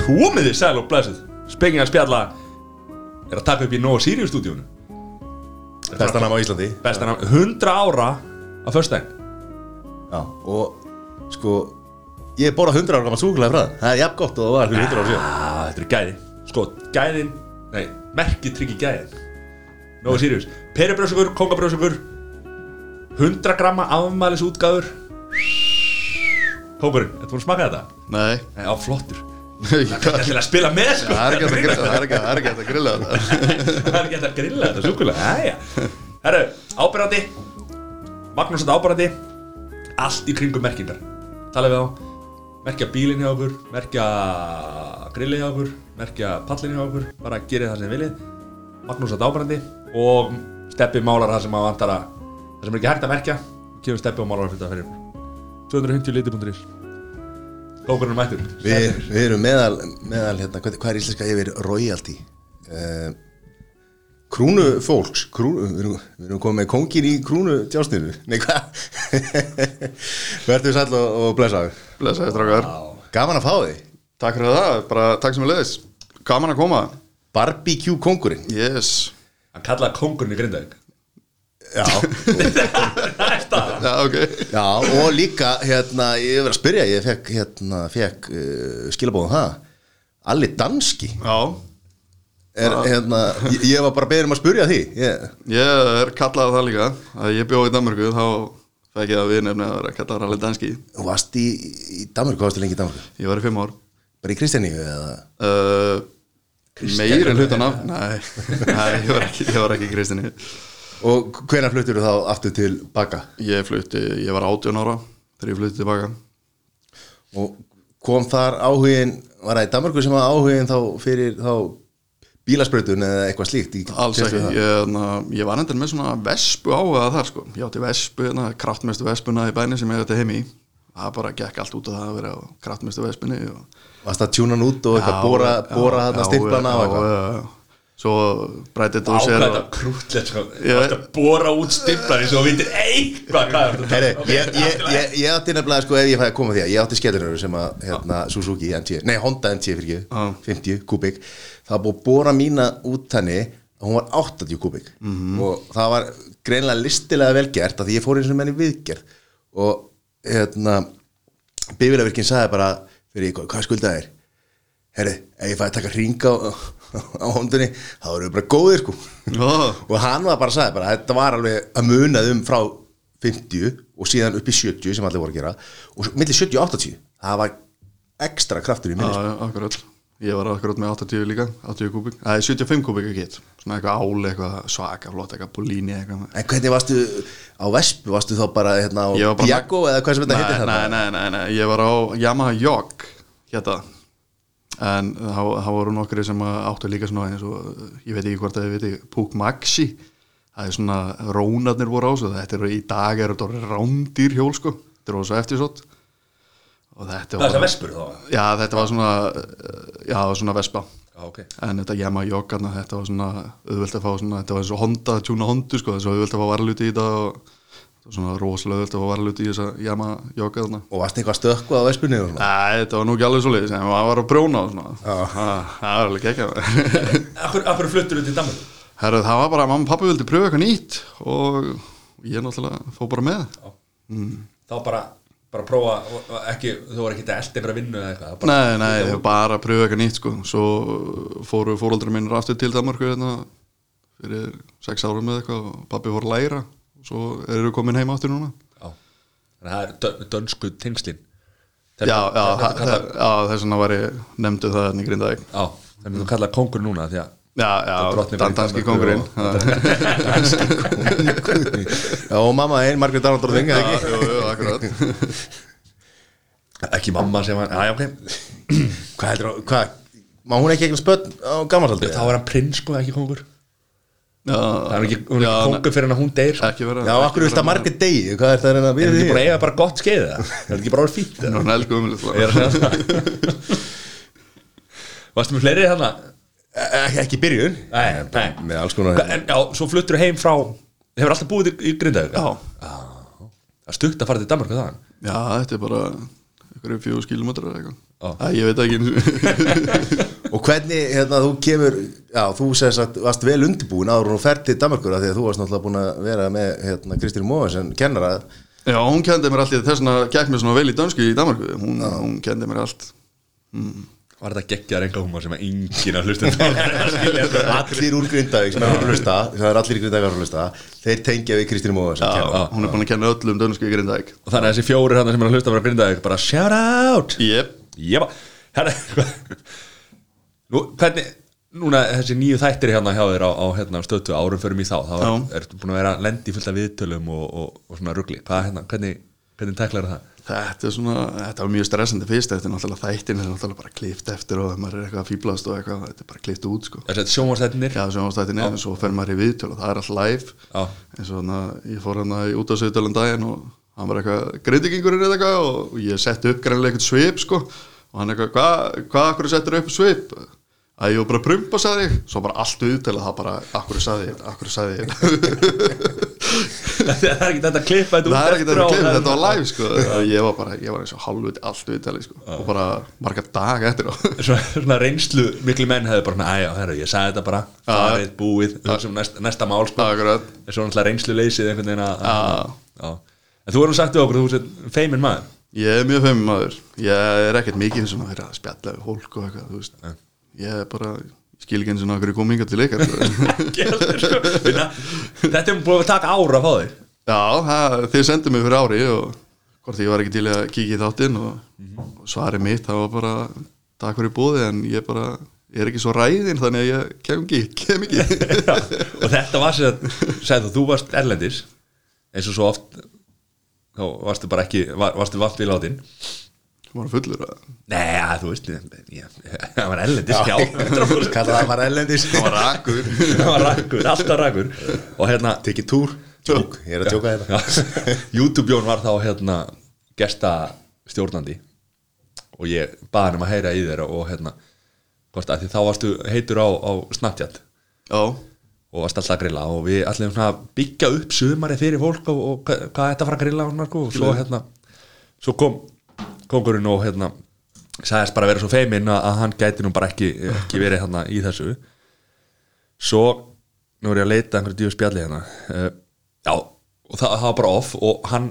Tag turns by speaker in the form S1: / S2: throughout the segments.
S1: Komið þið sæl og blessið Spekingar spjalla Er að taka upp í Nóa Sirius stúdíónu
S2: Besta nam á Íslandi
S1: Bestan af 100 ára á föstudaginn
S2: Já, og sko Ég borða 100 ára gaman súkulega frá það Það er jafn gott og það var fyrir 100 ára síðan
S1: ah, Þetta eru gæði Sko, gæðin Nei, merkið tryggi gæðin Nóa Sirius Peribrjósugur, kongabrjósugur 100 gramma afmælis útgáður Kókurinn, ertu búin að smaka þetta?
S3: Nei
S1: Nei, á flottur Þetta er
S3: Það
S1: til að spila með sko.
S3: er ekki hægt að grilla það, það er ekki- það er ekki hægt að grilla það
S1: Það er ekki hægt að grilla þetta súkulega Æja Herru, ábyrrandi Magnús þetta ábyrrandi Allt í kringum merkingar Talið við á Merkja bílinn hjá okkur Merkja grillið hjá okkur Merkja pallinn hjá okkur Bara gerið það sem þið viljið Magnús þetta ábyrrandi Og steppi málar það sem maður vantar að Það sem er ekki hægt að merkja Kjöfum steppi og málar fyrir það fyrir ykkur. 250 liti.is Kókurinn er mættur
S2: Við, við erum meðal, meðal hérna, hvað, hvað er íslenska yfir royalty? Uh, krúnu fólks, krúnu, við, erum, við erum komið með kóngin í krúnu tjásninu. Nei, hvað? Verður sæll og, og blessaður.
S3: Blesaði strákar
S2: Gaman að fá þig.
S3: Takk fyrir það, bara takk sem við leiðis Gaman að koma
S2: Barbecue kóngurinn.
S3: Yes
S1: Hann kallaði kóngurinn í Grindavík
S2: Já,
S1: Það er staðan
S3: Já, ok
S2: já, og líka, hérna, ég verður að spyrja, ég fekk, hérna, fekk uh, skilabóðum það. Alli danski.
S3: Já,
S2: Er,
S3: Ah.
S2: hérna, ég, ég var bara beðin um að spyrja því. Ég,
S3: ég er kallaður það líka að ég bjóð í Danmarku þá fekk ég að við nefna að vera kallaður alveg danski
S2: þú varst í, í Danmarku, hvað varst lengi í Danmarku?
S3: Ég var í fimm ár
S2: Bara í Kristjaníu eða?
S3: uh,
S1: Kristján
S3: Meiri
S1: Rúnar.
S3: hlutan af Nei, nei ég, var ekki, ég var ekki í Kristinni
S2: Og hvenær fluttir þú þá aftur til baka?
S3: Ég flutti, ég var 18 ára þegar ég flutti tilbaka
S2: Og kom þar áhugin, var það í Danmarku sem að áhugin þá fyrir þá bílasprötun eða eitthvað slíkt? Í,
S3: Alls
S2: tengslum
S3: ekki,
S2: við það?
S3: ég, na, ég var endur með svona vespu áhuga þar sko Ég átti vespu, na, kraftmestu vespuna í bænum sem ég átti heim í Það bara gekk allt út af það að vera á kraftmestu vespunni og
S2: Varst það tjúnan út og eitthvað bóra, bóra þarna stimplana og eitthvað?
S3: eitthvað Svo breytið þú sér
S1: ákvæða krútlegt sko Þú
S3: Ég-
S1: ætti að bóra út stiflar eins og þú vitir eitthvað hvað er
S2: Heri,
S1: Ok,
S2: ég, ég,
S1: allt í lagi.
S2: ég, ég átti nefnilega sko ef ég fæði að koma að því að ég átti skellurur sem að hérna, Suzuki MT, nei Honda MT fyrir ekki,
S3: Já.
S2: 50 kubik það var búið að bóra mína út henni að hún var 80 kubik og það var greinlega listilega velgert að því ég fór eins og menni viðgerð og hérna bifilavirkinn sagði bara fyrir ykkur, hvað skuldaði þér? Herri, ef ég fæði að taka hringa á, á Hondunni þá erum við bara góðir sko
S3: Ó,
S2: og hann var bara að sagði bara þetta var alveg að munað um frá 50 og síðan upp í 70 sem allir voru að gera og svo- milli 70 og 80 það var ekstra kraftur í minni
S3: Já, já, akkurat Ég var akkurat með 80 líka, 80 kubík Nei, 75 kubík ekki hitt Svona eitthvað áli, eitthvað svaka, flott, eitthvað políni
S2: sko.
S3: eitthvað
S2: en hvernig varstu á Vespu varstu þá bara hérna á
S3: Ég var bara-
S2: Biago eða hvað sem þetta
S3: Nei,
S2: heitir
S3: nei,
S2: þarna
S3: nei, nei, nei, ég var á Yamaha Jog Hérna En þá þá voru nokkri sem að áttu líka svona eins og Ég veit ekki hvort að ég veit ekki Púk Maxi Það er svona, rónarnir voru á svo Þetta eru í dag eru þetta rándýr hjól sko Þetta eru svo eftirsótt Og þetta
S1: það er
S3: var
S1: það vespur þá
S3: Já, þetta var svona eh, Já, svona vespa
S1: Já, ok.
S3: en þetta Yamaha Joggarna þetta var svona auðvöld að fá svona, þetta var eins og Honda, tjúna Honda sko, þess að auðvöld að fá varluti í þetta og þetta var svona rosalega auðvöld að fá varluti í þessa Yamaha Joggarna
S2: og varstu eitthvað stökku á Vespunni og svona
S3: Nei, þetta var nú ekki alveg svo leiðis en maður var að prjóna og svona
S2: Já.
S3: Ha, það var alveg ekki
S1: Akkur, akkur fluttur þú til Danmark
S3: Herru, það var bara að mamma og pappi vildi pröfa eitthvað nýtt og ég náttúrulega fó bara með
S1: Mm. þá bara, bara prófa og- og ekki, þú var ekki að elda einhverja vinnu eða eitthvað bara,
S3: Nei, nei, ég var bara að pröfa eitthvað nýtt sko. Svo fóru fóröldra mínir aftur til Danmarku hérna, fyrir sex árum með eitthvað og pappi fór að læra og svo eru komin heim aftur núna
S1: Já. þannig að það er dö- dönsku tengslin
S3: Já,
S1: Þetta-
S3: já,
S1: þetta
S3: þa-
S1: þú
S3: þa-
S1: kallar-
S3: já, þess vegna var ég nefndu það hérna í Grindavík
S1: Já, þannig að þú kallar kongur núna því að
S3: Já,
S1: Það
S3: já,
S1: drottni var í
S3: dan- danski
S1: Danmörku
S3: kongurinn
S1: og-
S3: Já,
S2: já, og mamma einn Margrét Arnaldróðing
S3: já, jú, jú, akkurat
S1: ekki mamma sem hann, aðja ok
S2: hvað heldur þú, hvað má hún ekki eitthvað spönd á gammalsaldi
S1: þá er hann prins sko, ekki kongur það er
S3: Já,
S1: ekki, hún er
S3: já,
S1: ekki kongur fyrir hann að hún deyr sko.
S3: ekki vera
S2: já, akkur vilt að Margrét degi hvað er það að reyna að
S1: er
S2: við
S1: hann ekki
S2: því
S1: bara að eiga bara gott skeið eða? er hann ekki bara að vera fínt eða?
S3: Nú, hann elsku umlið
S1: Ég er að segja það Varstu með fleiri þarna? E,
S2: Ekki- ekki í byrjun
S1: Nei, nei
S2: með alls konar
S1: En já, svo fluttur heim frá Hefur alltaf búið í, í Grindavík?
S3: Já,
S1: Það er stutt að fara til Danmarku þaðan
S3: já, þetta er bara ykkur fjóðu skilumötrar eitthvað Æ, ég veit ekki einu sinni.
S2: Og hvernig, hérna, þú kemur, já, þú sem sagt, varst vel undirbúin áður og ferð til Danmarkur af því að þú varst náttúrulega búin að vera með, hérna, Kristín Móðinsen, kennara,
S3: Já, hún kendi mér allt í þetta, þess vegna gekk mér svona vel í dönsku í Danmarku Hún, hún kendi mér allt
S1: Var þetta geggjaðar enga húmar sem að enginn að hlusta þetta
S2: allir úr Grindavík sem er að hlusta, sem er allir í Grindavík að hlusta, þeir tengja við Kristín Móðinsen,
S3: Já,
S2: kennara.
S3: hún er búin að kenna öllum dönsku í Grindæk
S1: Og þannig að þessi fjórir hann sem er að hlusta var að grinda þig bara shout out
S3: Jep,
S1: Jépa, herra Nú, hvernig Núna þessi nýju þættir hérna hjá þér á, á hérna, stötu árum förum í þá þá
S3: Já.
S1: ertu búin að vera lendi fullt af viðtölum og, og, og svona rugli Hvað, hérna, hvernig, hvernig tæklar það?
S3: þetta er svona, þetta var mjög stressandi fyrst Þetta er náttúrulega þættin, þetta er náttúrulega bara klift eftir og ef maður er eitthvað að fýblast og eitthvað, þetta er bara klift út sko
S1: Þessi sjónvarstættinir
S3: Já, sjónastættin er, en svo fer maður í viðtöl og það er allt live
S1: Já.
S3: eins og þannig að ég fór hann í út af sögdölum daginn og hann var eitthvað grindikingurinn eða eitthvað og ég setti upp greinlega eitthvað svip sko og hann eitthvað, hvað, hvað akkur settur upp svip? Að ég var bara að prumpa, sagði ég svo bara allt viðtöl að það bara, akkur sagði ég, akkur sagði ég
S1: Það er ekki þetta að klippa þetta út
S3: það er ekki
S1: eftir á, hérna.
S3: þetta klipið,
S1: það er-
S3: þetta var live sko og ég var bara, ég var eins og halvviti allt viðtali sko og bara marga daga eftir á
S1: svona, svona reynslu miklu menn hefði bara, svona, æja, herru, ég sagði þetta bara farið, búið, sem næsta, næsta mál sko.
S3: Akkurat.
S1: en svo náttúrulega reynslu leysið einhvern veginn að
S3: Já.
S1: já. en þú erum sagt við okkur, þú sér feimin maður
S3: Ég er mjög feimur maður Ég er ekkert mikið sem að vera að spjalla við fólk og eitthvað, þú veist Ég er bara, ég skil ekki eins og nákvæmur kominga til leikar Já,
S1: Gerður, sko. Vinna, þetta er búin að taka ára að fá þig
S3: það, þið sendu mig fyrir ári og hvort ég var ekki til í að kíkja í þáttinn og, og svarið mitt, það var bara takk fyrir búði en ég bara ég er ekki svo ræðin þannig að ég kem ekki kem ekki
S1: Já, og þetta var sér að sagði þú, þú varst erlendis eins og svo oft þá varstu bara ekki, var, varstu vant við látin
S3: Var fullur að
S1: Nei, já, þú veist, ég, það var erlendis, já,
S2: Kallar það bara ellendis.
S3: Það var akkur
S1: það var rakkur, alltaf rakkur og hérna
S2: Tekið túr, tjók, ég er að tjóka þetta.
S1: YouTube-jón var þá hérna gesta stjórnandi og ég baði hann um að heyra í þér og hérna hvort að því þá varstu heitur á, á Snapchat
S3: Já,
S1: og varst alltaf að grilla og við allir svona að byggja upp sumari fyrir fólk og, og hva- hvað þetta fara að grilla og svona sko og svo hérna svo kom kongurinn og hérna sagðist bara vera svo feiminn að, að hann gæti nú bara ekki, ekki verið hérna í þessu svo nú er ég að leita að einhverju djúf spjalli hérna uh, já, og það, það var bara off og hann,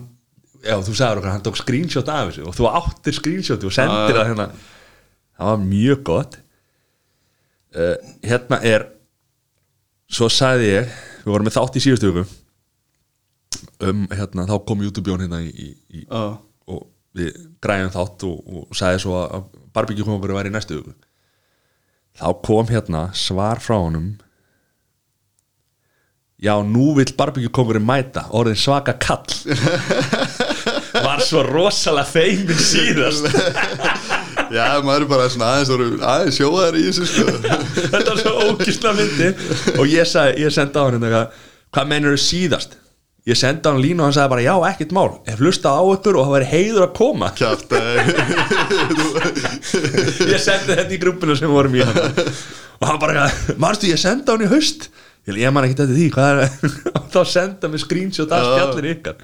S1: já þú sagður okkar hann tók screenshot af þessu og þú áttir screenshot og sendir það hérna það var mjög gott uh, hérna er svo sagði ég, við vorum með þátt í síðustu viku um hérna, þá kom YouTube-jón hérna í, í, í
S3: Já.
S1: og við græðum þátt og, og sagði svo að barbeki kom okkur að vera í næstu viku þá kom hérna svar frá honum já nú vill barbegjukongurinn mæta orðin svaka kall var svo rosalega feimin síðast
S3: Já, maður er bara svona aðeins, orðinn- aðeins sjóðar í þessu sko.
S1: þetta var svo ógisla myndi og ég, sagði, ég sendi á hann eitthvað, hvað mennur þau síðast ég sendi á hann línu og hann sagði bara já ekkert mál hef hlustað á ykkur og það væri heiður að koma
S3: Kjátt
S1: ég sendi þetta í grúppuna sem við vorum í hann og hann bara, marstu ég sendi á hann í haust ég, ég man ekki þetta því hvað er og þá senda mig screenshot af spjallinu ykkar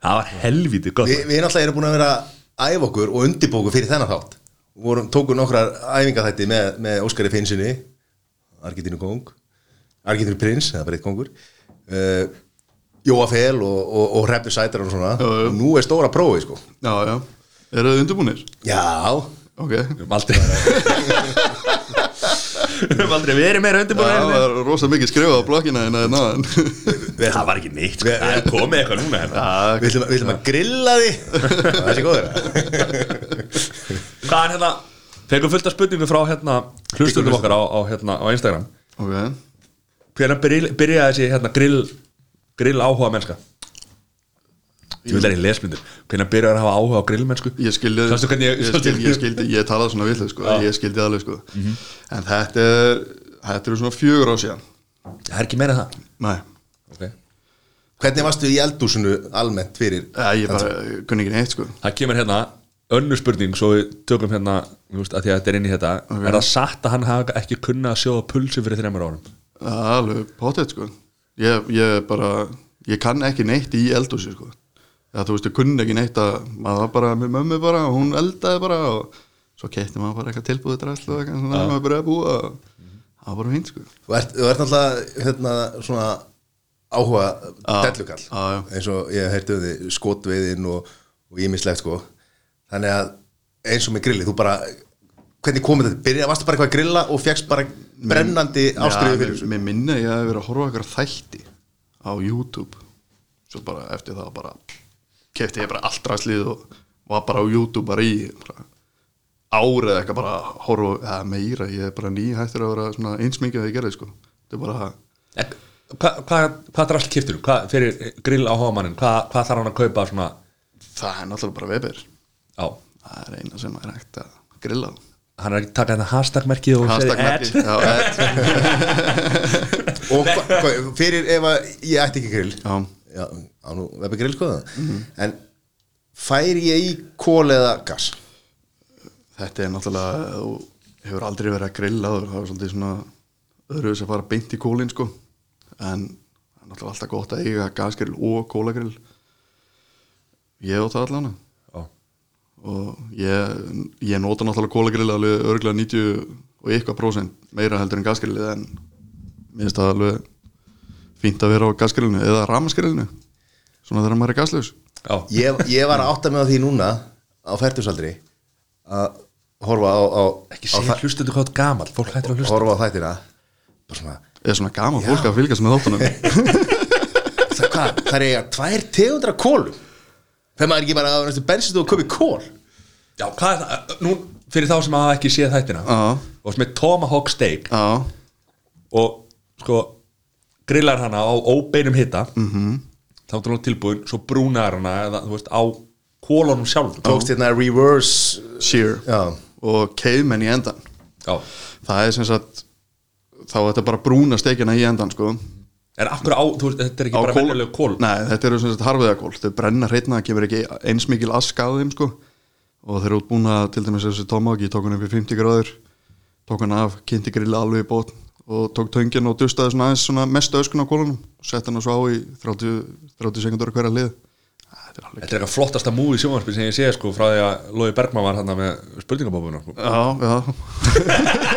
S1: það var helvítið gott
S2: Við, við náttúrulega erum búin að vera að æfa okkur og undirbóku fyrir þennan þátt. Við vorum, tókum nokkrar æfingaþætti með, með Óskari Finnsinni, Argentinu kong, Argentinu prins, það er bara eitt kongur, uh, Jóa Fel og, og, og Hreppi Sætar og svona.
S3: já.
S2: Og Nú er stóra prófið, sko.
S3: Já, já Eru þið undirbúnir?
S2: Já,
S3: Ok
S1: við höfum aldrei við höfum aldrei verið meira undirbúin
S3: Það var rosa mikið skrifað á blokkina hérna en að náðan
S1: það var ekki neitt sko. það er komið eitthvað núna hérna.
S2: við ætlum, að- við ætlum að grilla því. það er sér góður.
S1: hvað er hérna fegum fullt af spurningu frá hérna hlustundum okkar á, á, hérna, á Instagram
S3: Ok
S1: hvernig byrj- byrjaði þessi hérna grill grill áhuga mennska ég vil er í lesmyndir hvernig byrjaði að hafa áhuga á grillmennsku
S3: Ég skildi
S1: Sástu hvernig Mhm. ég-
S3: ég, skildi, ég skildi Ég talaði svona villið sko Ég skildi alveg sko En þetta er Þetta eru svona fjögur á síðan
S1: það er ekki meira en það
S3: Nei
S1: okay.
S2: Hvernig varstu í eldúsinu almennt fyrir?
S3: Æ, Ég bara kunni ekki neitt sko
S1: það kemur hérna önnu spurning svo við tökum hérna þú veist, að því að þetta er inn í þetta er það satt að hann hafa ekki kunnað að sjóða pulsu fyrir þreymar árum
S3: Það er alveg potið sko Ég, ég bara Ég kann ekki neitt í eldhúsi sko Já, þú veist, ég kunni ekki neitt að maður var bara með mömmu bara og hún eldaði bara og svo keitti maður bara eitthvað tilbúið drasl og eitthvað svona maður byrjaði að búa
S1: Mhm.
S3: það var bara fínt sko
S2: Þú ert, þú ert alltaf hérna, svona áhuga
S3: Já.
S2: dellukall
S3: Já, já.
S2: eins og ég heyrti um því skotveiðin og, og ímislegt sko þannig að eins og með grilli þú bara, hvernig komið þetta byrja, varstu bara eitthvað að grilla og fegst bara brennandi ástriðu fyrir
S3: mér, mér minna ég að vera að horfa á eitthvað þætti á YouTube svo bara eftir það bara kefti ég bara allt drastlið og var bara á YouTube bara í bara, árið eitthvað bara að horfa á- eða meira, ég er bara nýhættur að vera svona eins mikið að ég gerði sko þetta er bara,
S1: En Hvað hva, hva drall kiptur þú? Hvað fyrir grill á hómannin? Hvað hva þarf hann að kaupa svona
S3: það er náttúrulega bara Weber
S1: á?
S3: það er eina sem er hægt að grilla á
S1: Hann er ekki að taka þetta hashtag-merkið og
S3: Hashtag merkið,
S1: ad.
S3: já, ad.
S2: þessu og hva, hva, fyrir ef að ég ætti ekki grill
S3: Já.
S2: já á nú vefi grill sko það en fær ég í kól eða gas
S3: Þetta er náttúrulega þú hefur aldrei verið að grilla áður, það er svolítið svona öðru þess að fara beint í kólin sko en það er náttúrulega alltaf gott að eiga gasgrill og kólagrill ég átt það allan
S1: Já.
S3: og ég, ég nota náttúrulega kólagrill alveg örgulega 90 og eitthvað prósent meira heldur en gasgrillið en mér finnst það alveg fínt að vera á gasgrillinu eða ramaskgrillinu svona þegar maður er gaslaus
S1: Já.
S2: ég, ég var að átta mig á því núna á færtusaldri að horfa á, á
S1: Ekki
S2: á
S1: segja
S2: þa-
S1: hlustundu hvað þú ert gamall, fólk hættur að hlusta.
S2: horfa á þættina bara svona,
S3: eða svona gaman fólk að fylgjast með þáttunum
S2: það, hvað, það er eiga tvær tegundra kólu þegar maður ekki bara að næstu bensistu og köpi kól
S1: Já, hvað er það? Nú, fyrir þá sem hafa ekki séð þættina
S3: Já.
S1: og sem er Tomahawk Steak
S3: Já,
S1: og sko grillar hana á óbeinum hitta -hmm. þá er hún tilbúin, svo brúnar hana eða, þú veist, á kólunum sjálf
S2: tókst hérna reverse
S3: shear
S2: já,
S3: og cavemen í endan
S1: Já,
S3: það er sem sagt þá er þetta bara brúna steikina í endan sko.
S1: en af hverju á, þú veist, þetta er ekki bara venjuleg kól
S3: Nei, þetta eru sem sagt harfiðakól þau brenna hreitna, það kemur ekki eins mikil aska á þeim sko. og þeir eru útbúna til dæmis þessi tomaki, tók hann upp í 50 gráður tók hann af, kynnti grilla alveg í bót og tók töngin og dustaði svona aðeins svona mest öskun á kólunum og sett hann svo á í 30, 30 sekundur hverja lið Æ, þetta er alveg
S1: Þetta er eitthvað flottasta múi sjónvarspil sem ég sé sko frá því að Lói Bergman var hann með spurningabófuna sko.
S3: Já, já,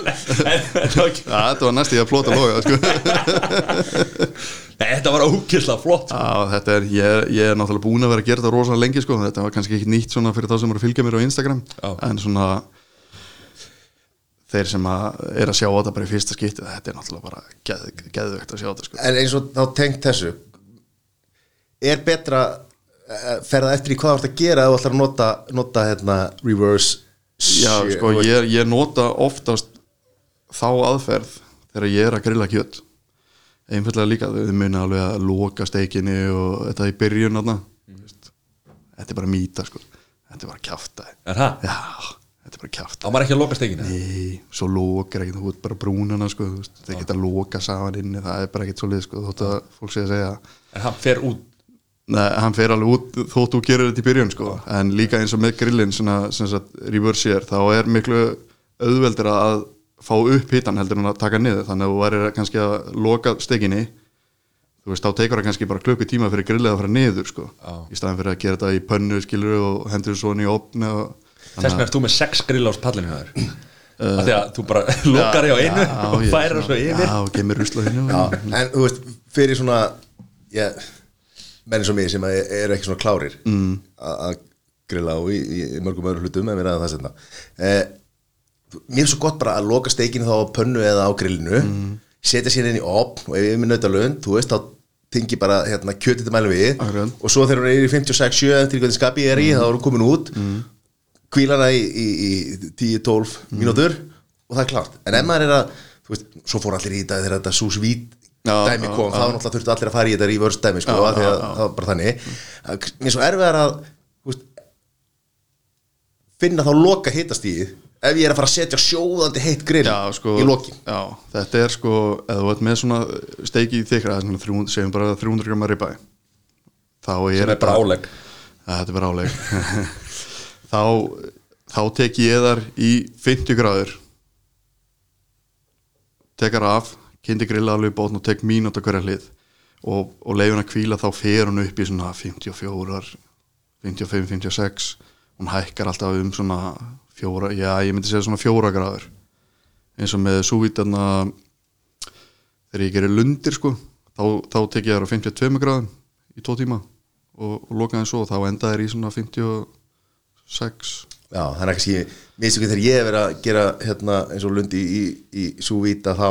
S1: Nei,
S3: ja, þetta var næst í að flota loga sko.
S1: Þetta var ókysla flott
S3: Já, þetta er, ég, er- ég er náttúrulega búin að vera að gera þetta rosalega lengi sko, þetta var kannski ekki nýtt svona fyrir þá sem eru að fylgja mér á Instagram
S1: Já.
S3: en svona þeir sem að er að sjá þetta bara í fyrsta skipti þetta er náttúrulega bara geð, geðvegt að sjá þetta sko.
S2: en eins og þá tengt þessu er betra eh, fer það eftir í hvað þú ert að gera ef þú ætlar að nota, nota hérna, reverse
S3: Já,
S2: shit,
S3: sko,
S2: þú veist.
S3: ég, ég nota oftast þá aðferð þegar ég er að grilla kjött einfallega líka, þau muni alveg að loka steikinni og þetta í byrjun þarna, þú veist, þetta er bara mýta sko, þetta er bara kjafta
S1: Er það?
S3: Já, þetta er bara kjafta
S1: Á maður ekki að loka steikinu?
S3: Nei, svo lokar ekkert, þú ert bara brúnana sko, þú veist, þeir geta loka saman inni, það er bara ekkert svolítið sko, þótt að fólk sé að segja
S1: En hann fer út
S3: Nei, hann fer alveg út þótt þú gerir þetta í byrjun sko, en líka eins og með grillin svona, sem sagt, reverse air, þá er miklu auðveldir að fá upp hitan heldur en að taka niður, þannig að þú værir kannski að loka stekinni þú veist, þá tekur það kannski bara klukku tíma fyrir grillið að fara niður sko,
S1: Já.
S3: í staðan fyrir að gera þetta í pönnu skilur og hendur svo hann í opni og
S1: Þess vegna erst þú með sex grill á pallinu hjá þér Af því að þú bara lokar í á einu og
S3: ég er
S1: færir
S3: svona-
S1: svo yfir
S3: Já, og gemir rusla hinn
S2: Já, en þú veist, fyrir svona já, menn sem ég sem að eru ekki svona klárir mm. að grilla og í, í, í mörgum öðru hlutum en við ræðum það setna eh, mér er svo gott bara að loka steikinu þá á pönnu eða á grillinu setja sér inn í opn og ef ég er með nautalönd þú veist, þá tengi bara hérna, kjötið til mælu við
S3: Akkurat.
S2: og svo þegar hún er í 56, 7 til hvernig skapi ég er í, þá er hún komin út kvíla hana í, í, í 10-12
S3: Mhm.
S2: mínútur og það er klart en ef maður er að, þú veist, svo fór allir í þetta þegar þetta sús vít
S3: Já,
S2: dæmi
S3: já,
S2: kom, þá náttúrulega þurftu allir að fara í þetta í vörst dæmi, sko,
S3: Já,
S2: af því
S3: já,
S2: að
S3: já.
S2: það var bara þannig Það- mér er svo erfiðar að þú veist, finna þá loka hitastíð ef ég er að fara að setja sjóðandi heitt grill
S3: Já, sko,
S2: í lokin
S3: já, þetta er sko, eða þú ert með svona steiki í þykra, það er svona 300, segjum bara 300 grammar ribæ þá er
S1: Sem er bara álegg
S3: Já, þetta er bara áleg þá, þá tek ég þar í 50 gráður tekar af kynnti grilla alveg í bótn og tek mínútt á hverja hlið og, og leifin að hvíla þá fer hún upp í svona 54 55-56 hún hækkar alltaf um svona fjóra, já ég myndi segja svona fjóra gráður eins og með súvítarna þegar ég gerir lundir sko þá, þá tek ég þær á 52 gráðum í tvo tíma og, og loka þeim svo og þá enda þær í svona 56
S2: Já, það er ekki, mér séu ekki þegar ég hef verið að gera hérna, eins og lundi í, í, í súvíta þá,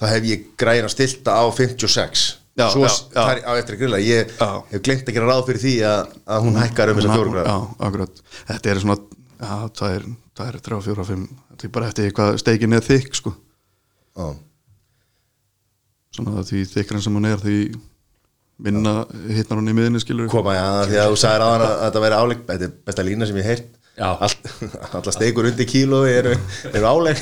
S2: þá hef ég græna stilta á 56
S3: Já,
S2: Svo
S3: já,
S2: s-
S3: já.
S2: þar á eftir að grilla ég
S3: Já.
S2: hef glemt að gera ráð fyrir því að, að hún hækkar um þess að
S3: Hún-
S2: fjórgráð
S3: Já, akkurat Þetta er svona, já, það er, það er 3, 4, 5 Þetta er bara eftir því hvað steikin er þykk sko
S2: Já,
S3: Svona því þykkarinn sem hún er því minna hitnar hún í miðinni skilur
S2: koma já, því að þú sagðir aðan að að þetta væri áleik þetta er besta lína sem ég heilt
S1: Já.
S2: Alla steikur undir kílói eru, eru áleik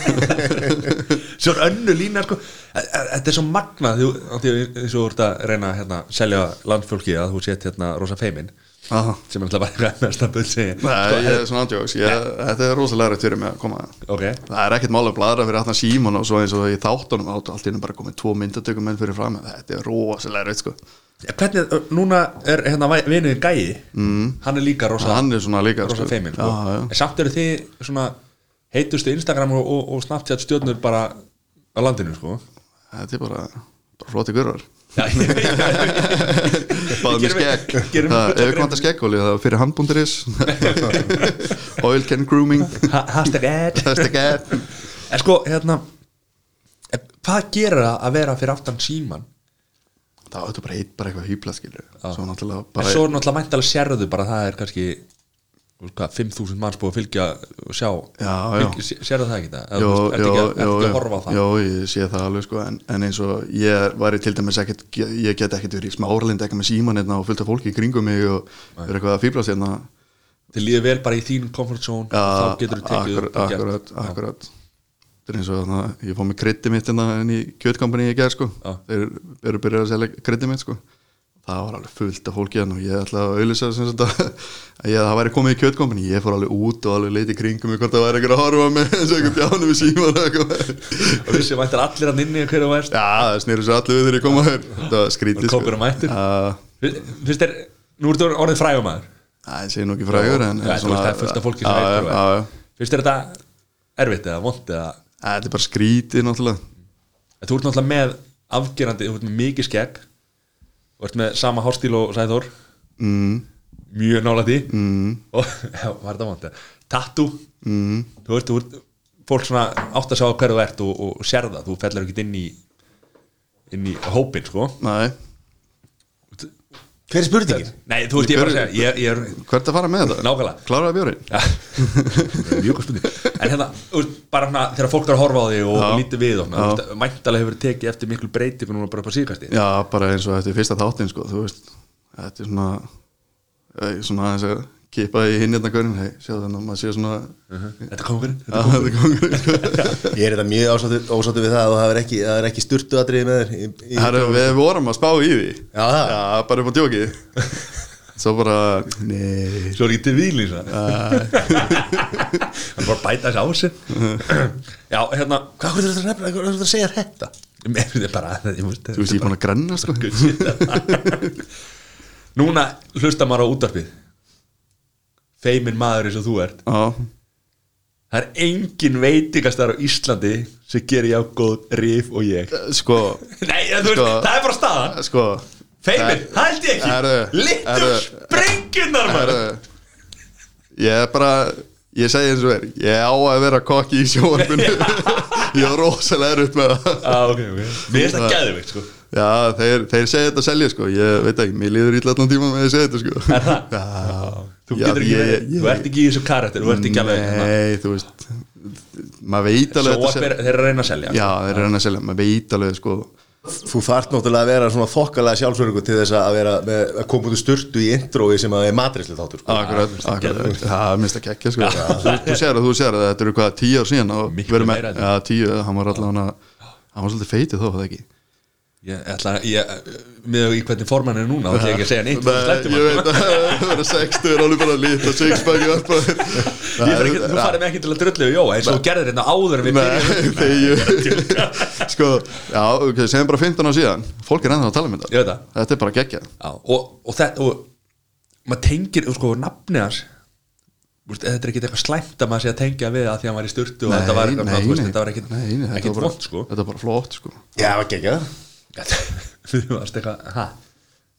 S1: Svo er önnu lína sko e- e- Þetta er svo magnað þú- af því að- eins og þú ert að reyna að hérna, selja landsfólki að þú sett hérna rosa feimin
S3: Aha.
S1: sem er alltaf bara mest að bull segja
S3: Nei, ég er svona andjóks ég, Þetta er rosalega rétt fyrir mig að koma
S1: Sko, Ok,
S3: Það er ekkert mála að bladra fyrir aftan síman og svo eins og í þáttunum átt allt innum bara komið tvo myndatökum menn fyrir fram Þetta er rosalega rétt sko
S1: hvernig, núna er hérna vinuðin gæði mm. hann er líka rosa,
S3: Hann er svona líka
S1: rosa feimin sko.
S3: Já, já.
S1: En samt eru þið svona heitustu Instagram og, og, og Snapchat stjórnur bara á landinu sko
S3: Þetta er bara, bara flotti gurrar
S1: Já, ég veit
S3: Báðum í
S1: Gerum við-
S3: skegg
S1: gerum við
S3: Það- Ef
S1: fulla
S3: við komum þetta skeggóli það er fyrir handbúnduris Oil can grooming
S1: Ha- Hashtag ad
S3: Það er skeggett
S1: En sko, hérna en Hvað gerir það að vera fyrir aftan síman?
S3: Það var þetta bara eitt bara eitthvað hýbla skilur Svo náttúrulega
S1: En svo
S3: bara
S1: er náttúrulega mæntalega sérðu bara það er kannski þú veist hvað, 5.000 manns búið að fylgja og sjá
S3: Já, já.
S1: Fylg- Sérðu það ekki það?
S3: Jó,
S1: Jó, er
S3: jó,
S1: ekki, að- ertu
S3: jó,
S1: ekki að
S3: jó.
S1: horfa á það?
S3: Jó, ég sé það alveg sko En, en eins og ég væri til dæmis ekkert Ég get ekkert verið í smáralind eitthvað með síman hérna og fullt af fólki í kringum mig og er eitthvað að fýblast hérna
S1: Þið líður vel bara í þín comfort zone
S3: Ja,
S1: Þá getur þú tekið upp
S3: akkur-
S1: og gert.
S3: Akkurat, akkurat Þetta er eins og þarna, ég fór með krytti mitt hérna inn í kjötkampani í gerð sko
S1: Já.
S3: Þeir eru byrjað að selja krytti mitt sko Það var alveg fullt af fólki hérna og ég ætlaði að auðlýsa sem sagt að að ég, það væri komið í kjötkompani, ég fór alveg út og alveg leiti í kringum mig hvort það væri einhver að horfa á mig eins og einhver bjánum við síman og eitthvað
S1: Og vissi mæntar allir að inni hverju verst
S3: Já, það snýru svo allir við þegar ég koma þér Þetta var skrítið sko.
S1: Kópur er mættur.
S3: Já,
S1: Fyrst er, nú ertu orðið frægum aður
S3: Það sé nú ekki frægur en
S1: Það
S3: en
S1: er fullt af fólki sem
S3: Já, já,
S1: heitur
S3: já, já.
S1: Fyrst er þetta erfitt eða vond eða
S3: Þetta er bara skrítið náttúrulega
S1: En Þú ert náttúrulega með afgerandi, þú ert með mikið skegg og ert með sama hárstíl og sæður
S3: mm.
S1: mjög nála því mm.
S3: Mhm.
S1: og já, var þetta vant tattoo, mm. þú ert, þú ert fólk svona átt að sjá hverju þú ert og, og sér það, þú fellur ekkert inn í inn í hópin, sko
S3: Nei,
S2: Hver er spurningin?
S1: Nei, þú veist, ég er bara að segja, ég, ég er
S3: hvert að fara með þetta?
S1: Nákvæmlega.
S3: Kláraði bjórinn?
S1: Já, mjög góð spurning En hérna, þú veist, bara hérna þegar fólk er að horfa á því og
S3: Já.
S1: lítið við og
S3: Já.
S1: svona, mæntalega hefur tekið eftir miklu breytingu núna bara upp á síðkasti
S3: Já, bara eins og þetta er fyrsta þáttinn sko, þú veist Þetta er svona eh, svona aðeins að kippa í hinn hérna hverjum hey, Sjáðu þannig að maður sé svona
S1: Þetta kom fyrir,
S3: Já, þetta er kóngurinn sko.
S2: Ég er þetta mjög ásáttur, ásáttur við það að það er ekki, það er ekki styrtu aðrið með þér í, í,
S3: Herra, Við vorum að spá í því
S2: Já, það.
S3: Já, bara upp á djóki Svo bara, nei
S1: Svo er ekki til výlýsa
S3: Ah.
S1: Hann bara bæta þessi á
S3: Uh-huh.
S1: sig Já, hérna
S2: Hvað hvað er þetta að nefna, hvað er þetta að segja þetta?
S1: Mér finnst bara Ég veist
S3: Þú veist, ég er búin að grenna sko
S1: Núna hlusta maður á útarpið Feimin maður eins og þú ert
S3: Já,
S1: Það er engin veitingastar á Íslandi sem gerir já góð rif og ég
S3: sko
S1: Nei, þú veist,
S3: Sko-
S1: það er bara staðan
S3: Sko
S1: Feimin,
S3: Það-
S1: það held ég
S3: Herðu,
S1: ekki Littum
S3: herðu,
S1: sprengunar maður
S3: Herra, eh, Ég er bara Ég segi eins og er Ég á að vera kokki í sjónarbunni Ég er rosalega erut með það
S1: Á, Ah, ok, ok Mér finnst það gæðið, sko
S3: Já, þeir, þeir segja þetta að selja sko Ég veit ekki, mér líður illa allan tíma með að segja þetta sko
S1: Er það? Þú
S3: Já,
S1: getur ekki
S3: ég-
S1: verið-
S3: ég-
S1: Þú ert ekki í þessu karakter, þú ert ekki alveg hérna.
S3: Nei, þú veist Maður veit alveg
S1: Sjóa
S3: þetta
S1: þeir eru að reyna að selja
S3: Já, þeir eru að reyna að selja, maður veit alveg sko
S2: Þú þarft náttúrulega að vera svona þokkalega sjálfsverðingu til þess að, vera, með, að koma út úr styrtu í introi sem að er matrislega þáttur sko.
S3: Akkurat,
S1: finnst það
S3: akkurat Það er minnst að kekja sko Þú þú sér að, þú sér að þetta eru hvað tíu ár síðan og
S1: Miklu
S3: við erum
S1: meira en
S3: með- Já, tíu, hann var allan að Hann var svolítið feitið þó, var það ekki
S1: Ég ætla að, ég, með í hvernig formann er núna þá ætla ég ekki að segja neitt
S3: Nei,
S1: Nei,
S3: ég veit að það verður 60 er alveg bara lít og sixpack í alpaðir
S1: Ég þarf ekki, þú farið mig ekki til að drullu við Jóa eins og þú gerðir hérna áður en við
S3: Nei,
S1: byrjum
S3: þegar Sko, já, ok, segjum bara 15 á síðan Fólk er ennþá að tala um
S1: Ég veit
S3: þetta
S1: það.
S3: Þetta er bara geggjað
S1: Já, og, og þetta og maður tengir, sko, nafni hans Úst, þetta er ekkit eitthvað slæmt að maður sé að tengja við að því að maður er í sturtu og þetta var eitthvað, þú veist, þetta var ekkit,
S3: nei, nei, þetta
S1: ekkit
S3: var bara-
S1: vond, sko
S3: Þetta var bara flott sko
S2: Já, ekki ekki það
S1: Við varst eitthvað, ha,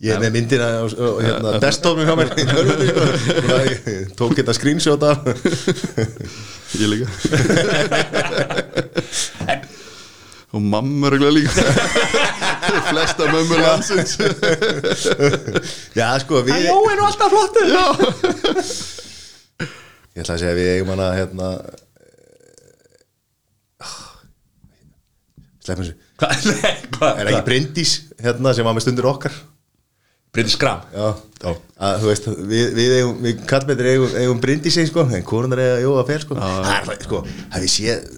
S2: Ég er með myndina á á- hérna, desktopnum hjá mér í tölvunni, sko. Bara ég Tók þetta screenshot af
S3: Ég líka Og mamma er líka Flesta mömmur landsins
S2: Já, sko, við
S1: Jó, er nú alltaf flottu
S2: Ég ætla að segja að við eigum hana hérna ah, Sleppum þessu
S1: Hvað, nei, hvað,
S2: Er það ekki Bryndís hérna sem var með stundir okkar
S1: Bryndi Skram
S2: Já, að, þú veist, við, við eigum, við kallmyndir eigum, eigum Bryndís einn sko, en korunar eiga Jóa Fel sko Það er það, sko, hafið séð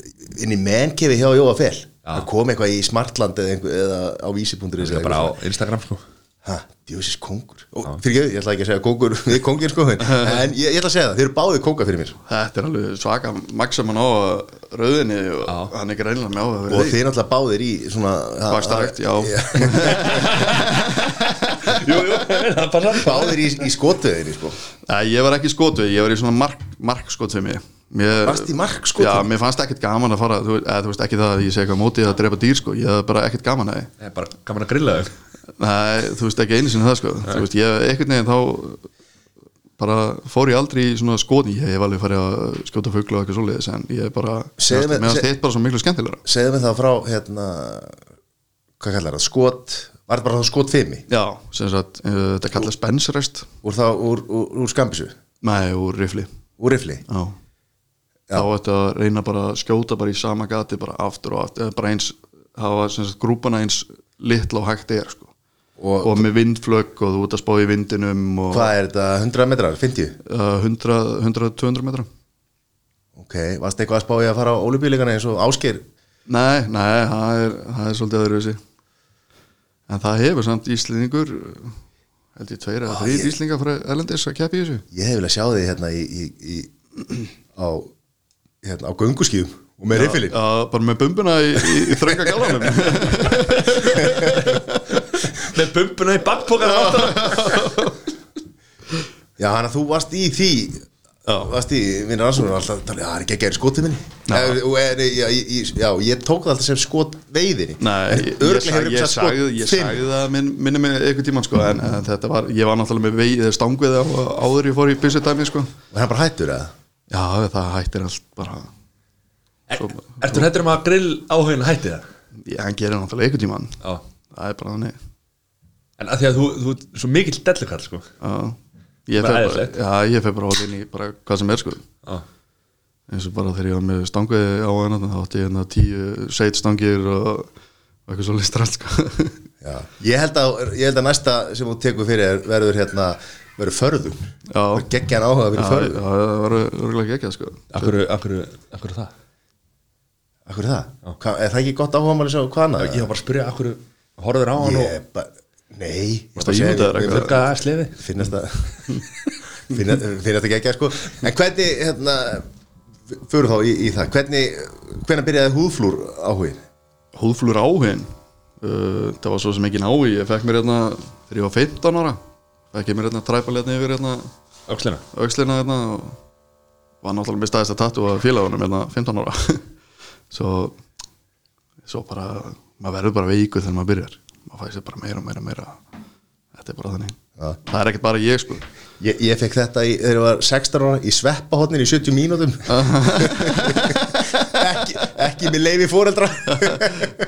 S2: inn í mennkefi hjá Jóa Fel Það kom eitthvað í Smartland eða, einhver, eða á vísi.ri
S1: Það er bara á Instagram, sko
S2: Hæ, djósis kongur Ó, Fyrir ekki, ég ætla ekki að segja kongur við kongir sko En ég, ég ætla að segja það, þið eru báðið konga fyrir mér sko.
S3: Þetta er alveg svaka Max sem hann á rauðinni og hann er ekki reynilega með á það
S2: Og þið náttúrulega báðir í svona
S3: Vaxtarrækt, já.
S1: Jú, jú, það passar
S2: Báðir í, í skotveðinni sko
S3: Nei, ég var ekki skotvið, ég var í svona mark, markskot sem ég mér,
S2: Varst í markskotveið?
S3: Já, mér fannst ekkert gaman að fara þú, eða, þú veist ekki það að ég sé eitthvað á móti eða að drepa dýr sko, ég hafði bara ekkert gaman að því
S1: Það er bara gaman að grilla þau
S3: Nei, þú veist ekki einu sinni það sko Þú veist, ég einhvern veginn þá bara fór ég aldrei í svona skotni ég hef alveg farið að skjóta fugla og eitthvað svoleiðis en ég bara,
S2: Segðu mér-
S3: mér fannst
S2: seg-
S3: hitt bara svo miklu skemmtilegra
S2: Segðu mig það frá hérna Hvað kallar það, skot Var það bara þá skotfimi
S3: Já, sem sagt, uh, þetta kallast bensrest
S2: Úr þá, úr, úr, úr skambisu
S3: Nei, úr rifli
S2: Úr rifli
S3: Já. Þá ætti að reyna bara að skjóta bara í sama gati bara aftur og aftur eða bara eins, hafa sem sagt grúpana eins litla og hægt er sko.
S2: Og-
S3: og, með vindflögg og þú ert að spá í vindinum og
S2: Hvað er þetta, 100 metrar, 50?
S3: uh, 100 100-200 metra
S2: Ok, varst eitthvað að spá ég að fara á ólubíleikana eins og Ásgeir
S3: Nei, nei, það er, það er svolítið öðruvísi en það hefur samt Íslendingur held ég tveir eða
S2: Ó,
S3: þrýr
S2: Ah, ég-
S3: Íslendingar frá Erlendis að keppi í þessu
S2: Ég hef vilja sjá því hérna í, í, í á, hérna, á gönguskíðum og með riffilinn
S3: Já, bara með bumbuna í, í, í þrönga gálanum
S1: Með bumbuna í bakpokan
S2: Já, hann að þú varst í því varst í minna rannsóknum alltaf talið, já, það er ekki að gera skotið minni já. Er, já, ég, já, ég tók það alltaf sem skot veiðinni
S3: Nei, ég, ég,
S2: örugglega
S3: sag,
S2: hefur sko,
S3: ég,
S2: hugsað skot
S3: sagði, ég
S2: fimm.
S3: sagði það minn, minni mig einhvern tímann sko, en, en þetta var, ég var náttúrulega með veið stangvið á, áður ég fór í byssu dæmi sko.
S2: og hann bara hættur eða
S3: Já, það hættir allt bara
S1: Ertu hættur um að grill áhugin hætti það?
S3: ég, hann gerir náttúrulega einhvern tímann
S1: Já
S3: það er bara þannig
S1: En að því að þú, þú ert svo mikill dellikall, sko
S3: Já, ég
S1: Bara
S3: fer bara,
S1: æðislegt.
S3: já, ég fer bara út inn í bara, hvað sem er sko
S1: Já
S3: eins og bara þegar ég var með stangvið á hann þá átti ég hérna tíu seit stangir og, og eitthvað svolítið strætt sko.
S2: Já. Ég, held að, ég held að næsta sem þú tekur fyrir er- verður hérna verður förðum
S3: Já.
S2: geggjan áhuga
S3: Já,
S2: fyrir
S3: já,
S2: förðum
S3: það var örgulega ekki sko.
S1: Akkur, akkur, akkur það?
S2: Akkur er það? Hva, er það ekki gott áhuga máli sem hvað annað?
S1: Ég var bara að spyrja akkur Horður á hann
S2: Ég
S1: og
S2: er bara, nei
S3: Varstu að ímynda þér eitthvað?
S1: Fuggaði að slefi
S2: finnast það finnast, finnast ekki ekki sko en hvernig hérna fyrir þá í, í það, hvernig hvernig byrjaði húðflúr áhugin
S3: húðflur áhugin uh, það var svo sem engin áhugi ég fekk mér hérna þegar ég var 15 ára fekk ég mér hérna træpal hérna yfir hérna
S1: Öxlina
S3: aukslina hérna og var náttúrulega með staðist að tattu að félagunum hérna 15 ára svo svo bara maður verður bara veiku þegar maður byrjar maður fæði sér bara meira og meira og meira þetta er bara þannig
S2: Ja.
S3: það er ekkert bara ég sko
S2: ég, ég fekk þetta í, þegar ég var 16 ára í sveppahotnin í 70 mínútum ekki, ekki með leifi fóreldra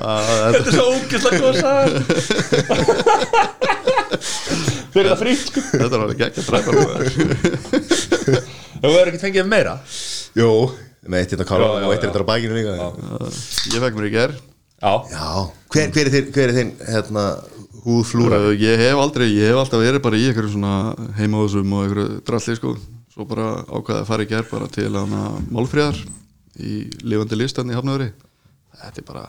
S3: Ah,
S1: Þetta er svo ógislega góð saga Fyrir það frítt sko
S3: þetta er alveg ekki að træpa maður
S1: Þú verður ekki fengið meira
S2: jú, með eitt hérna
S1: Já,
S2: á
S1: já,
S2: kálan og eitt
S1: já.
S2: hérna á bækinu líka já,
S3: ég fekk mér í ger
S1: Já
S2: Hver, hver er þinn, hver er þinn hérna, húðflúra
S3: Uh, ég hef aldrei, ég hef alltaf verið bara í einhverjum svona heimaðusum og einhverju dralli sko, svo bara ákvaði að fara í gerð bara til hana málfríðar í lifandi listan í Hafnöðri þetta er bara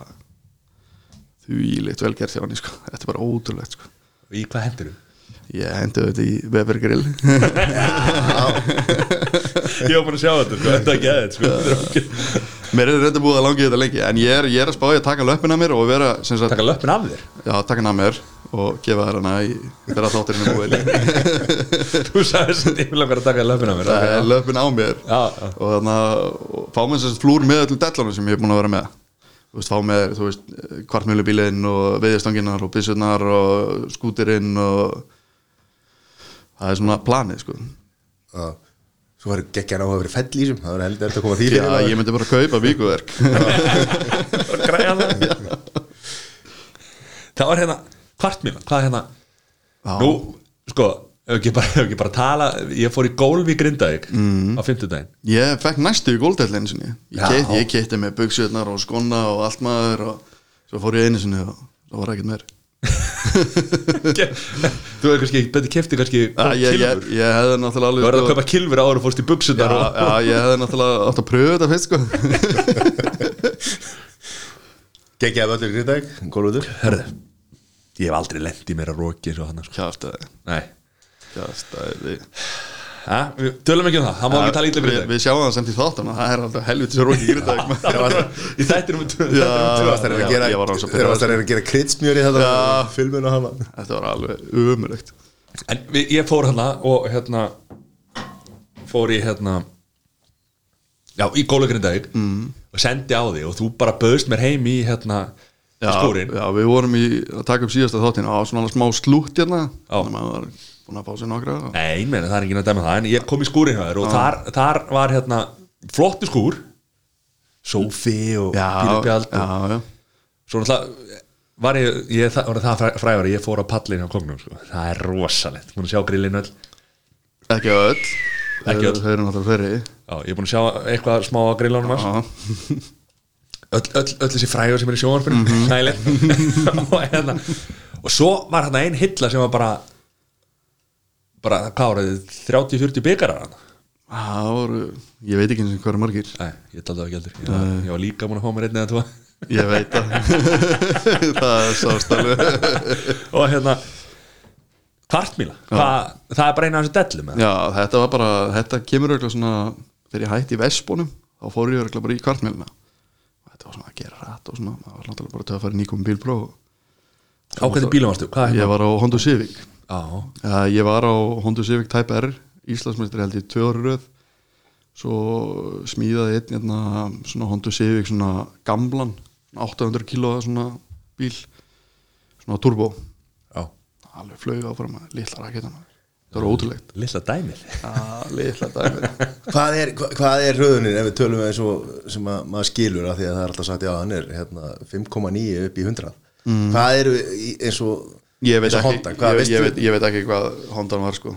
S3: þvílíkt velgert hjá hann sko, þetta er bara ótrúlegt sko
S1: Í hvað hendur þú?
S3: ég hendi þetta í Webergrill
S1: Ég var búin að sjá þetta sko Þetta er ekki aðeins sko Þetta er ógeð-
S3: mér er reynda búið að langi þetta lengi en ég er, ég er að spá ég að taka löppina mér og vera sem sagt,
S1: Taka löppin af þér
S3: já, taka hana mér og gefa þær hana í þegar þátturinn er búið
S1: Þú sagði þess að ég vil okkar að taka löfuna mér
S3: það er löpun á mér
S1: Já, já.
S3: og þannig að fá mér þess að flúr með öllum dellanum sem ég er búin að vera með þú veist, fá með, þú veist, kvartmjölubílinn og veiðastanginnar og byssunar og skútirinn og það er svona planið, sko
S2: Já. Svo var geggjan á að vera fell í sem Það var heldur að koma því
S3: Já,
S2: fyrir maður.
S3: ég myndi bara kaupa víkuverk
S1: og græja það Það var hérna kvartmíla, hvað er hérna
S3: Já.
S1: Nú, sko, ef ekki bara, ef ekki bara tala Ég fór í gólf í Grindavík á fimmtudaginn
S3: Ég fekk næstu í góldellin sinni Ég,
S1: Já.
S3: keypti- ég keitti með buksuðnar og skonna og allt maður og svo fór ég einu sinni og það var ekkert meir
S1: Þú er kannski, betur kefti kannski
S3: Já, ég, ég,
S1: kilfur
S3: ég hefði náttúrulega alveg
S1: Þú verður að
S3: sko-
S1: kaupa kilfur áður og fórst í
S3: Já,
S1: buksunar og
S3: já, ég hefði náttúrulega átt að pröfa þetta fyrst, sko
S2: Geggjaði völlur í Grindavík, gólfvöllur
S1: Hörðu, ég hef aldrei lent í mér að roki eins og hann sko.
S3: Kjáftæði,
S1: Nei,
S3: kjáftæði
S1: ha? við tölum ekki um það, það má ekki tala ítla
S3: við,
S1: Grindavík
S3: við sjáum það samt í þáttan og það er alltaf helviti svo rókið í Grindavík
S1: Það var í þættinum
S3: Já.
S2: Þeir varst að reyna að gera-
S3: Ég var alveg svo
S2: þeir varst að reyna að gera kritsmjöri þetta
S3: Já.
S2: Filmun og hana
S3: Þetta var alveg umulegt
S1: En við, ég fór hérna og hérna fór í hérna já, í Gólugrindavík mm. og sendi á því og þú bara böðst mér heim í hérna í skúrin
S3: já, við vorum í að taka upp síðasta þáttin á svona smá slútt hérna
S1: Já.
S3: þannig að maður var búin að fá sér nokkra og...
S1: Nei, ég meina, það er ekki að dæma það en ég kom í skúrin hjá þér og þar, þar var hérna flottu skúr sófi og pílupjald og
S3: já, já,
S1: svo náttúrulega var ég, ég það- var það fræ- frægari, ég fór á pallin á kongnum, sko. það er rosalegt búin að sjá grillin öll,
S3: ekki öll
S1: Ekki
S3: Þau-
S1: öll.
S3: Þau eru náttúrulega fleiri
S1: já, ég er búin að sjá eitthvað smá að grillunum hans
S3: Já,
S1: öll, öll, öll þessi frægur sem er í sjónvarpinu mm
S3: Mhm.
S1: og, hérna, og svo var hérna ein hilla sem var bara bara, hvað voru þið 30-40 byggarar hann
S3: það voru, ég veit ekki eins og hvað eru margir
S1: Nei, ég taldi það ekki heldur ég, var- ég var líka múin að fá mér einn eða tvo
S3: Ég veit það Það er sást alveg
S1: og hérna kvartmíla, Hva, það er bara eina af þessu dellum eða?
S3: Já, þetta var bara, þetta kemur auðvitað svona þegar ég hætti í Vespunum þá fór ég auðvitað bara í kvartmjölina og þetta var svona að gera rætt og svona maður var náttúrulega bara töð að fara nýkum bílpró
S1: á hvernig bílum varstu, hvað er
S3: Ég var á Honda Civic
S1: hérna
S3: uh, Ég var á Honda Civic Type R Íslandsmeistri held ég tvö ári röð svo smíðaði einn hérna, svona Honda Civic svona gamlan, svona 800 kílóa svona bíl svona turbo,
S1: já, já,
S3: alveg flög áfram litla raketan, það var ótrúlegt
S1: lilla dæmið
S3: Ah, litla dæmi
S2: Hvað er, hva- hvað er röðunin ef við tölum eins og sem að, maður skilur af því að það er alltaf sagt já, hann er hérna, 5,9 upp í 100 Hvað eru í- eins og
S3: Mm. ég veit,
S2: eins og
S3: ekki,
S2: Honda, hvað
S3: ég,
S2: veistu
S3: ég, veit, ég veit ekki hvað Hondan var sko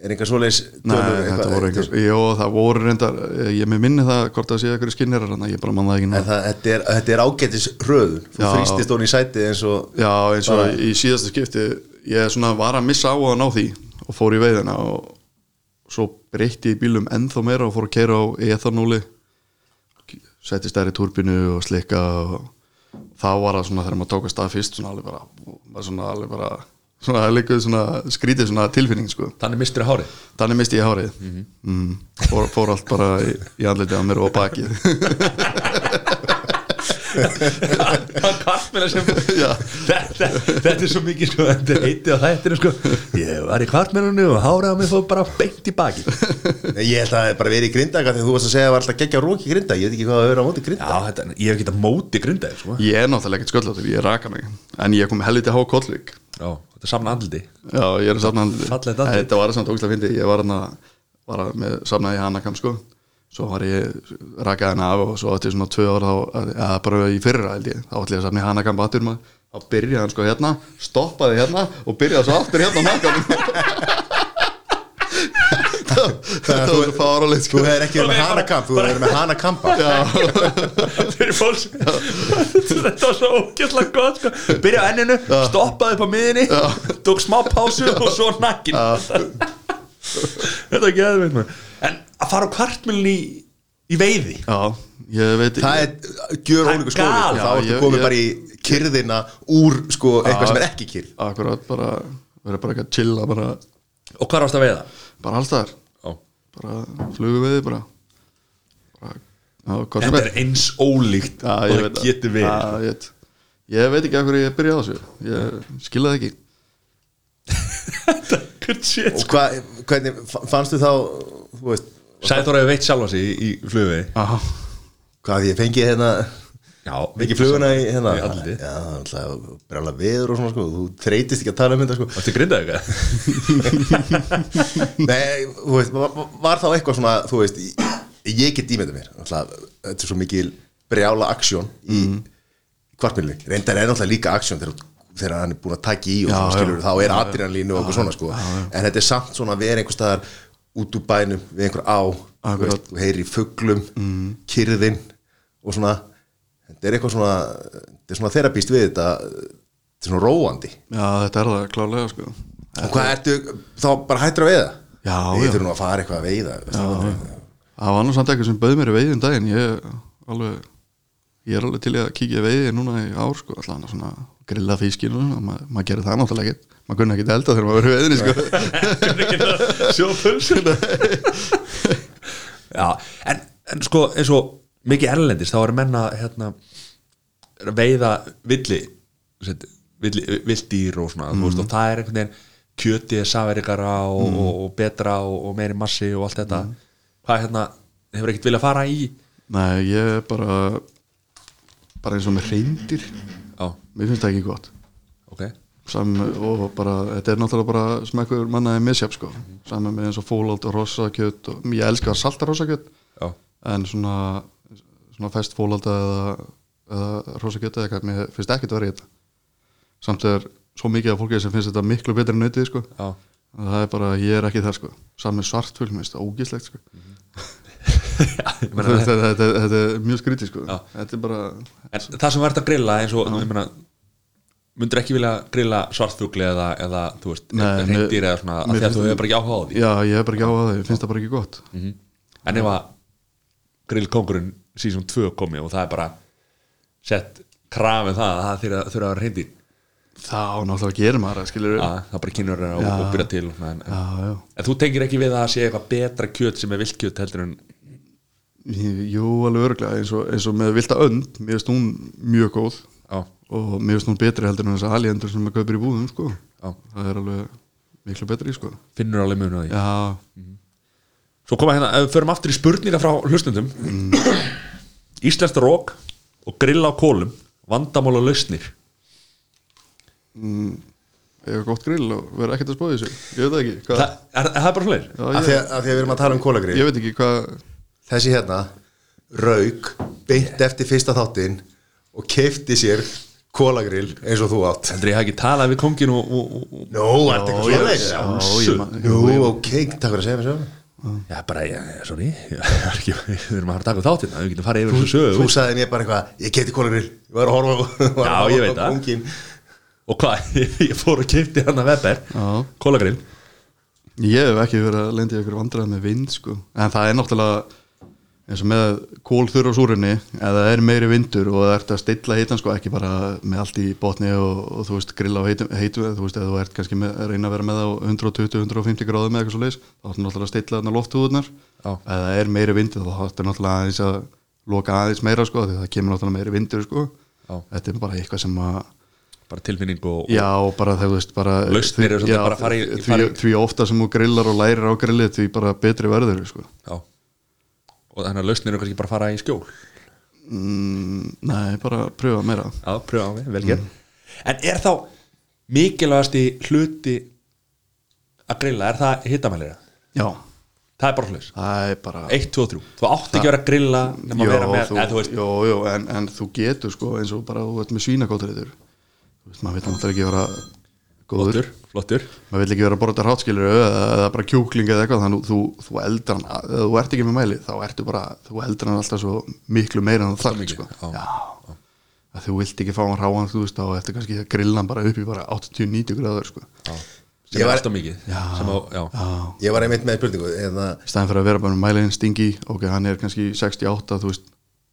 S2: er einhver svoleiðis
S3: Nei, þetta voru einhver Jó, það voru reyndar, eh, ég með minni það hvort það sé einhverju skinnirar en ég bara mann það ekki
S2: En
S3: núna
S2: það, þetta, er, þetta er ágætis röðun þú
S3: Já.
S2: þrýstist hún í sætið eins og
S3: Já, eins og
S2: Bara-
S3: í síðasta skipti ég svona var að missa á að ná því og fór í veiðina og svo breytti ég bílum ennþá meira og fór að keira á E ethanóli setti stærri turbinu og slikka og þá var það svona þegar maður tók að stað fyrst svona alveg bara, maður svona alveg bara svona, það líka svona skrítið svona tilfinning sko
S1: þannig mistur að hárið
S3: Þannig misti ég hárið
S1: Mhm.
S3: mm fór, fór allt bara í, í andlitið á mér og á bakið
S1: hann kvartmæla sem
S3: Já.
S1: þetta, þetta er svo mikið sko, þetta er heitið á þættinu sko. ég var í kvartmælunni og hárið á mig fór bara beint í baki já,
S2: Nei, ég held að það er bara verið í grindag þegar þú varst að segja að það var alltaf geggja rók í grindag ég veit ekki hvað það er á móti grindag
S1: þetta, ég hef ekki þetta móti grindaði sko.
S3: Ég er náttúrulega ekkert sköllóttur, ég raka mig En ég kom helviti há kollvík
S1: já, þetta er samna andliti
S3: Já, ég er að safna andlitið
S1: Fallegt andlit.
S3: Þetta var samt ógæslega fyndi Ég var hann að, var að með, safnaði hana kam sko Svo var ég, rakaði hana af og svo átti ég svona tvö ára þá, eða bara í fyrra held ég, þá ætli ég að safna hana kam batur maður Þá byrjaði hann sko hérna, stoppaði hérna og byrjaði svo aftur hérna á nakanum Þetta var svo fáralegt sko
S2: þú hefur ekki verið með hana kamp þú hefur verið með hana kampa
S1: fyrir fólk sem- þetta var svo ógæslega gott sko. byrja á enninu, stoppaði upp á miðinni tók smá pásu og svo nakkin þetta er ekki aðeins en að fara á kvartmælunni í, í veiði
S3: Já, ég veit
S2: það er gjör
S1: Það er
S2: ólíku skóli
S1: galið.
S2: og þá
S3: Já,
S2: ertu
S3: ég-
S2: komið
S3: ég-
S2: bara í kyrðina úr sko, eitthvað sem er ekki kyrð
S3: akkurat bara verið bara ekki að chilla bara,
S1: og hvað varst að veiða?
S3: bara allstaðar
S1: Ó.
S3: bara flugu við bara, bara á, hvað sem
S1: þetta
S3: er
S1: er eins ólíkt
S3: Já,
S1: og
S3: ég
S1: það
S3: veit
S1: getur verið sko.
S3: Já, ég veit. Ég veit ekki af hverju ég byrjaði á þessu Ég skilaði ekki
S1: Good shit
S2: Og hva, hvernig, fa- fannstu þá, þú veist,
S1: Sæþór hefur veitt sjálfa sig í, í flugvegi
S3: Aha.
S2: hvað ég fengi hérna,
S1: Já,
S2: ekki fluguna í hérna?
S1: Í andlitið.
S2: Já, það er alltaf brjála veður og svona, sko, þú þreytist ekki að tala um þetta, sko.
S1: Þetta er grindað eitthvað
S2: Nei, þú veist, var, var þá eitthvað svona, þú veist, ég, ég get ímynda mér, alltaf, þetta er svo mikil brjála aksjón í
S3: Mhm.
S2: mm. kvartmjölinni. Reyndar er alltaf líka aksjón þegar, þegar hann er búin að taka í og
S3: Já,
S2: svona,
S3: já.
S2: skilur, þá er adrenalínu og eitthvað svona, sko. En þetta er samt svona að vera einhver staðar út úr bænum við einhver á, þú
S3: Akkurat. Mhm.
S2: veist, þú heyrir í fuglum, mm. kyrðin og svona, þetta er eitthvað svona, þetta er svona þerapíst við þetta, þetta er svona róandi.
S3: Já, þetta er það klálega sko
S2: Og hvað ertu, þá bara hættur að veiða?
S3: Já,
S2: Við
S3: já.
S2: þurfum nú að fara eitthvað að veiða veist það?
S3: Það var nú samt eitthvað sem bauð mér að veiði um daginn Ég alveg Ég er alveg til í að kíkja í veiði núna í ár sko Alltaf hann svona grilla fiskinn og svona, ma- Maður gerir það náttúrulega ekki Maður kunni ekki elda þegar maður verið veiðinni sko
S1: Sjóða pulsuna Já, en, en sko eins og mikið erlendis þá er menna hérna eru að veiða villi, set, villi vildýr og svona, þú veist, og það er einhvern veginn kjötið er saferikara og, og, og betra og, og meiri massi og allt þetta hvað hérna, hefur ekkert viljað fara í
S3: Nei, ég er bara Bara eins og með reyndir
S1: Já,
S3: Mér finnst það ekki gott
S1: ok
S3: Sam, og bara, þetta er náttúrulega bara smekkur mannaði misjaf sko saman með eins og fólald og rosakjöt og, ég elska að salta rosakjöt
S1: Já,
S3: en svona, svona fest fólald eða, eða rosakjöt eða eitthvað, mér finnst ekkert verið þetta samt er svo mikið af fólki sem finnst þetta miklu betur en nautið sko
S1: já
S3: það er bara, ég er ekki það sko saman með svartfugl, mér finnst það ógislegt sko
S1: Ég meina,
S3: þetta, þetta, þetta, þetta er mjög skrítið sko
S1: Já.
S3: þetta er bara,
S1: En það sem verður að grilla eins og ég meina, myndur ekki vilja grilla svartfugli eða, eða þú veist,
S3: Nei,
S1: reyndir
S3: mér-
S1: eða svona af
S3: mér
S1: því að
S3: finnst-
S1: þú hefur bara ekki áhuga á því Mhm.
S3: já, ég er bara ekki á að það ég finnst það bara ekki gott
S1: en ef að grillkongurinn season 2 komi og það er bara sett krafið það að það þurfa þurfa að vera reyndir
S3: þá náttúrulega gerir maður það, skilur
S1: að það bara kynur að og,
S3: Já.
S1: og byrja til og svona, en, en,
S3: já, já
S1: en þú tengir ekki við að það sé eitthvað betra kjöt sem er vilt kjöt heldur en
S3: Jú, alveg örglega, eins og, eins og með vilda önd, mér finnst hún mjög góð
S1: á,
S3: og mér finnst hún betri heldur en þess að aliendur sem maður kaupir í búðum, sko
S1: á,
S3: það er alveg miklu betri, sko
S1: finnur alveg munu á því
S3: Já,
S1: svo koma hérna, ef við förum aftur í spurninga frá hlustundum
S3: Mm.
S1: Íslenskt rók og grilla á kólum vandamál og lausnir
S3: eiga gott grill og vera ekkert að spóða þessu ég veit það ekki, hvað
S1: Þa, er, er það bara svoleiðis?
S3: Já,
S2: Af
S3: ég,
S2: því að af því að við erum að tala um kólagrið
S3: ég veit ekki hvað
S2: Þessi hérna, rauk, beint eftir fyrsta þáttinn og keifti sér kólagril eins og þú átt
S1: Andri, ég hafði ekki talað við kongin og, og, og
S2: Nó, er þetta eitthvað svoleiðis?
S3: Já, ég man-
S2: Nú, ok, takk fyrir að segja mér sögum
S1: Já, bara, já, sorry, já, það er ekki, við erum að fara að taka þáttinn, við getum farið yfir þessu sögu
S2: Þú sagði mér bara eitthvað, ég keifti kólagril Ég var að horfa á- var
S1: Já,
S2: að
S1: ég
S2: horfa
S1: veit
S2: á
S1: það.
S2: kónginn.
S1: og hvað, ég fór og kipti hann að Weber,
S3: Já.
S1: kólagrill,
S3: ég hef ekki verið að lendi ykkur vandræð með vind, sko en það er náttúrulega eins og með kólþur á súrinni eða það er meiri vindur og það ert að stilla heitan sko ekki bara með allt í botni og, og þú veist grilla á heitum, heitum eða þú veist eða þú ert kannski með, að reyna að vera með það á 120-150 gráðum eða eitthvað svo leis þá ertu náttúrulega að stilla þarna loftuðunar
S1: Já.
S3: eða það er meiri vindur þá ertu náttúrulega aðeins að loka aðeins meira sko því það kemur náttúrulega meiri vindur sko
S1: Já.
S3: þetta er bara eitthvað sem að
S1: bara tilfinning og,
S3: Já, og bara þegar þú veist bara
S1: Lausnir eru svolítið
S3: Já,
S1: bara að fara í-
S3: því,
S1: fara í-
S3: því ofta sem þú grillar og lærir á grillið því bara betri verður sko.
S1: já, og þannig að lausnir eru kannski bara að fara í skjól,
S3: mm, Nei, bara pröfa meira
S1: já, pröfa á mig, vel gerð, Mm. en er þá mikilvægasti hluti að grilla, er það hittamælira,
S3: Já,
S1: það er bara hlutis,
S3: það er bara
S1: 1, 2, 3, þú átt ekki að vera að grilla nema að vera með,
S3: þú,
S1: eða þú veist,
S3: Jó, jó, en, en þú getur sko eins og bara þú ert með svínakótariður Þú veist, maður vil náttúrulega ekki vera góður
S1: flottur, flottur,
S3: Maður vil ekki vera að borða hráttskilur eða, eða bara kjúkling eða eitthvað þannig þú, þú eldar hann, eða þú ert ekki með mæli þá ertu bara, þú eldar hann alltaf svo miklu meira en það þarf
S1: mikið,
S3: sko.
S1: já.
S3: Já. að þú vilt ekki fá hann ráan þú veist þá ertu kannski að grilla hann bara upp í bara 80-90 gráður sko.
S1: já,
S2: Ég
S1: sem er
S2: var-
S1: alltaf mikið, sem á, já,
S3: Já.
S2: Ég var einmitt með spurningu hérna,
S3: í staðin fyrir að vera bara með mælinn stingi ok, hann er kannski 68, þú veist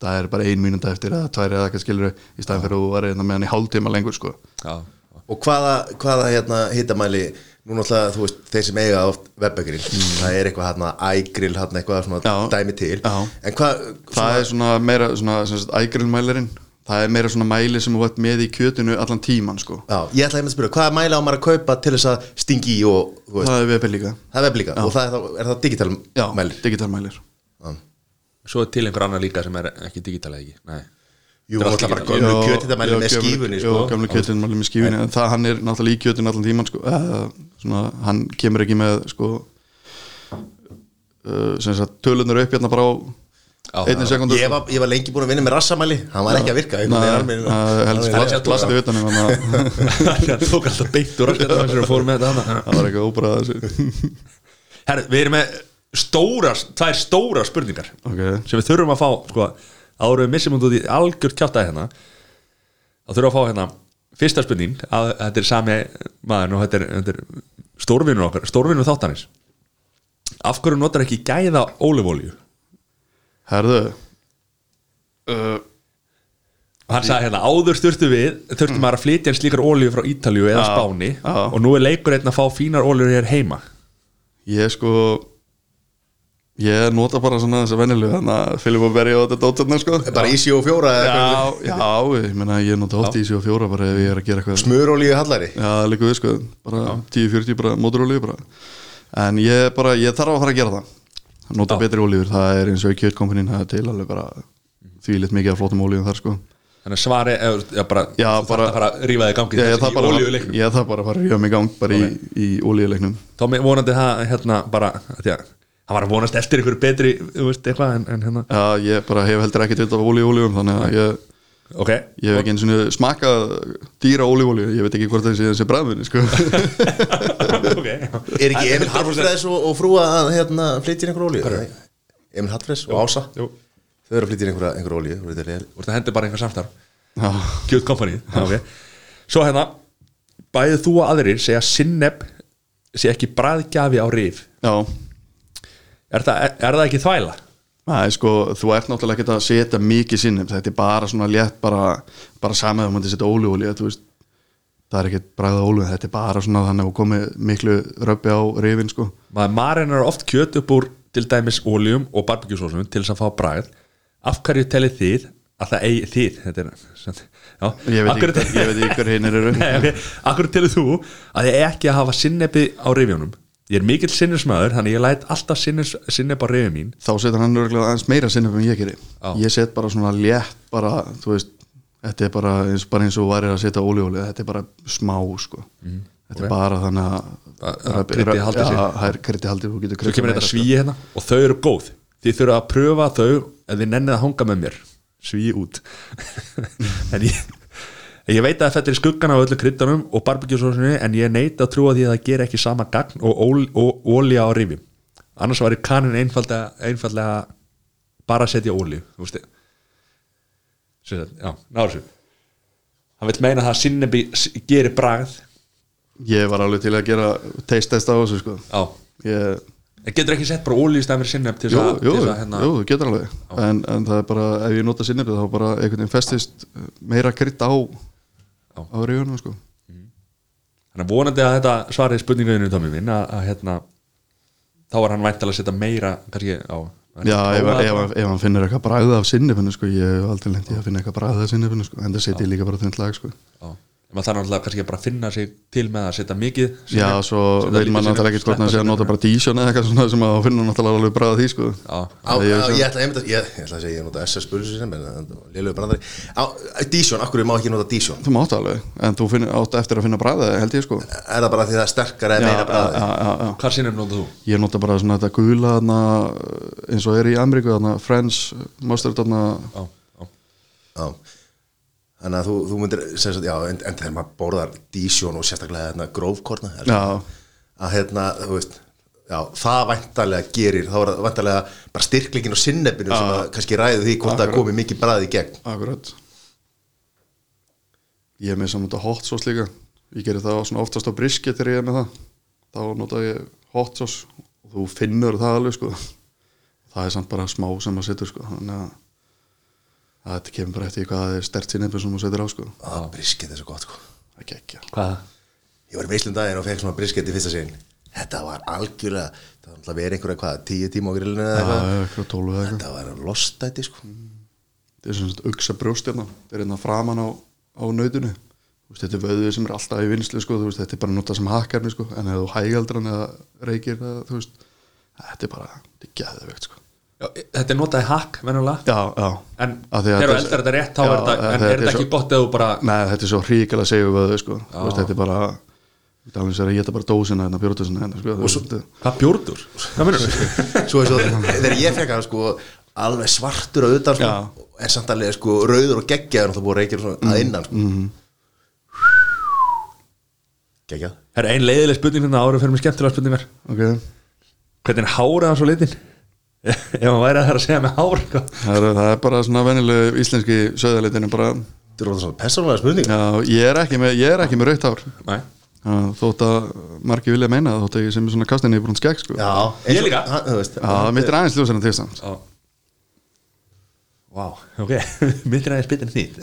S3: það er bara ein mínúnda eftir eða tvær eða eitthvað skilur í staðin fyrir að þú verið með hann í hálftíma lengur sko.
S1: já,
S2: Og hvaða, hvaða hérna, hittamæli Nú náttúrulega, þú veist, þeir sem eiga oft webbegrill, það er eitthvað hérna ægrill, hérna eitthvað svona
S3: Mm. Já.
S2: dæmi til
S3: Já.
S2: En hvað,
S3: það er svona meira svona, sem sagt, ægrillmælirinn það er meira svona mæli sem þú ert með í kjötinu allan tíman sko
S2: Já, ég ætla einmitt að spyrja, hvaða mæla á maður að kaupa til þess að stingi í og, þú veist,
S3: það er vepi líka
S2: það er veblíka og það er, þá- er það digital
S3: já,
S2: mælir?
S3: digital mælir
S1: Svo er til einhver annar líka sem er ekki digital eða ekki Nei
S2: Jú,
S1: Þetta er allt
S2: það er bara
S1: digital.
S2: gömlu
S3: Já,
S2: kjötið
S3: já,
S2: með
S3: gömlu-
S2: skífunni,
S3: já,
S2: sko
S3: gömlu kjötið mælir með skífunni en það hann er náttúrulega í kjötinu allan tíman sko eða, svona, hann kemur ekki með sko uh, sem sagt tölunar upp hérna bara á
S1: Já,
S3: einni
S1: já.
S3: sekundu
S2: Ég var, ég var lengi búin að vinna með rassamæli Hann var ekki að virka einhvern veginn alveg-
S3: helst
S2: alveg-
S3: plast- plastið utanum þannig að
S1: Það tók alltaf beint úr raskatana sem við fórum með þetta hana
S3: það var eitthvað óbræða þessu
S1: Herri, við erum með stóra, tvær stóra spurningar
S3: ok,
S1: sem við þurfum að fá sko, árum við missum út út í algjört kjátaði hérna þá þurfum við að fá hérna fyrsta spurning að, að þetta er sami maður og þetta er, þetta er stórvinur okkar, stórvinur þáttanis af hverju notar ekki gæða ólifólju
S3: herðu uh,
S1: og hann sagði hérna áður þurftu við þurftum maður að flytja eins slíkar ólíu frá Ítalju eða
S3: Já,
S1: Spáni
S3: já.
S1: og nú er leikur einn að fá fínar ólíur hér heima
S3: ég sko ég nota bara svona þess að venjulegu þannig að Filip og Berri á þetta dóttirna sko
S2: Bara ísi og fjóra eða eitthvað.
S3: já, já, ég meina ég nota oft í sig og fjóra bara ef ég er að gera eitthvað
S2: Smurolíu hallari
S3: já, líka við sko, bara 10-40 bara móturolíu bara en ég bara, ég þarf að fara að gera það nota
S1: Já.
S3: betri olífur, það er eins og kjötkompanin það er til alveg bara því litt mikið af flottum olíum þar sko
S1: þannig að svari, eða, já, bara,
S3: Já,
S1: þú
S3: bara-
S1: þarft að fara að rífa þig í gangi
S3: Já, ég
S1: þessi
S3: þarf bara,
S1: í ólíuleiknum
S3: ég þarf bara að fara að rífa mig í gang bara í, í ólíuleiknum
S1: Tommy vonandi það hérna bara því að hann var að vonast eftir ykkur betri þú veist eitthvað en, en hérna
S3: Já, ég bara hef heldur ekkert veit af ólíuleiknum þannig að ég,
S1: ok
S3: ég hef ekki eins og smakað dýra ólíuleik ég veit ekki hvort það sé þessi bræðminni sko.
S1: ok já.
S2: Er ekki Emil Hallfræðs og, og frúa að hérna, flytja inn einhver olíu? Emil Hallfræðs og Ása
S1: Jú.
S2: Þau eru að flytja inn einhver, einhver olíu voru þetta leiðileg?
S1: Þú veist að hendi bara einhver samstarf
S3: Já,
S1: Kjöld Company ok svo hérna bæðið þú og aðrir segja sinneb sé ekki bræðgjafi á rif
S3: já
S1: er það, er, er það ekki þvæla?
S3: Nei, sko, þú ert náttúrulega ekkert að setja mikið sinnum þetta er bara svona létt bara, bara samið að maður setja ólíuleik þú veist það er ekkert bræða ólíu þetta er bara svona þannig að þú komið miklu röbbi á rifin sko.
S1: maður marinar oft kjöt upp úr til dæmis óljum og barbekjusósum til þess að fá bræð af hverju telið þið að það eigi þið þetta er já,
S3: ég
S1: af
S3: veit
S1: hverju-
S3: ekki, ég veit ekki hver hinnir eru
S1: Nei, ok, akkur telur þú að ég eigi ekki að hafa sinnebi á rifjónum Ég er mikill sinnesmaður, þannig ég læt alltaf sinnes, sinneb á rifjum mín
S3: þá setur hann örgulega aðeins meira sinnum en ég geri
S1: Já.
S3: ég set bara svona létt bara, þú veist, þetta er bara eins, bara eins og væri að setja ólíóli þetta er bara smá sko þetta er bara þannig
S1: Mhm. Að-
S3: að
S1: að kryddið haldi sig.
S3: sér kriti haldi, þú getur
S1: Svo
S3: kryddað
S1: kemur
S3: meira,
S1: þetta
S3: sko.
S1: svíi hérna og þau eru góð Þið þurfa að pröfa þau ef þið nennið að hanga með mér Svíi út En ég, en ég veit að þetta er í skuggan á öllu kryddunum og barbekjusósinu en ég neita að trúa því að það gera ekki sama gagn og, ól, og ólja á rifjum Annars var ég kanin einfalda, einfaldlega bara að setja ólju Þú veist Sem sagt, Já, náður sér Hann vill meina það að sinnebi s- gerir bragð
S3: ég var alveg til að gera teistest á þessu sko
S1: Já
S3: ég,
S1: En getur ekki sett bara ólíu í stæðan fyrir sinneb til
S3: jú,
S1: þess að,
S3: jú,
S1: til þess að hérna,
S3: jú, þú getur alveg en, en það er bara, ef ég nota sinnið þá bara einhvern veginn festist meira krydd á
S1: Já.
S3: á ríðunum sko
S1: Þannig að vonandi að þetta svarið spurningaðinu Tommy minn að, að hérna þá var hann væntalega að setja meira kannski á
S3: Já,
S1: Prófaðu
S3: ef, ef,
S1: bara.
S3: ef, ef hann finnir eitthvað bræðið af sinnifinu sko, ég hef aldrei lent í að finna eitthvað bræðið af sinnifinu sko, en það setja ég líka bara þund lag sko.
S1: Já. En maður þarf náttúrulega kannski bara að finna sig til með að setja mikið
S3: Já,
S1: sinnep,
S3: svo
S1: setja lítið
S3: veit maður
S1: sinnep,
S3: náttúrulega ekkert hvort hann sé að
S1: sleppa
S3: nota
S1: sinnepinu.
S3: bara dísjón eða eitthvað svona sem að finna náttúrulega alveg bræðið því sko.
S1: Já,
S2: Á, á,
S3: Nei, ég-
S2: ég, ætla einmitt að, ég, ég ætla að segja ég nota SS Bulls sem er lélugur brandari á, Dísjón, akkur má ekki nota Dísjón
S3: Þú mátt alveg, en þú finn, átt eftir að finna bræðið held ég sko.
S2: Er það bara því það er sterkara eða meira brandi?
S3: já, já, já.
S1: Hvað sinnum nota þú?
S3: Ég nota bara svona þetta gula þarna, eins og er í Ameríku, þarna, French mustard þarna,
S1: Já, já.
S2: Já Þannig að þú, þú myndir, sem sagt, já, en, en þegar maður borðar dísjón og sérstaklega hérna, grófkorna er-
S3: Já.
S2: að hérna, þú veist já, það væntalega gerir, þá er það væntalega bara styrklingin og sinnefinu sem að kannski ræði því hvort það
S3: Akkurat.
S2: komi mikið bræði í gegn
S3: akkurat. Ég er með saman þetta hot sauce líka. Ég gerir það svona oftast á brisket þegar ég er með það. Þá nota ég hot sauce og þú finnur það alveg sko. Það er samt bara smá sem maður setur sko. Þannig að að þetta kemur bara eftir því hvað það er stert sinnefni sem maður setur á sko.
S2: og það briskið þessu gott, sko
S3: Það gekkja.
S1: Hvað?
S2: ég var í veislum daginn og fekk svona briskið í fyrsta sinn þetta var algjörlega, það var alltaf verið einhverja hvað, tíu tíma á grillinu eða
S3: Það
S2: eitthvað
S3: er eitthvað tólu eða
S2: þetta
S3: eitthvað.
S2: var lostæti, sko
S3: þetta er svona auksa brjóstjarna þetta er hérna framan á, á nautinu Þú veist, þetta er vöðuð sem er alltaf í vinslu sko, þú veist, þetta er bara notað sem hakkarni sko, en ef þú hægaldar hann eða reykir það, þú veist, þetta er bara þetta er geðveikt sko.
S1: Já, e, þetta er notaði hakk, venjulega
S3: já, já,
S1: En
S3: Af því að
S1: þegar þú
S3: þetta-
S1: eldar þetta rétt, þá
S3: Já,
S1: er þetta En
S3: þetta
S1: er
S3: er
S1: þetta
S3: svo-
S1: ekki gott eða þú bara
S3: Nei, þetta er svo hríkala segjum við þau sko. Þú veist, þetta er bara þetta er alveg sér að geta bara dósina hérna, bjórtusina hérna, sko. Þú veist, þetta-
S1: Hvað bjórdur? Hvað minnur þú?
S2: svo eins og þegar ég fekk hann sko alveg svartur að utan sko,
S3: Já. Mm.
S2: en samt alveg sko rauður og geggjaður og það búið að reykja svona að innan sko.
S3: Mm-hmm.
S2: geggjað
S1: Það er ein leiðileg spurning hérna árum fyrir mig skemmtilega spurningar
S3: ok,
S1: Hvernig er hárið hans á litin? Ef hann væri að það er að segja með hár eitthvað.
S3: það er, það er bara svona venjuleg íslenski söðalitinu bara,
S2: þetta er orðið svona persónulega spurning
S3: já, ég er ekki með, ég er ekki með rautt ár
S1: Nei
S3: Já, þótt að margir vilja meina það, þótt að ég sem er svona kastinni í brúnt skegg sko.
S2: já,
S1: Ég líka.
S2: hann, þú veist,
S3: Já, mitt er aðeins ljósar en þig samt
S1: Já Vá, ok Myndir aðeins bitin þýtt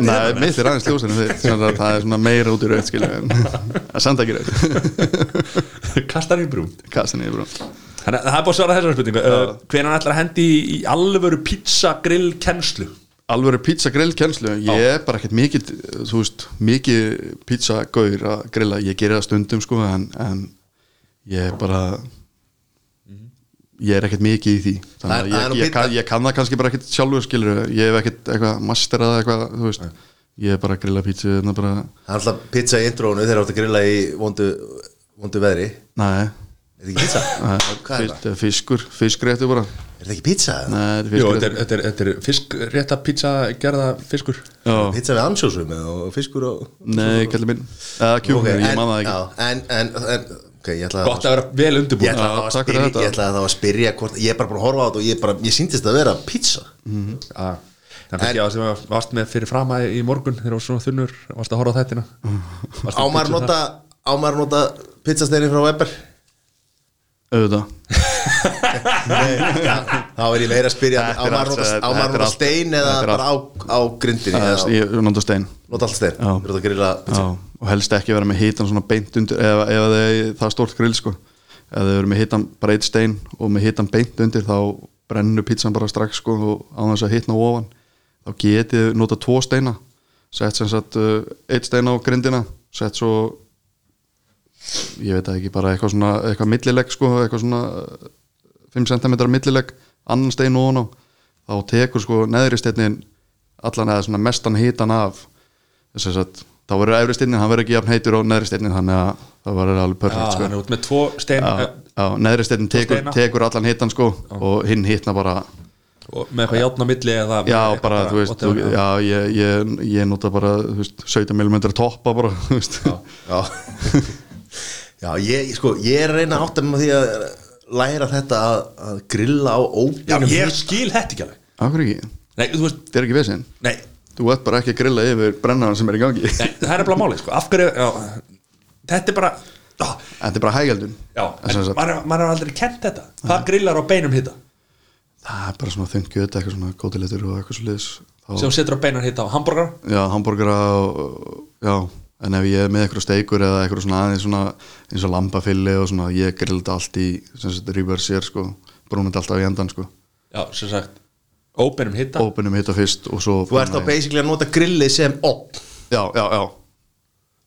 S3: Nei, mitt er aðeins ljósar en þig Svona að það er svona meira út í rauð skilja en það er samt ekki rauð
S1: Kastar í brún
S3: Kastinni í brúnt
S1: Þannig að það er búið að svara þessar spurningu uh, Hvernig hann ætlar að hendi í, í alvöru pizza grill kennslu
S3: Alvöru pizza grill kennslu Ég er bara ekkert mikið, þú veist, mikið pizza gaur að grilla Ég gerir það stundum sko en, en ég er bara Ég er ekkert mikið í því Þannig
S2: Það er- það
S3: að
S2: er
S3: ég,
S2: nú
S3: ég,
S2: pizza-
S3: kann, ég kann það kannski bara ekkert sjálfur skilur Ég hef ekkert eitthvað masterað eitthvað, þú veist Ég er bara að grilla pizza þannig bara
S2: hann alltaf pizza í intrónu þegar áttu að grilla í vondu, vondu veðri er
S3: Nei,
S2: þetta ekki pizza? hvað er það?
S3: þetta er fiskur, fiskréttu bara
S2: er þetta ekki pizza?
S3: Nei, þetta er
S1: Jú,
S3: fiskréttu
S1: þetta er, þetta er, þetta er fisk, rétta pizza gerða fiskur
S3: Já,
S2: pizza með ansjósum og fiskur og
S3: nei, kallið minn uh, Kjúkur,
S2: Ok,
S3: ég
S2: en,
S3: man það ekki
S2: já, en, en, en ok, ég ætla
S1: Gott að vera vel
S2: Ég
S1: undirbúin
S2: ætla,
S3: Já,
S2: já, að
S3: takk fyrir
S2: spyrja,
S3: þetta.
S2: ég ætla að það var að spyrja hvort, ég er bara búin að horfa á þetta og ég, bara, ég síndist að vera pizza
S1: Já. Það er kannski að sem að varst með fyrir frama í morgun þegar þú var svona þunnur, varst að horfa á þættina Varstu að
S2: Ámar
S1: pitcha
S2: nota, ámar nota pizzasteinin frá Weber
S3: Auðvitað
S2: Þá er ég meira að spyrja
S3: Þetta er
S2: ámar
S3: allt-
S2: nota,
S3: þetta-
S2: ámar
S3: þetta er
S2: nota
S3: allt-
S2: stein eða
S3: þetta er
S2: bara á, á grindinni
S3: Það er-
S2: eða,
S3: Ég nota stein
S2: Nota allt stein,
S3: Já.
S2: þú ert að grilla
S3: Já,
S2: pizza
S3: og helst ekki vera með hitan svona beint undir ef, ef það, er, það er stórt grill sko ef þau eru með hitan bara eitt stein og með hitan beint undir þá brennur pizzan bara strax sko og á þess að hitna ofan þá getið þau nota tvo steina sett sem sagt uh, eitt stein á grindina sett svo ég veit það ekki bara eitthvað svona eitthvað millileg sko eitthvað svona uh, 5 cm millileg annan stein ofan á þá tekur sko neðri steinin allan eða svona mestan hitan af þess að þá verður efri steinin hann verður ekki jafn heitur á neðri steinin þannig að það verður alveg
S1: Já,
S3: perfekt sko.
S1: hann er út með tvo stein eh,
S3: Já, já, neðri steinin tekur,
S1: steina.
S3: tekur allan hitan sko og hinn hitna bara
S1: og með eitthvað játna milli eða það
S3: já bara þú veist þú,
S1: whatever.
S3: já, ég, ég, ég nota bara þú veist, 17 mm toppa bara þú veist.
S2: Já, já ég, sko, ég er að reyna að átta með því að læra þetta að, að grilla á
S1: Já,
S2: óbjörnum
S1: ég skil þetta ekki alveg
S3: af hverju ekki,
S1: Nei, þú veist,
S3: þetta er ekki vesinn
S1: nei,
S3: þú ert bara ekki að grilla yfir brennaðan sem er í gangi
S1: nei það er bara málið sko. af hverju, já, þetta er bara á,
S3: þetta er bara hægældun
S1: já,
S3: En
S1: en
S3: sem sagt-
S1: maður maður er aldrei kent þetta hvað grillar á beinum hitta
S3: það er bara svona þungt gjöt eitthvað svona gótilegtur og eitthvað svo
S1: sem
S3: liðs
S1: þú setur á beinan hitta á hamburgara
S3: já, hambúrgara og já, en ef ég er með eitthvað steikur eða eitthvað svona aðeins svona eins og lambafilli og svona ég grilla þetta allt í sem sagt reversér sko brúnum þetta alltaf í endan sko
S1: já, sem sagt, á beinum hitta
S3: ópenum hitta fyrst og svo
S2: Þú ert þá basically að nota grillið sem opn
S3: já, já, já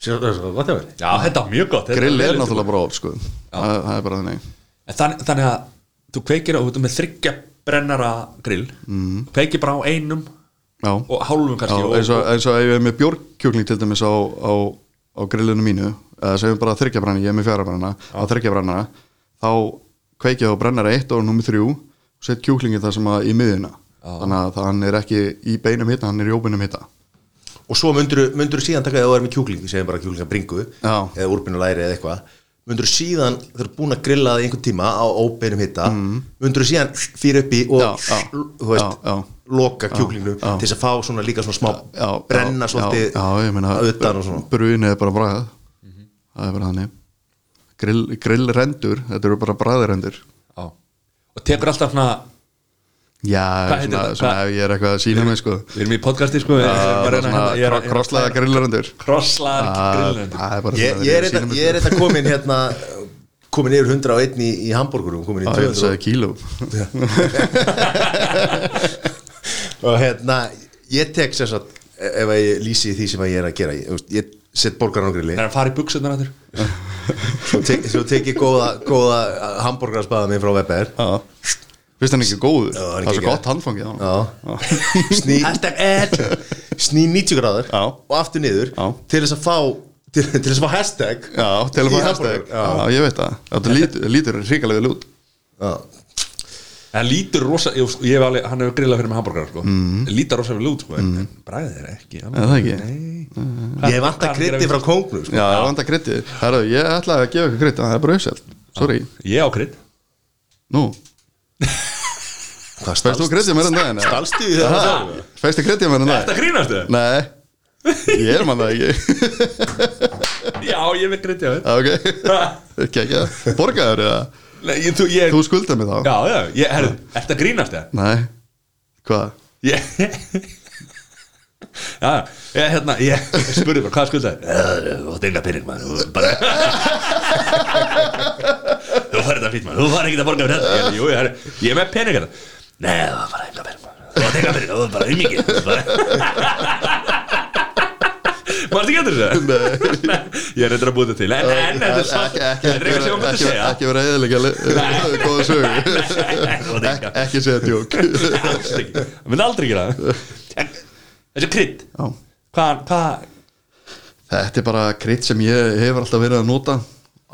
S2: Sér það gott að vera
S1: já, þetta er mjög gott þetta
S3: grill
S1: vel
S3: er
S1: undirbúið.
S3: náttúrulega bara op sko það, það er bara þannig
S1: En þann, þannig að þú kveikir og þú ert með þryggja brennara grill mm. kveikir bara á einum
S3: já,
S1: og hálfum
S3: já
S1: kannski
S3: eins, og, eins og ef ég er með bjórkjúkling til dæmis á, á, á grillinu mínu eða segjum bara þryggjabranna, ég er með fjárabranna á þryggjabranna, þá kveikja á brennara 1 og nummer 3 og set kjúklingin það sem að í miðuna þannig að hann er ekki í beinum hitta hann er í óbeinum hitta
S2: Og svo myndur þú síðan taka eða þú er með kjúkling, segjum bara kjúklingabringu
S3: Já.
S2: eða úrbinu læri eða eitthvað myndur þú síðan, þú ert búin að grilla það í einhvern tíma á óbeinum hitta mm. myndur þú síðan fyrir upp í og
S3: Já, já,
S2: þú veist,
S3: já, já.
S2: loka kjúklingum
S3: já.
S2: til þess að fá svona líka svona smá
S3: já,
S2: brenna
S3: já,
S2: svolítið
S3: já, já, ég meina,
S2: að utan og svona
S3: brun er bara bræð
S1: Mhm.
S3: það er bara þannig grill, grillrendur, þetta eru bara bræðirendur
S1: og, og tekur alltaf svona
S3: já,
S1: Hvað heitir
S3: svona,
S1: þetta?
S3: svona
S1: Hvað-
S3: ef ég er eitthvað að sína mig sko
S1: við erum í podcasti sko við erum bara að reyna að- ég er að-
S3: Svona krosslaða grillrendur
S1: krosslaðar grillnönd
S3: Ah, Það er bara
S2: Ég,
S3: svona
S2: ég er
S3: verið að
S2: þetta-
S3: sýna mér
S2: ég er
S3: þetta.
S2: þetta komin hérna komin yfir 101 í,
S3: Ah,
S2: sko. í hambúrgurum komin í
S3: Já, ég held að
S2: 200
S3: segja kíló
S2: og hérna, ég tek sér satt ef að ég lýsi því sem að ég er að gera ég, þú veist, ég set borgaran á grilli
S1: Það er að fara í buksunar aftur
S2: svo, tek, svo tek ég góða, góða hambúrgararspaða minn frá Weber
S3: Fyrst hann ekki góður,
S2: Já,
S3: það
S2: hann er
S3: er svo
S2: geggjaður.
S3: gott handfangið á hann
S2: Já. sný, sný 90 gráður
S3: Já.
S2: og aftur niður
S3: Já.
S2: til þess að fá til, til þess að fá hashtag
S3: Já, til að
S2: Í
S3: fá hashtag
S2: hamborgara.
S3: Já, ég veit það, þetta lítur, lítur hrikalega lút
S2: Já.
S1: Það lítur rosa, ég, ég hef alveg, hann hefur grillað fyrir með hambúrgar sko. Lítar rosa við lút sko, en, en bræðið er ekki
S3: Mhm. Er það ekki?
S2: ég hef alltaf krytti frá kóngnu sko.
S3: Já, það vanda kryttið Herru, ég ætlaði að gefa ykkur kryttið, það er bara auðselt Sorry,
S1: Ég á krydd
S3: nú,
S2: hvað
S3: fæst þú kryttið mér en daginn?
S2: stalstu í það sjálfur?
S3: Fæst þið kryttið mér en
S1: Þetta
S3: daginn?
S1: grínastu?
S3: Nei, ég er mann það ekki
S1: Já, ég er með krydd hjá þér
S3: Já, ok, ekki ekki Borgaður eða?
S1: Nei, ég, þú, ég,
S3: Þú skuldar mig þá?
S1: Já, já, ég, herru, ertu að grínast það?
S3: Nei, hvað?
S1: Ég Já, ég, hérna, ég spurði bara, hvað skuldaði? Eh, Þú átt enga pening, maður, þú bara Þú farið þetta fýtt, maður, þú farið ekki að borga fyrir þetta Ég, Jú, ég, herru, ég er með pening hérna Nei, það var bara enga pening, maður Þú átt enga pening, þú var bara umíkir Maður ekki getur þessu? Nei Ég er reyndar að búa þetta til En, en, þetta er samt Þetta er eitthvað sem ég mútti segja
S3: Ekki vera eðilega góða sögu
S1: Þú átt
S3: Ek,
S1: enga
S3: Ekki segja djók
S1: Alls ekki. Það myndi aldrei gera það En þessi krydd
S3: Já.
S1: Hvað, hvað
S3: Þetta er bara krydd sem ég hefur alltaf verið að nota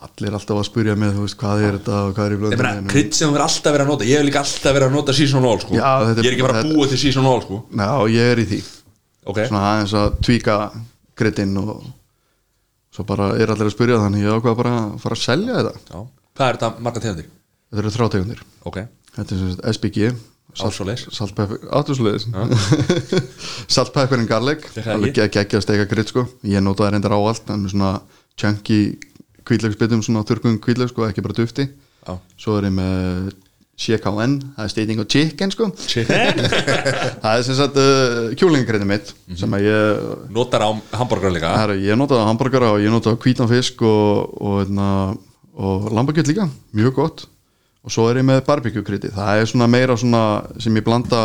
S3: Allir er alltaf að spyrja mig þú veist, hvað er þetta og hvað er í
S1: Ég meina,
S3: blöndinu
S1: krydd sem við erum alltaf verið að nota Ég hef líka alltaf verið að nota season all sko.
S3: Já, þetta er-
S1: Ég er ekki bara að
S3: þetta-
S1: búa til season all sko.
S3: Já, ég er í því
S1: Ok,
S3: Svona aðeins að tvíka kryddinn og svo bara er allir að spyrja þannig ég ákvað bara að fara að selja þetta
S1: já Hvað er þetta marga tegundir?
S3: Þetta eru þrátegundir
S1: Ok,
S3: Þetta er sem sagt SBG
S1: Ásvoleiðis.
S3: Áttúsleis Salt, pepper and garlic
S1: Þegar
S3: Alveg
S1: ég-
S3: geggja að steika krydd sko Ég nota það reyndar á allt En með svona chunky kvítlagsbytum Svona þurrkum kvítlag sko, ekki bara dufti
S1: já
S3: Svo er ég með CKN Það er steiting og chicken sko Það er sem sagt uh, kjúlingakryddið mitt Sem að ég
S1: Notar á hambúrgar líka
S3: Herra, ég notaði hambúrgara og ég notaði hvítan fisk og, og, og, og lambakjöld líka, mjög gott og svo er ég með barbecue-krytti það er svona meira svona sem ég blanda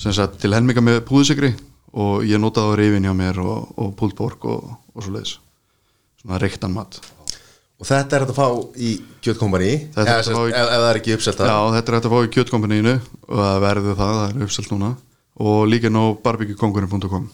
S3: sem sagt, til helminga með púðusikri og ég notaði á reyfin hjá mér og, og púldborg og, og svo leiðis svona reyktan mat
S2: og þetta er hægt að fá í kjötkompani ef,
S3: Þetta er hægt að
S2: sem
S3: fá
S2: sagt,
S3: í-
S2: ef, ef það er ekki uppselt
S3: Já, þetta er hægt að fá í kjötkompaníinu og það verður það, það er uppselt núna og líka ná barbecuekongurinn.com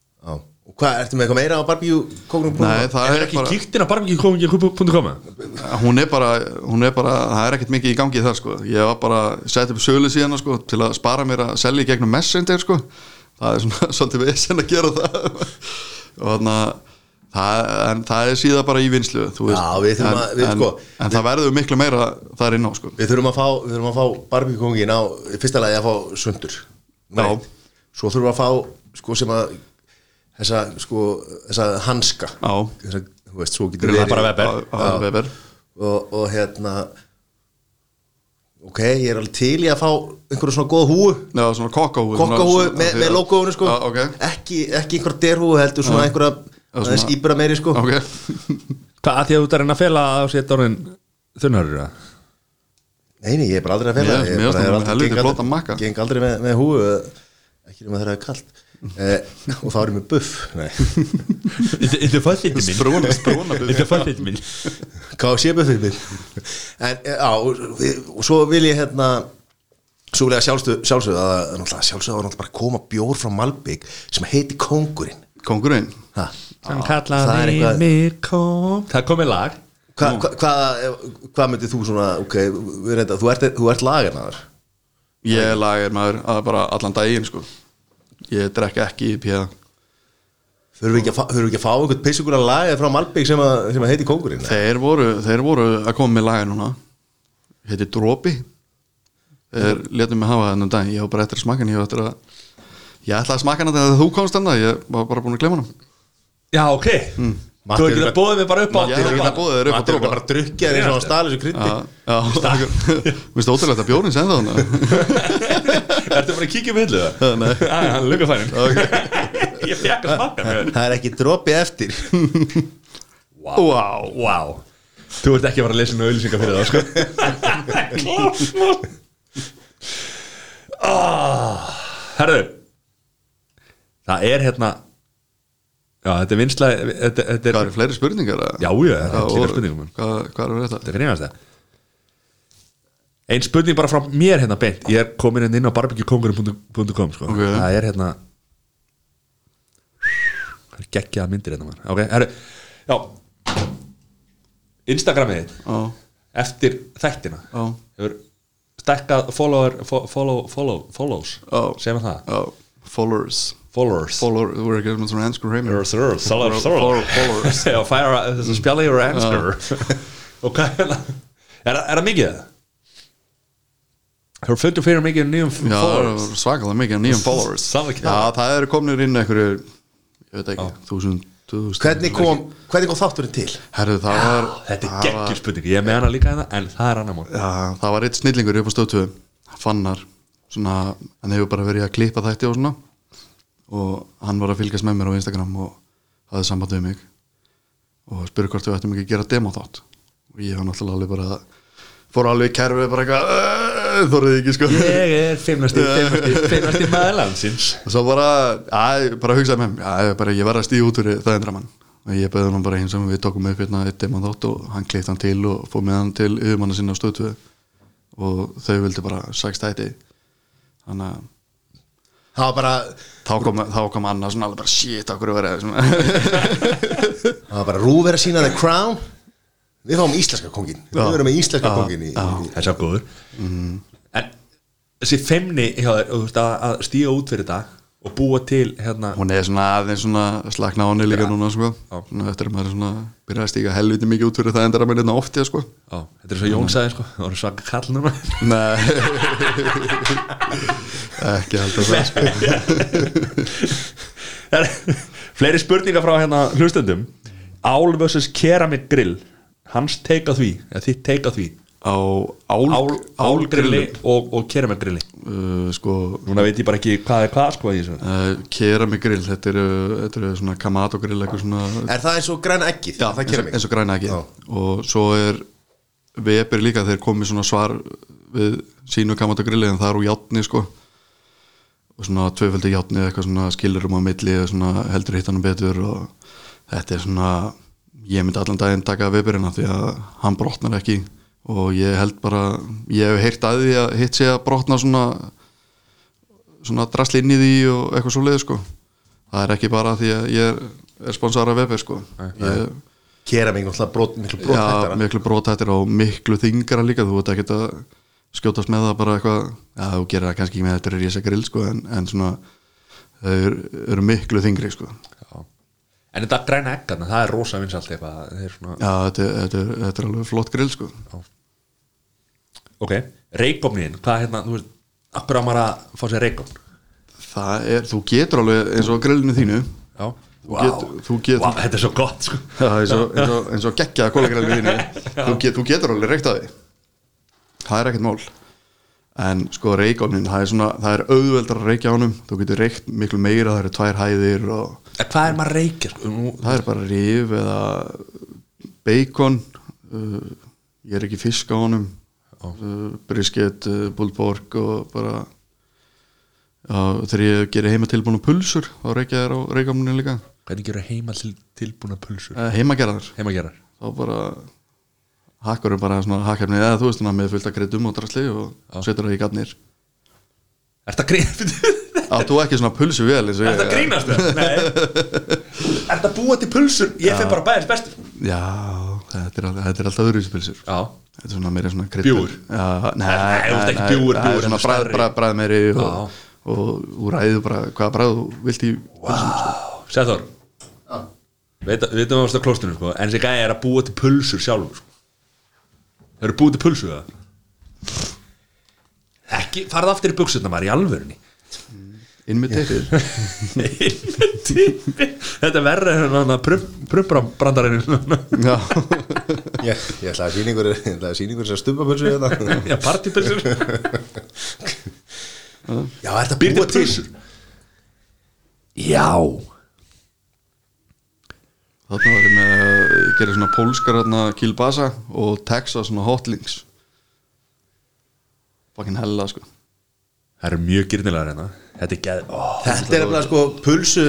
S2: Já. og hvað, ertu með eitthvað meira á barbíu kóngnu?
S3: Nei, það
S1: Er
S3: er
S1: ekki
S3: bara,
S1: kíktin að barmikið.com
S3: hún er bara, hún er bara það er ekkert mikið í gangi þar sko ég var bara að setja upp sölu síðan sko, til að spara mér að selja í gegnum messenger sko það er svona svolítið vesen að gera það og þannig að það, en það er síðan bara í vinslu þú veist.
S2: Já, við þurfum
S3: en,
S2: að- við,
S3: en,
S2: sko,
S3: en það verður miklu meira þar inn á sko
S2: Við þurfum að fá, við þurfum að fá barbíu kóngin á, í fyrsta lagi að fá sundur
S3: Já.
S2: Nei. Svo þurfum við að fá, sko, sem að þessa, sko, þessa hanska
S3: Já.
S2: þessa, þú veist, svo getur
S1: Grilla
S2: verið-
S1: bara Weber.
S3: á, á
S2: Já.
S3: Weber
S2: og, og hérna ok, ég er alveg til í að fá einhverju svona góða húu
S3: Já, svona kokkahúi
S2: kokkahúu með, með logoinu, sko
S3: Já, ok,
S2: ekki, ekki einhver derhúu heldur svona einhverja,
S3: svona-
S2: aðeins íbra meiri, sko
S3: ok
S1: Hvað, að því að þú ert að reyna að fela að setja orðin þunnarur eða?
S2: Nei, nei, ég er bara aldrei að
S3: Mér-
S2: fela Ég
S3: mér
S2: bara
S3: finnst
S2: er
S3: hún
S2: aldrei-
S3: helviti
S2: geng aldrei-
S3: flott að makka.
S2: Geng aldrei með, með húu Ekki nema þegar það er kalt eh, Og þá er ég með buff Nei,
S1: Þetta er fættið minn
S3: Brúna, brúna
S1: Þetta er fættið minn
S2: hvað sé buffið minn En eh, á, og, við- og svo vil ég hérna Svo vil ég að sjálfstöð Sjálfstöð að náttúrulega sjálfstöð var náttúrulega bara að koma bjór frá Malbygg Sem heiti Kóngurinn
S3: Kongurinn
S2: ha,
S1: Sem
S2: það er
S1: kallaði
S2: eitthvað-
S1: mig kom Það er komið lag
S2: Hvað hva, hva, hva myndið þú svona Ok, við reynda, þú ert, þú ert lagarnar
S3: Ég lagir maður að bara allan daginn sko Ég drekk ekki í píða
S2: Þurfum við ekki að fá- þurfum við ekki að fá einhvern pissugur að laga frá Malbygg sem, að, sem að heiti Kóngurinn
S3: Þeir voru, þeir voru að koma með laga núna Heiti Dropi Þeir letum mig hafa þennan dag Ég var bara eftir að smaka hann Ég, var eftir að... ég ætlaði að smaka hann þegar þú komst hann Ég var bara búin að glemma hann
S1: Já, ok Þú
S2: Matti
S1: hefur
S2: er
S1: ekki að
S2: bara-
S1: bóðið mig bara upp á
S3: Hmm. Matti er ekki að bóða þér upp á
S2: Matti er
S3: Dropa
S2: bara að drukja þér eins og hann stali þessu krytti
S3: Já, já. Vistu ótrúlegt að bjórin sem það hann
S1: Ertu bara að kíkja um hillu það? Nei Hann er lukafærin Ég fekk að smaka mér
S2: Það er ekki dropi eftir
S1: Vá wow. wow. Þú ert ekki að fara að lesa nú auðlýsingar fyrir það, sko Klart, mann Herðu Það er hérna Já, þetta er vinsla Þetta, þetta er
S3: Hvað eru fleiri spurningar? eða?
S1: Já, já, það er
S3: og-
S1: allir spurningum man.
S3: Hvað, hvað eru þetta?
S1: Þetta finnir hans það Einn spurning bara frá mér hérna beint Ég er komin hérna inn á barbecuekongurum.com sko.
S3: Ok.
S1: Það er hérna Það er geggjaða myndir hérna maður Ok, herru Já Instagramið þitt
S3: Já,
S1: eftir þættina
S3: já,
S1: hefur stækkað follower, fo- follow, follow, follows
S3: Já.
S1: sem er það,
S3: já Followers
S1: followers
S3: Followers, þú verður ekki með svona ennskur heimil
S1: Followers, followers, followers,
S3: Follow-
S1: followers. Já, færa þess að spjalla yfir anskur og hvað er það er, það- er það mikið það? hefur fundur fyrir mikið nýjum
S3: Já, það
S1: followers
S3: eru svakalega mikið af nýjum followers
S1: Sama ekki.
S3: Já, það eru komnir inn einhverju Ég veit ekki, þúsund, þúsund
S2: Hvernig kom, hvernig kom þátturinn til?
S3: Herðu, það var
S1: þetta er
S3: það var-
S1: geggjur spurning, ég er með hana líka hérna en það er annar mál
S3: Já, það var eitt snillingur upp á stöðtöðu Fannar, svona hann hefur bara verið að klippa þætti og svona og hann var að fylgjast með mér á Instagram og hafði samband við mig og spurði hvort við ættum ekki að gera demo þátt og ég var náttúrulega alveg bara fór alveg í kerfið bara eitthvað þorðið ekki sko
S1: ég er fimmnasti, fimmnasti, fimmnasti maður landsins
S3: og svo bara, að, bara hugsaði með mér að, bara, ég verði að stíða út úr það endra mann og ég beði hann bara eins og við tókum upp hérna eitt demann þátt og hann kleitt hann til og fór með hann til yfirmanna sinna á stöðtöðu og þau vildi bara sex tæti þannig að
S2: Það var bara,
S3: þá kom, þá kom Anna svona alveg bara shit okkur að vera svona.
S2: það var bara rúver að sína The Crown Við fáum íslenska kongin Við verum með íslenska kongin í, í,
S1: Það er svo góður
S3: Mm.
S1: En þessi feimni hjá þér þú veist, að, að stíga út fyrir þetta og búa til hérna
S3: hún er svona aðeins svona slakna á henni líka núna sko.
S1: Já.
S3: svona, eftir að maður er svona byrjaði að stíga helviti mikið út fyrir það endra mann hérna oftið sko.
S1: á, Þetta er svo Jón sagði sko, það voru svaka kall núna
S3: Nei ekki alltaf það sko.
S1: Það eru Fleiri spurningar frá hérna hlustendum Ál vs. Keramik grill Hans teika því, eða þitt teika því
S3: sko. á ál,
S1: Ál, álgrilli og, og keramik grilli
S3: uh, sko
S1: Núna veit ég bara ekki hvað er hvað sko í þessu.
S3: uh, keramik grill, þetta eru, þetta eru svona kamado grill, eitthvað svona
S2: Er það eins og græna eggið? það
S3: eins,
S2: kemur
S3: og-
S2: mig
S3: eins og græna ekki
S2: Já.
S3: og svo er Weber líka, þeir komið svona svar við sínu kamado grilli en það er úr játni sko og svona tvöfaldi játni eitthvað svona skilurum á milli og svona heldur hittanum betur og þetta er svona ég myndi allan daginn taka Weberina því að hann brotnar ekki og ég held bara, ég hef heyrt að því að hitt sé að brotna svona svona drasli inn í því og eitthvað svo leiði sko það er ekki bara því að ég er, er sponsor af Weber sko ég,
S2: Kera mig alltaf brot, miklu brot
S3: já, miklu brotættir og miklu þingra líka þú veit ekki að skjótast með það bara eitthvað já, þú gerir það kannski ekki með þetta er risa grill sko en, en svona þau eru, eru miklu þingri sko já,
S1: Já. En þetta græna ekkarna, það er rosa vinsalt eitthvað það er svona,
S3: þetta, er- þetta, er, þetta er alveg flott grill sko
S1: Ok, reikofnin, hvað hérna þú veist, akkur á maður að fá sér reikofn
S3: það er, þú getur alveg eins og á grillinu þínu
S1: Já,
S3: Þú getur- þú getur-
S1: Vá, þetta er svo gott sko.
S3: Já, eins og, eins og, eins og geggjaða kólagrellu þínu þú, get, þú getur alveg reykt að því það er ekkert mál en sko reykofnin, það er svona það er auðveldar að reykja ánum þú getur reykt miklu meira, það eru tvær hæðir og
S1: En Hvað er maður
S3: sko?
S1: reykir? Nú,
S3: það er bara rif eða bacon uh, ég er ekki fisk á ánum uh, brisket, uh, bullborg og bara já, þegar ég gerir heima tilbúinu pulsur þá reykja þær á reykofninu líka
S1: Hvernig gerur heima til, tilbúna pulsur?
S3: Eh, heimagerðar
S1: Heima gerar
S3: þá bara hakkar er bara svona hakkefni eða þú veist svona með fullt að greiðum og drasli og setur það í gafnir
S1: Er þetta grínast?
S3: áttu ekki svona pulsu vel eins og
S1: Er þetta
S3: ég
S1: grínast? eða? Nei Er þetta búa til pulsur? Ég finn bara bæðins bestur
S3: já, þetta er, al- þetta er alltaf öðruvísi pulsur
S1: Já
S3: þetta er svona meira svona krydd
S1: Bjúgur?
S3: já, nei,
S1: Nei, þú veist ekki bjúgur,
S3: það
S1: bjúgur,
S3: er svona
S1: heldur
S3: bræð,
S1: stærri.
S3: bræð, bræð meiri
S1: Já.
S3: og, og úr ræðu bara hvaða bræð þú vilt í
S1: Sæður Veit að- Veitum við ást á klostinu sko En þessi gæði er að búa til pulsur sjálfur sko Það eru búið til pulsur það Ekki, farð aftur í buksutna maður í alvörunni
S3: inn með teipið
S1: Þetta er verra en hann að prumbrandarinn
S3: já,
S2: Ég, ég ætla að sýningur ég ætla að sýningur sem stumbapulsu hérna.
S1: Já, partipulsur
S2: Já, er þetta
S1: Býr
S2: búa
S1: til
S2: til
S1: pulsur Já
S3: þarna var ég með að gera svona pólskar hérna kilbasa og texas svona hotlings fucking hella sko
S1: Það eru mjög gyrnilegar hérna Þetta er geð ó,
S2: Þetta er nefnilega sko pulsu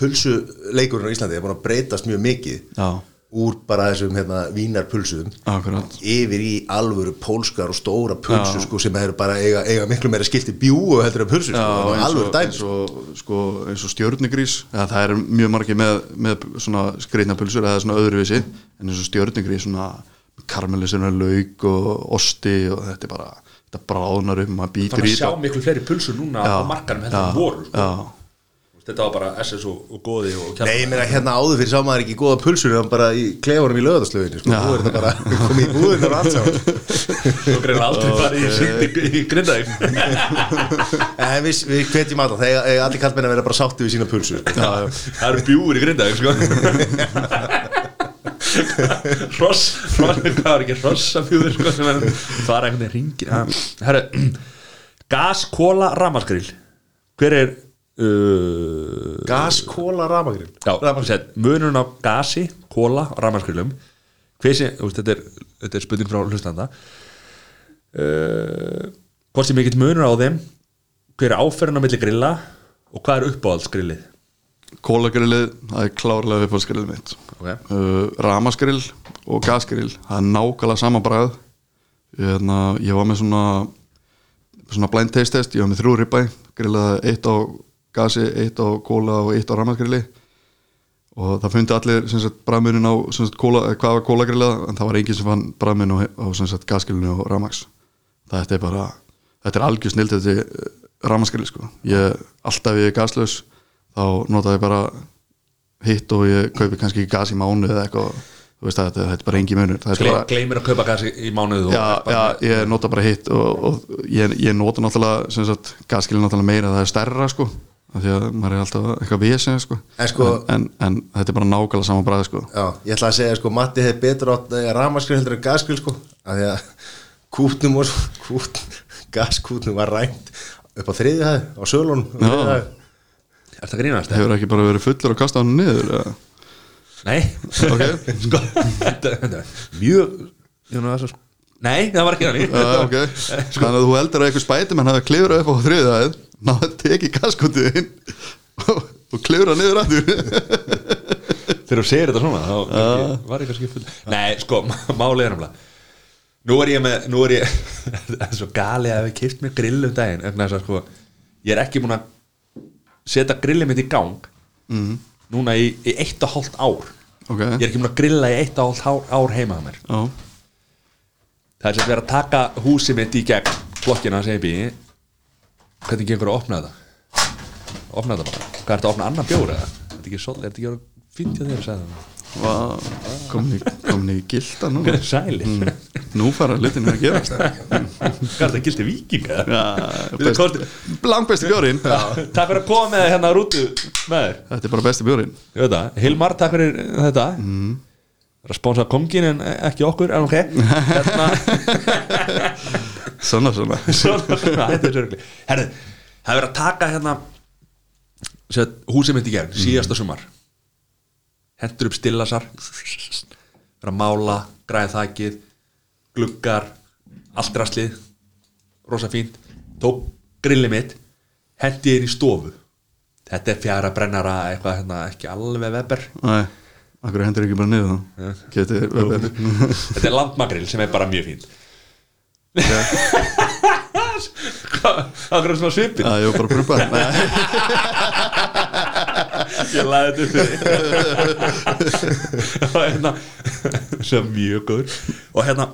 S2: pulsu leikurinn á Íslandi er búin að breytast mjög mikið
S3: Já,
S2: úr bara þessum hérna vínarpulsum
S3: akkurat
S2: yfir í alvöru pólskar og stóra pulsu
S3: Já.
S2: sko sem eru bara eiga, eiga miklu meira skilti bjúu heldur en pulsu sko, það er alvöru dæmi
S3: eins og, sko, eins og stjörnugrís eða, það er mjög margir með, með svona skreitna pulsur eða svona öðruvísi en eins og stjörnugrís svona karmelisirna lauk og osti og þetta er bara, þetta bráðnar upp maður býtir
S1: Þannig
S3: í
S1: að sjá miklu fleiri pulsur núna á markarum heldur en voru sko.
S3: já,
S1: Þetta var bara SS og, og góði og kjarnar
S2: Nei, ég meina hérna áður fyrir sá maður ekki góða pulsur en bara í klefunum í lögðarslöginni sko.
S3: Já.
S2: Nú er þetta bara komið í búðin og allt saman
S1: Þú greiðir aldrei farið í sýndi í grindaðið
S2: En við, við hvetjum alltaf, þegar eiga allir kallmenn að vera bara sátti við sína pulsur sko.
S3: já, já.
S1: Það eru bjúur í grindaðið sko Hross, hross, hvað er ekki hrossabjúður sko sem er Það er einhvern veginn ringir Ah, Herru, gas, kóla, ramaskrill Hver er uh,
S2: Gas, kóla, ramagrinn
S1: Já, Ramaskrill Munurinn á gasi, kóla, ramaskrilum Hver sem, þú veist, þetta er, þetta er spurning frá hlustanda uh, Hvort sem mikill munur á þeim Hver er áferðin á milli grilla Og hvað er uppáhaldsgrillið
S3: kólagrillið, það er klárlega uppáhaldsgrillið mitt
S1: Ok.
S3: uh, ramasgrill og gasgrill það er nákvæmlega sama bræð Hérna, ég var með svona svona blind taste test, ég var með þrjú ribæ grillaði eitt á gasi, eitt á kóla og eitt á ramasgrilli og það fundi allir sem sagt, bræðmunin á sem sagt, kóla, eh, hvað var kólagrillað en það var enginn sem fann bræðmun á, á sem sagt, gasgrillinu og ramags þetta er bara, þetta er algjör snild þetta er ramagsgrill sko ég, alltaf ef ég er gaslaus þá nota ég bara hitt og ég kaupi kannski gas í mánu eða eitthvað, þú veist að þetta, þetta er bara engin munur það er
S1: Gle,
S3: bara,
S1: Gleimir að kaupa gas í í mánuðu
S3: já, já, ég nota bara hitt og, og ég, ég nota náttúrulega sem sagt, gaskilin náttúrulega meira að það er stærra sko, af því að maður er alltaf eitthvað vesen sko,
S2: En sko-
S3: en, en, en þetta er bara nákvæmlega saman bræð sko
S2: Já, ég ætla að segja sko, Matti hefði betur átt að ramaskrill heldur en gasgrill sko af því að kútnum og kút, gaskútnum var rænt upp á þriðið hæð, á sölunum á
S3: Já.
S2: þriðju hæð.
S1: Er það grínast?
S3: hefur ekki bara verið fullur að kasta hann niður eða?
S1: Nei
S3: ok,
S1: sko, þetta, þetta, er Mjög Jónas, sko. Nei, það var ekki hann
S3: uh, ok þannig að þú heldur að eitthvað spætum hann hafi klifrað upp á þriðaðið, náðu tekið gaskotið inn og, og klifrað niður aftur
S1: Þegar þú segir þetta svona þá kannski, var ég kannski full Nei, sko, málið er náttúrulega Nú er ég með, nú er ég Það er svo gali að við kipt mér grill um daginn vegna þess að sko, ég er ekki búin að setja grillið mitt í gang núna í, í eitt og hálft ár
S3: ok,
S1: Ég er ekki búin að grilla í eitt og hálft ár, ár heima að mér
S3: já,
S1: Það er sem að vera að taka húsið mitt í gegn blokkina sem ég býi Hvernig gengur að opna þetta? Opna þetta bara Hvað ertu að opna annan bjór eða? Er þetta ekki svolítið, er þetta ekki að finn til þér, sagði það
S3: Vá, komin í, komin í gilda núna
S1: Sælir mm.
S3: nú fara litinu að gerast
S1: Hvað er það gildi vikinga?
S3: best- langbesti bjórin þetta
S1: Takk fyrir að koma með það hérna á rútu með þér
S3: er bara besti bjórin
S1: Ég veit það, Hilmar, takk fyrir þetta mm. Responsa kongin en eh, ekki okkur en ok hérna,
S3: svona svona
S1: svona, Þetta er sörgli Herðu, það er verið að taka hérna set, húsið mitt í gegn, síðasta sumar hendur upp stillasar verið að mála græði þakið, gluggar allt rastlið rosa fínt, tók grillið mitt hendi inn í stofu þetta er fjara brennara eitthvað hérna, ekki alveg veber
S3: Nei, akkur hendur ekki bara niður þá Getur verið
S1: þetta er landmagrill sem er bara mjög fínt hvað, það er svona svipin
S3: Já, ég var bara að prumpa Nei,
S1: ég laði þetta upp fyrir þig. og hérna sem mjög góður og hérna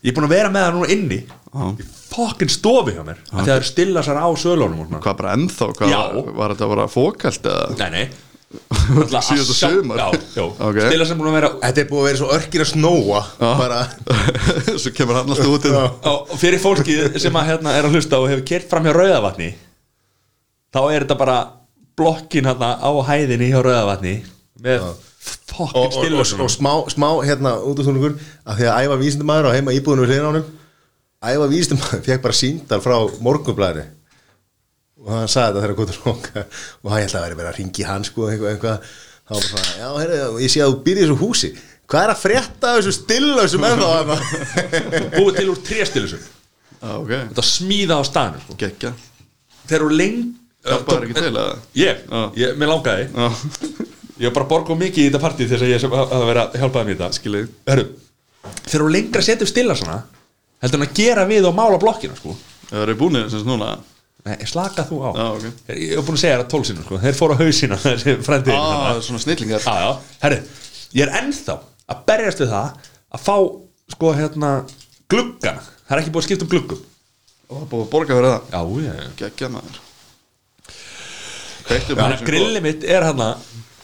S1: ég er búin að vera með það núna inni
S3: Já.
S1: í fokkin stofi hjá mér af því að það eru stilla sér á sölunum og svona.
S3: Hvað bara ennþá? Hvað,
S1: Já.
S3: Var þetta bara fókalt eða?
S1: nei nei Náttúrulega
S3: Síðasta
S1: Assa-
S3: sumar.
S1: já, já,
S3: Ok.
S1: stilla sér búin að vera
S2: Þetta er búið að vera svo örkir að snóa bara,
S3: Svo kemur hann alltaf út í það
S1: og fyrir fólkið sem að hérna er að hlusta og hefur kert fram hjá Rauðavatni þá er þetta bara blokkin hérna á hæðinni hjá Rauðavatni með
S2: og,
S1: fokkin
S2: og, og, og,
S1: stilla
S2: smá, smá hérna út af þúnugur að því að æfa vísindumæður á heima íbúðinu við hliðin á honum æfa vísindumæður fekk bara síndar frá morgunblæðinu og hann sagði þetta þegar hann kom til okkar og hann ætlaði að vera bara að ringi hann sko eitthvað, eitthvað. þá var bara, já, heyrðu, ég sé að þú býrði í þessu húsi hvað er að frétta af þessu stillu sem ennþá hann
S1: búið til úr tréstilusum
S3: Já, ok,
S1: Þetta smíða á staðinu sko.
S3: geggja
S1: Þeir eru lengi
S3: Hjálpaður ekki til að
S1: Ég,
S3: Já.
S1: ég, mér langaði
S3: Já,
S1: Ég var bara að borga of mikið í þetta partí til þess að ég sem að að vera að hjálpaði mér í þetta
S3: skilur
S1: Hörru, þeir eru lengra að setja upp stilla svona heldur en að gera við og mála blokkina sko
S3: Það eru búinir sem sagt núna
S1: Nei, slaka þú á
S3: Já, ok
S1: Þeir- Ég hef búin að segja þér að tólsinu sko Þeir fóru á hausina þessi frændið
S3: Ah, svona snillingar
S1: Já, já, herri, ég er ennþá að berjast við það að fá, sko, hérna, gluggana. Það er ekki búið að skipta um gluggum.
S3: Og það er búið að borga fyrir það
S1: Já, ég.
S3: Geggja maður Kveiktu
S1: Þannig að grillið mitt er hérna,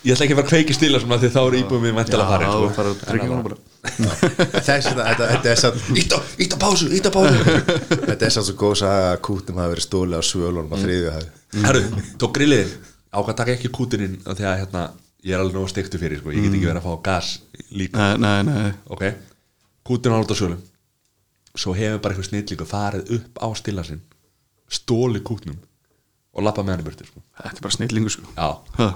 S1: ég ætla ekki að fara að kveiki stíla svona því þá eru íbúið mér
S3: til
S1: vantilega
S3: að
S1: farin, sko.
S3: fara Já, þú fara að tryggja hún bara
S2: Þess að þetta, þetta er satt
S1: Ítt á, ítt á pásu, ítt á pásu.
S2: Þetta er satt svo góð saga að kútum hafi verið stóli á svölunum á þriðju hafi
S1: Herru, tók grillið ákvað að taka ekki kútinn inn af því að hérna, ég er alveg nóg stektu fyrir, sko, ég get ekki verið að fá gas líka.
S3: Mm. Nei, nei, nei
S1: Ok, kútinn á alltaf sjölum. Svo hefur bara eitthvað snillíku farið upp á stíla sinn, stóli kútnum og lappa með hann í burti, sko.
S3: Þetta er bara snillingu sko
S1: Já,
S3: Ha,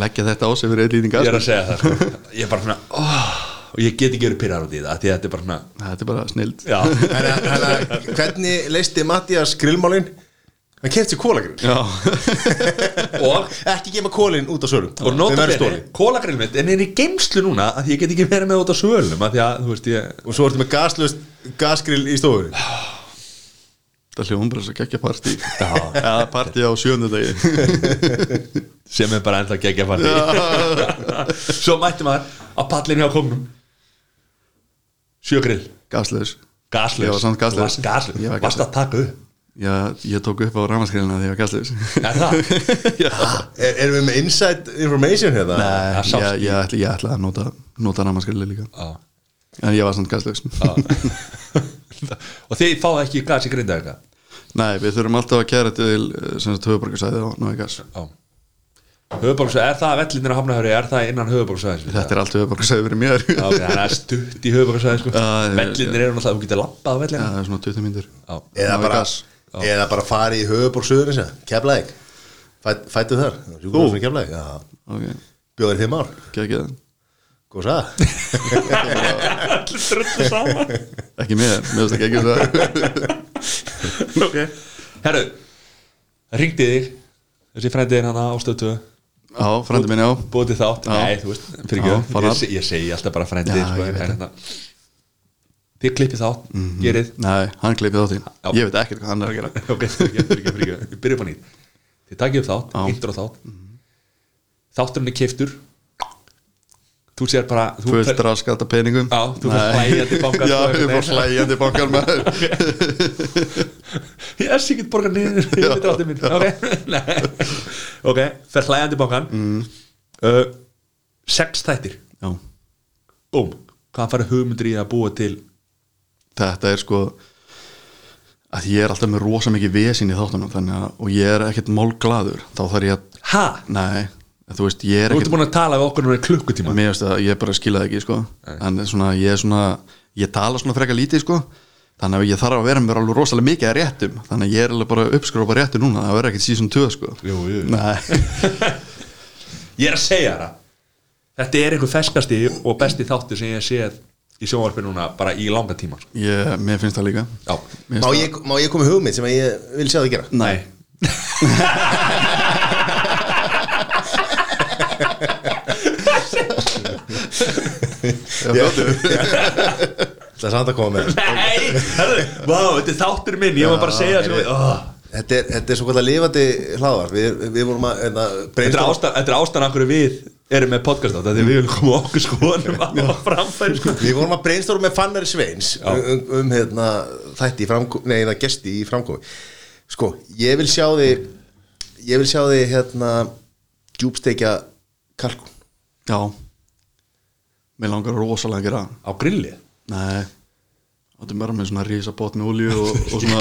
S3: Leggja þetta á sig fyrir eitt lítið
S1: ég
S3: gas
S1: er að segja það sko. Ég er bara svona oh, Og ég get ekki verið pyrrar út í það af Því að þetta er bara svona
S3: Þetta er bara snild
S1: Já,
S2: Hvernig leisti Mattias grillmálin? Hann kefti sér kólagrill
S3: Já
S1: og
S2: Ekki gefa kólin út á svölum
S1: Og nota bene, kólagrill mitt En er í geimslu núna af Því ég get ekki verið með út á svölum af Því að, þú veist, ég
S2: Og svo ertu með gaslust gasgrill í stofunni
S3: Þetta hljóðum bara svo geggja partí
S1: Já.
S3: Já, partí á sjöndu degi
S1: Sem er bara ennþá geggja partí Svo mætti maður á pallin hjá komnum Sjögrill
S3: Gaslaus
S1: Gaslaus
S3: Ég var samt gaslaus.
S1: Varst gaslaus
S3: Ég var
S1: Varst að taka upp
S3: Já, ég tók upp á rafmaskrilina þegar ég var gaslaus
S1: Er það?
S3: Já
S2: Er, erum við með inside information hérna?
S3: Nei,
S1: Það sást
S3: ég, ég, ætla, ég ætla að nota, nota rafmaskrilina líka
S1: Já
S3: En ég var samt gaslaus
S1: Og þið fáðu ekki gas í grinda eitthvað
S3: Nei, við þurfum alltaf að kæra til eh, sem sagt höfuborgarsæði og náði gas
S1: Já Höfuborgsvæði, er það vellinir á Hafnahöfri, er það innan höfuborgsvæði?
S3: Þetta er allt höfuborgarsæði fyrir mér
S1: Já, ok, það er stutt í höfuborgsvæði sko.
S3: Já, já, já.
S1: Vellinir eru náttúrulega, þú getur lappað á
S3: Já,
S1: vellina
S3: það er svona 20 mínútur
S1: Já,
S2: Eða
S3: Ná í
S2: bara,
S3: gas.
S2: eða bara fari í höfuborg söðurins Keflæk Fæt, Fættu þar Þú? Keflæk, já
S3: Ok,
S2: Bjóður í fimm ár
S3: geggja
S2: Góð sað
S1: allir drullu saman
S3: Ekki mér, mér finnst ekki ekki það
S1: Ok Herru, ringdi þig Þessi frændiðin hana á stötu
S3: Já, frændi minn, já
S1: Bóti þátt,
S3: Já.
S1: nei, þú veist, fyrir
S3: Já,
S1: ekki
S3: fara.
S1: ég, se- ég segi alltaf bara frændiðin
S3: Já,
S1: sko,
S3: ég
S1: en
S3: veit Mhm.
S1: hérna, Þið klippið þátt, gerið
S3: Mm. Nei, hann kleipið þátt
S1: Já.
S3: í Ég veit ekkert hvað hann er að gera
S1: ok, fyrir ekki, fyrir ekki, fyrir ekki ég byrja upp á nýtt þið takið upp þátt,
S3: Já.
S1: intro þátt þátturinn er keiftur þú sér bara þú
S3: Fullt raskata peningum
S1: Já, þú fórst
S3: Nei.
S1: hlæjandi í bankann,
S3: Já,
S1: sko,
S3: ég
S1: einhvern
S3: fór hlæjandi í bankan maður
S1: ég er sikkert borgar niður ég veit ráttið mín ok, Nei. ok, fer hlæjandi í bankan
S3: Mm.
S1: uh, sex þættir
S3: Já,
S1: búm, hvað farið hugmyndir í að búa til
S3: þetta er sko að ég er alltaf með rosa mikið vesinn í þáttunum þannig að, og ég er ekkert málglaður þá þarf ég að,
S1: ha,
S3: nei, þú veist ég er
S1: þú ertu
S3: ekkert,
S1: búin að tala við okkur núna í klukkutíma
S3: mér veist að ég bara skila það ekki sko, en svona, ég er svona ég tala svona frekar lítið sko þannig að ég þarf að vera með alveg rosalega mikið að réttum þannig að ég er alveg bara að uppskrópa réttu núna það verður ekkert season 2 sko
S1: Jú, jú.
S3: Nei,
S1: ég er að segja það þetta er einhver feskasti og besti þáttur sem ég séð í sjónvarpi núna bara í langa tíma sko.
S3: ég, mér finnst það líka
S1: já,
S3: Mér
S2: má,
S3: finnst
S2: ég- má ég koma í hugmynd sem að ég vil sjá þið gera?
S3: það- Nei,
S2: Það er samt að koma með
S1: Nei, herðu, vá, þetta er þáttur minn, ég var bara að segja þessu oh.
S2: Þetta er, þetta er svo kallar lifandi hlaðvarp Við, við vorum að hérna,
S1: Þetta er
S2: brainstorm-
S1: ástæðan, þetta er ástæðan af hverju við erum með podcast átt, þetta er við viljum koma okkur skoðanum á á framfæri sko.
S2: Við vorum að brainstorma með Fannar Sveins um, um hérna, þætti í framkomi, nei, hérna, gesti í framkomi Sko, ég vil sjá þig ég vil sjá þig hérna djúbstekja kalkun
S3: já mér langar rosalega að gera það
S1: Á grilli
S3: Nei Þetta er bara með svona rísa bót með olíu og, og svona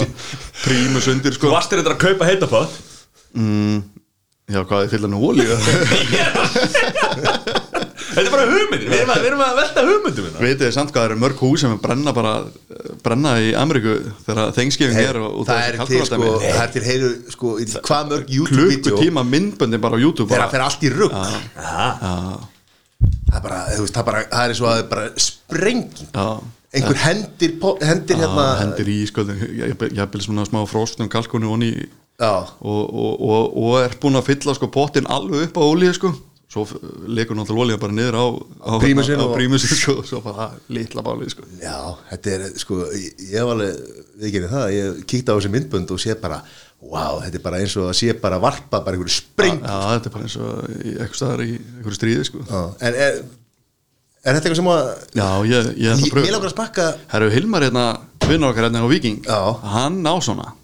S3: prímus undir
S1: Þú
S3: sko
S1: varst þér þetta að kaupa heitafátt
S3: mm, Já, hvað er fyllan með olíu?
S1: Þetta er bara hugmyndir, við erum að, við erum að velta hugmyndum hérna.
S3: Vitið þið samt hvað það eru mörg hús sem brenna bara brenna í Ameríku þegar þengskifing er og, og
S2: Það er til sko,
S3: kalkúlatæmi.
S2: það er til heilu sko, í hvað mörg YouTube-vídeó
S3: klukkutíma myndböndin bara á YouTube
S2: þegar
S3: bara.
S2: það fer allt í rugg
S1: Aha.
S2: það er bara, þú veist, það, bara, það er svo að það er bara sprenging
S3: Já,
S2: einhver hendir, po- hendir hérna
S3: að hendir í sköldin jafnvel svona smá frostum kalkunni onni í-
S2: Já.
S3: og, og, og, og er búin að fylla sko pottin alveg upp á ólíu sko svo f- lekur náttúrulega ólíu bara niður á, á
S2: prímusinn
S3: á, á
S2: og-
S3: prímusin sko svo bara litla bálið sko
S2: Já, þetta er, sko, ég ég hef alveg, við gerum það, ég kíkti á þessi myndbönd og sé bara, wow, þetta er bara eins og að sé bara varpa, bara einhverju spring.
S3: Já, þetta er bara eins og í eitthvað staðar í einhverju stríði sko
S2: Já. En er, er þetta eitthvað sem að,
S3: Já, ég, ég ætla að
S2: ég, ég
S3: pröfa
S2: langar að smakka
S3: Herru Hilmar hérna, vinnar okkar hérna á Viking
S2: Já.
S3: Hann á svona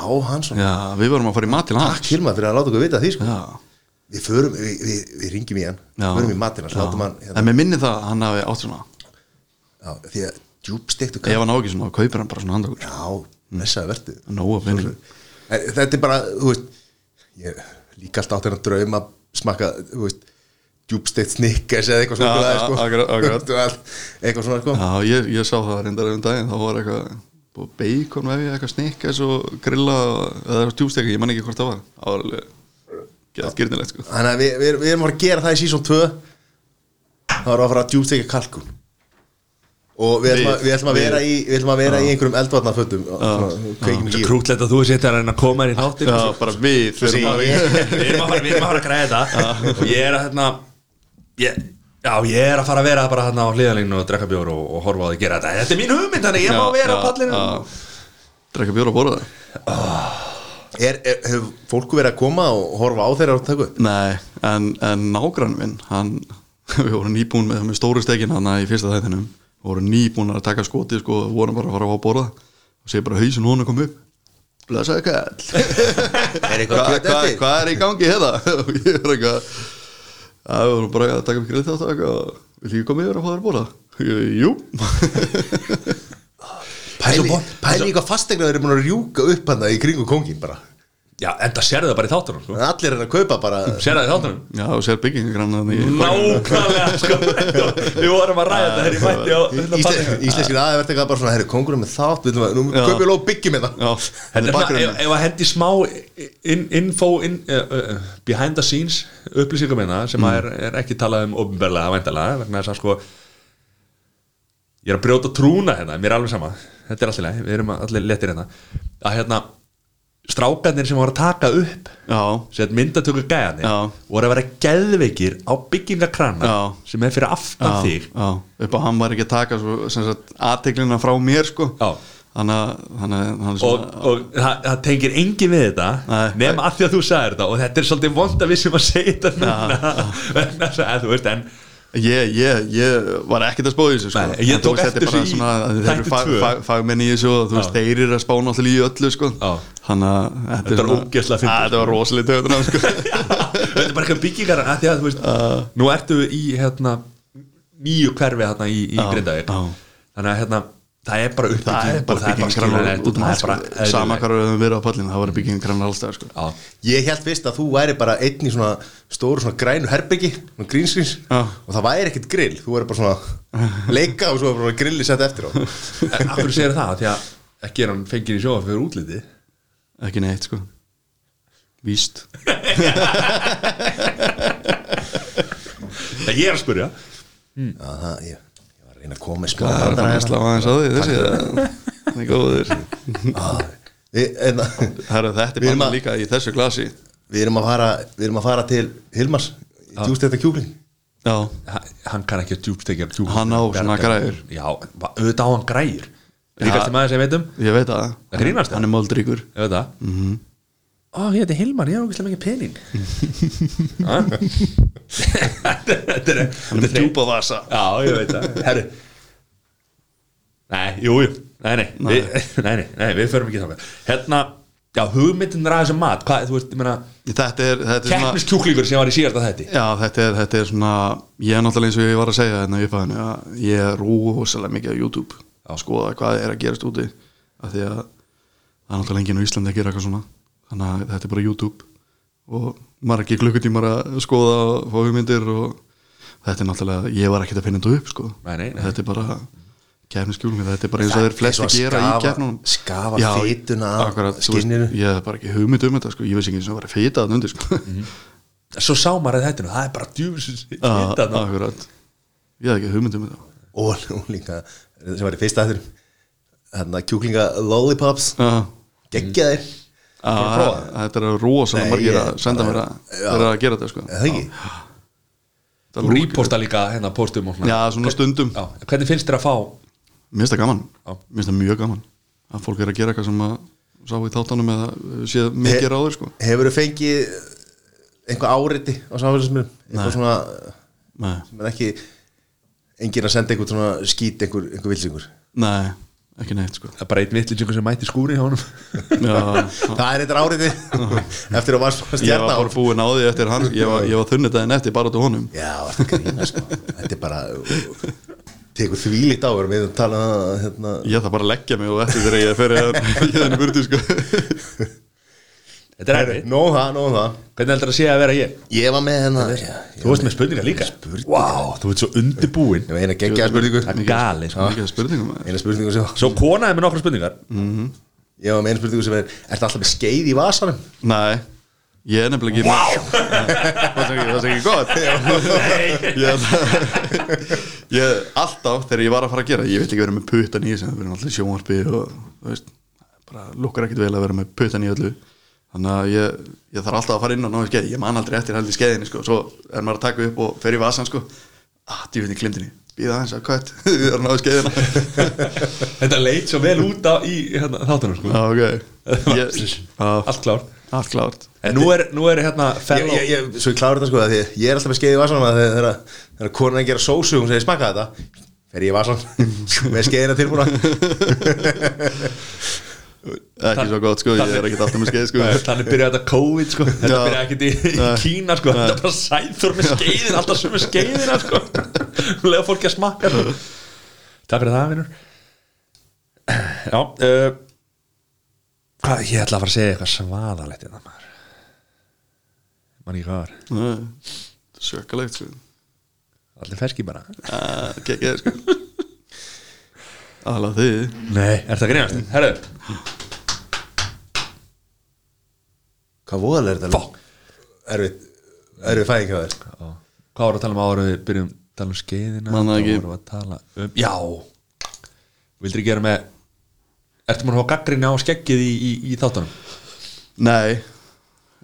S2: á hann svona.
S3: Já, við vorum að fara í mat til hans
S2: Takk Hilma fyrir að láta okkur vita því, sko.
S3: Já,
S2: Við förum, við, við, við ringjum í hann,
S3: já
S2: förum í matinn, hans, látum hann,
S3: hérna.
S2: hérna,
S3: En mér minni það að hann hafi átt svona
S2: já, því að djúbstektu
S3: Ef
S2: kaffi,
S3: hann á ekki svona, þá kaupir hann bara svona handakur
S2: já, messaði verðið.
S3: Nóa penning
S2: En þetta er bara, þú veist ég líka alltaf átt hennar draum að smakka, þú veist djúbsteitt snikkers eða eitthvað
S3: Já,
S2: svona ja, sko.
S3: akkurat, akkurat.
S2: Þú veist, eitthvað svona sko.
S3: Já, ég, ég sá það reyndar um daginn Þá var eitthvað búið bacon vefið, eitthvað snikkes og grilla eða tjúbsteka, ég man ekki hvort það var Það var alveg gett gyrnilegt sko
S2: þannig að við, við, við erum að fara að gera það í sísón 2 þá erum við að fara að djúbsteikja kalkun og við ætlum að, við ætlum að
S3: Við-
S2: vera í við ætlum að vera í einhverjum eldvarnafötum kveikin í líf
S1: Krútlegt að þú sétt að reyna að koma þér í sko. þáttir
S3: Já, bara við
S2: Sí,
S3: þurfum að
S2: ég-
S1: Við erum að fara, við erum að, fara að græða þetta Og ég er að hérna ég, Já, ég er að fara að vera bara hérna á hliðalínu og drekka bjór og, og horfa á því að gera þetta Þetta er mín hugmynd, þannig ég má
S3: Já,
S1: vera á
S3: já,
S1: pallinu
S3: já. Drekka bjóra og borða það
S2: er, er, hefur fólku verið að koma og horfa á þeirra og taka upp
S3: Nei, en, en nágrann minn hann, við vorum nýbúin með, með stóru stekin hann í fyrsta þættinum við vorum nýbúin að taka skotið sko og vorum bara að fara á að borða og sé bara hausin hún að koma upp blessaði kall
S2: er eitthvað
S3: hvað
S2: kjöt
S3: hva,
S2: eftir?
S3: hva er í gangi hérna og ég er eitthvað að við vorum bara að taka upp grið þátt og eitthvað vil ég koma yfir að fá þér að borða Ég, jú
S2: pæli pæli eitthvað fastegna þeir eru búin að rjúka upp hann í kringu kongin bara
S1: Já, enda sérðu það bara í þáttunum sko.
S2: En allir er að kaupa bara
S1: Sérðu það í þáttunum
S3: já og sér byggingagrann
S1: Nákvæmlega, sko Við vorum að ræða þetta þegar ég mætti á hérna,
S2: Ísle,
S1: pallinu.
S2: Íslenskir aðeins verða eitthvað bara svona Herru, kongurinn með þátt við ætlum að- Nú
S3: Já.
S2: köpjum við lóð byggjum þetta
S3: já,
S1: Þetta er svona, ef,
S3: bakgrunn
S1: ef að hendi smá in, info in, uh, uh, behind the scenes upplýsingum minna sem mm. er, er ekki talað um ofnberlega væntalega vegna þess að sko ég er að brjóta trúna hérna, mér er alveg sama þetta er allir leið, við erum allir letir hérna að hérna strákarnir sem voru að taka upp
S3: já,
S1: sem myndatöku gæðanir
S3: Já.
S1: voru að vera geðveikir á byggingakrana
S3: Já.
S1: sem er fyrir aftan
S3: já,
S1: þig
S3: já, upp á hann var ekki að taka svo, sem sagt, aðteklina frá mér sko
S1: Já.
S3: þannig að þannig að hann er
S1: og,
S3: svona
S1: og það, það tengir engin við þetta
S3: Nei.
S1: nema af því að þú sagðir þetta og þetta er svolítið vond að við sem að segja þetta núna vegna þess að þú veist en
S3: ég, ég, ég var ekkert að spá í þessu sko.
S1: Nei, ég
S3: En þú
S1: tók
S3: veist, þetta
S1: eftir
S3: er bara
S1: þessu í
S3: svona að þeir eru
S1: þætti
S3: fag,
S1: tvö.
S3: fag, fagmenn í þessu og þú veist,
S1: Já.
S3: þeir eru að spá náttúrulega í öllu sko.
S1: Já.
S3: þannig að þetta
S1: Þetta er
S3: svona-
S1: ógeðslega fyndið,
S3: Að þetta var rosalega töðunar sko.
S1: þetta er bara eitthvað byggingar að því að þú veist nú ertu í hérna nýju hverfi hérna í, í
S3: Já,
S1: Grindavík
S3: já.
S1: þannig að hérna það er bara uppbygging
S3: það er
S1: og
S3: bara
S1: það er bara skiljanlegt
S3: byggingranar
S1: og
S3: út um
S1: það
S3: allt
S1: er bara
S3: sko. sama
S1: eðlilegt.
S3: hvað við höfum verið á pallinu það var byggingranar allstað sko.
S1: Já.
S2: Ég held fyrst að þú væri bara einn í svona Stóru svona grænu herbyggi Svona grínskins
S3: Já.
S2: Og það væri ekkert grill Þú væri bara svona Leika og svo er bara grilli sett eftir á
S1: en af hverju segir það því að ekki er hann fengir í sjóa fyrir útliti
S3: ekki neitt sko. víst
S1: ég er að spurja
S2: Já, það, ég, ég var að reyna að koma með smá
S3: það er
S2: brandara
S3: bara að
S2: hérna.
S3: slá aðeins að því þessi það er góður
S2: Já, við- en það-
S3: Herra, þetta er
S2: Við erum
S3: bara
S2: að-
S3: líka í þessu glasi
S2: Við erum að fara Við erum að fara til Hilmars
S3: Ah.
S2: Djúst þetta kjúkling
S3: Já,
S1: hann kann ekki að djúbstekja djúbstekja
S3: Hann á svona græjur.
S1: já, va- auðvitað á hann græjur ríkast
S3: Já.
S1: í maður sem ég veit um
S3: ég veit að
S1: Það grínast,
S3: Hann er moldríkur
S1: ég veit það mm -hmm. ó, ég heiti Hilmar, ég hef okkur mikið pening Ha? þetta er
S3: Hann er með djúpa vasa
S1: já, ég veit það herru nei, jú, jú, nei, nei nei, við, nei, nei, nei, við förum ekki þangað hérna, já, hugmyndin er aðeins um mat hvað, þú veist, ég meina
S3: Þetta er, þetta er svona
S1: keppniskjúklingur sem var í síðasta þætti
S3: Já, þetta er, þetta er svona Ég er náttúrulega eins og ég var að segja hérna í upphæðinu að ég er rosalega mikið á YouTube Sko, að skoða hvað er að gerast úti af því að það er náttúrulega enginn á Íslandi að gera eitthvað svona þannig að þetta er bara YouTube og margir klukkutímar að skoða og fá hugmyndir og þetta er náttúrulega, ég var ekkert að finna þetta upp sko.
S1: Nei, nei, nei.
S3: þetta er bara kefniskjúlingar, þetta er bara eins og þeir
S2: Eins
S3: flesti
S2: og að
S3: gera í
S2: skafa-
S3: kefnunum
S2: skafa
S3: Já,
S2: fituna af
S3: akkurat, þú
S2: skinninu.
S3: veist, ég hef bara ekki hugmynd um þetta sko. ég veist ekki eins og það var að fita þetta undir sko.
S2: Mhm.
S1: svo sá maður að þetta, það er bara djúbsins
S3: Já, akkurat ég hef ekki hugmynd um þetta
S2: og og líka sem var í fyrsta þettur hérna kjúklinga lollipops
S3: Já.
S2: geggjaðir
S3: Ah,
S2: prófa það?
S3: Þetta eru rosalega
S2: Nei,
S3: margir
S2: ég-
S3: að senda mér að þeir eru að gera þetta sko
S2: Er það ekki?
S3: Þetta er
S1: Þú
S3: alveg-
S1: reposta líka hérna postum og svona
S3: Já, svona stundum
S1: Já, en Hvernig finnst þér að fá
S3: Mér finnst það gaman,
S1: Já.
S3: mér finnst það mjög gaman að fólk er að gera eitthvað sem að sá í þáttanum eða uh, séð mikið
S2: He-
S3: ráður sko
S2: hefur þú fengið einhver áriti á samfélagsmiðlum eitthvað svona
S3: Nei,
S2: sem er ekki enginn að senda einhver svona skít einhver, einhver vilsingur
S3: nei, ekki neitt sko
S1: Það er bara einn vittlýsingur sem mætti skúri hjá honum
S3: Já,
S2: það er eitthvað áriti eftir að varst
S3: Ah. ég var
S2: stjarná
S3: bara búinn á því eftir hann ég var, ég var þunnið daginn eftir bara til honum
S2: já, varstu að grína sko þetta er bara tekur þvílít á erum við að tala um, hérna,
S3: Ég þarf bara að leggja mig og eftir þegar ég fer í þenni burti sko
S1: Þetta er erfið
S2: nóg um það, nóg það
S1: Hvernig heldur það að sé að vera ég?
S2: ég var með hérna
S1: Þú veist með spurningar líka Spurningar Vá, þú ert svo undirbúin
S2: ég var eina geggjaða spurningu
S1: Það er gali sko.
S3: Mikið spurningum maður.
S2: eina spurningu sem
S1: Svo konaði með nokkra spurningar
S2: ég var með eina spurningu sem er ertu alltaf með skeið í vasanum
S3: Nei, ég er nefnilega ekki Vá! Það er ekki gott Ég ég- Alltaf þegar ég var að fara að gera Ég vil ekki vera með puttan í sem það verður alltaf sjónvarpi og þú veist bara lukkar ekkit vel að vera með puttan í öllu Þannig að ég, ég þarf alltaf að fara inn og ná í skeið Ég man aldrei eftir held í skeiðinni sko. Svo er maður að taka upp og fer í vasan sko. Ah, djúvinni glimtinni Býða aðeins að kött Ég er að ná í skeiðina
S1: Þetta leit svo vel út á í hérna, þáttunum sko.
S3: ah, okay. ég, ah,
S1: Allt klár
S3: Allt klárt
S1: En nú er, nú er hérna
S2: ég,
S1: fellow
S2: ég, ég, svo ég klára þetta sko að því að ég er alltaf með skeið í vasanum að þegar, þegar, þegar konan er að gera sósu og hún segir smaka þetta fer ég í vasan með skeiðina tilbúna
S3: Ekki svo gott sko, ég er ekkert alltaf með skeið sko
S1: Þannig byrjaði þetta COVID sko Þetta
S3: Já.
S1: byrjaði ekkert í, í
S3: Nei.
S1: Kína sko Þetta er bara sæður með skeiðin Alltaf sem með skeiðina sko Lega fólki að smakka sko. Takk fyrir það vinur Já uh, Hvað, ég ætla að fara að segja eitthvað svaðalegt Þetta maður Mann í hvað var
S3: Nei, þetta er Svakalegt sko
S1: Allir ferski bara
S3: Gekkið sko Alla því
S1: Nei, er það grínast? Herðu,
S2: hvað voðalega er þetta erfið, erfið fæðing hjá þér
S1: hvað voru að tala um ára við byrjum að tala um skeiðina
S3: Man það
S1: þá
S3: ekki.
S1: vorum við að tala um, já vildur ekki gera með ertu maður að hafa gaggrinni á skeggið í, í, í þáttunum
S3: Nei,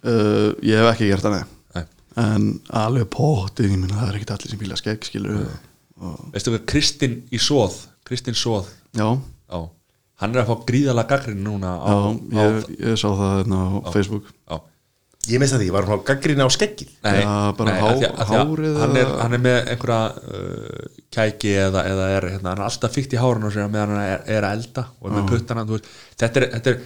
S3: uh, ég hef ekki gert það nei
S1: Nei.
S3: En alveg póttið, ég minna það er ekkert allir sem bíla skegg skilur og,
S1: veistu hvað Kristinn í Sóð Kristinn Sóð,
S3: Já,
S1: já hann er að fá gríðalega gaggrinni núna á,
S3: já,
S1: á,
S3: ég, ég sá það hérna á Facebook
S1: á,
S2: ég mista því, ég var hún á gaggrína á skeggið
S1: Nei,
S3: Já, bara
S1: nei,
S3: há-
S1: af því að- af því að
S3: hárið
S1: hann, er,
S3: eða-
S1: hann er með einhverja uh, kæki eða, eða er, hérna, hann er alltaf fyrkt í hárun og sér meðan hann er, er að elda og er með puttana þú veist, þetta er, þetta er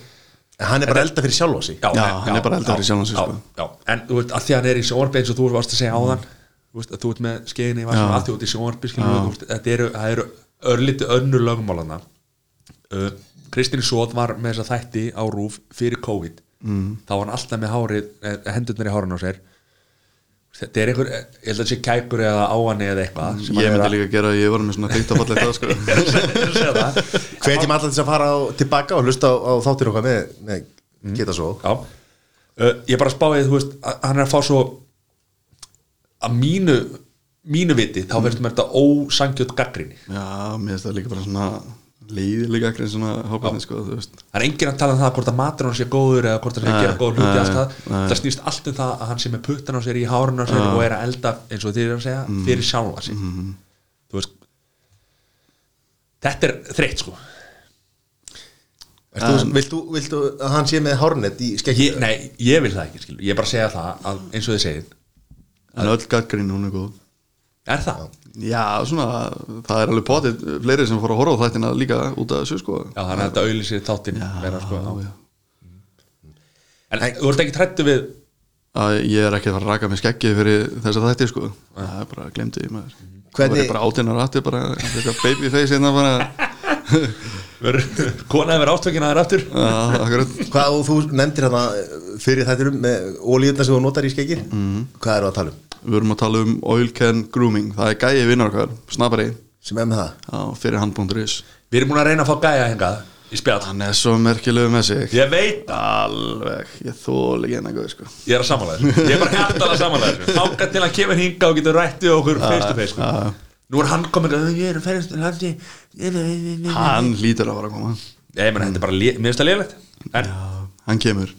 S2: en hann er bara elda fyrir sjálfa sig
S1: já,
S3: Já,
S1: en-
S3: hann er bara eldari
S1: já,
S3: sjálfan sig,
S1: já,
S3: sko. Mm.
S1: já. en þú veist, að því að hann er í sjónvarpi eins og þú varst að segja áðan þú veist, að þú ert með skeiðinni, varst að því út í sjónvarpi skilur, þú veist, þetta eru, það eru örlítið önnur lögumálana uh, Kristín Sóð var með þessa þætti á rúf fyrir COVID mm. þá var hann alltaf með hárið, eh, hendurnar í hárun á sér þetta er einhver, eh, ég held að sé kækur eða áanni eða eitthvað sem hann
S3: Mm, Ég
S1: er
S3: myndi
S1: að-
S3: líka gera, ég var með svona teitt að falla eitthvað sko
S1: er að segja það.
S2: hvetjum alltaf þess að fara á, tilbaka og hlusta á, á þáttir okkar með, með geta svo
S1: Já uh, Ég bara spáði, þú veist, að hann er að fá svo að mínu mínu viti, þá verðist mér þetta ósangjöld gaggrinni.
S3: Já, mér finnst það líka bara svona leiðilega ekkert svona hópaðni sko, þú veist
S1: Það er enginn að tala um það hvort að matur hann sé góður eða hvort hann sé að
S3: Nei,
S1: gera góður hluti
S3: nei,
S1: allt það.
S3: nei.
S1: Það snýst allt um það að hann sé með puttan á sér í hárun á sér og er að elda, eins og þið er að segja,
S3: Mm.
S1: fyrir sjálfa sig.
S3: Mm-hmm.
S1: Þú veist Þetta er þreytt sko
S2: Ertu, vilt, þú, vilt þú að hann sé með hárnett í
S1: ég,
S2: skeggið
S1: Nei, ég vil það ekki, skilur. Ég er bara að segja það að, eins og þið segið.
S3: En öll gaggrín hún er góð
S1: Er það?
S3: Já, svona, það er alveg potið fleiri sem fór að horfa á þættina líka út af þessu sko
S1: Já, þannig að þetta auðlýsir þáttinn meira, sko, já.
S3: já.
S1: En þú ert ekki trættu við
S3: Að Ég er ekki að fara að raka mig skeggið fyrir þessa þætti sko Það er bara, glemdi ég maður
S2: Hvernig-
S3: Það er bara átinnar aftur, bara eitthvað babyface hérna bara
S1: konaði verið ástökin að þér aftur
S3: Já, akkurat
S2: hvað og þú nefndir hérna fyrir þættirum með ólíðuna sem þú notar í skeggið hvað eru að tala um
S3: Við erum að tala um oil can grooming Það er gæi vinnar okkar, snabbari
S2: sem er með það
S3: á fyrir hand.is
S1: Við erum búin að reyna að fá gæja hengað í spjall
S3: Hann er svo merkilegu með sig
S1: Ég veit,
S3: Alveg, ég þól ekki hennar góð sko
S1: ég er að
S3: Ah,
S1: samanlega þessu Ég er bara hættan að samanlega þessu Þáka til að kemur hingað og getur rættið okkur face to face sko.
S3: Já,
S1: Nú er hann komin að ég er ferðast til hans ég- ég- ég- ég- ég-
S3: Hann lítur að vera að koma
S1: Ég meina, þetta er bara, lé- mér finnst það liðlegt En
S3: Hann kemur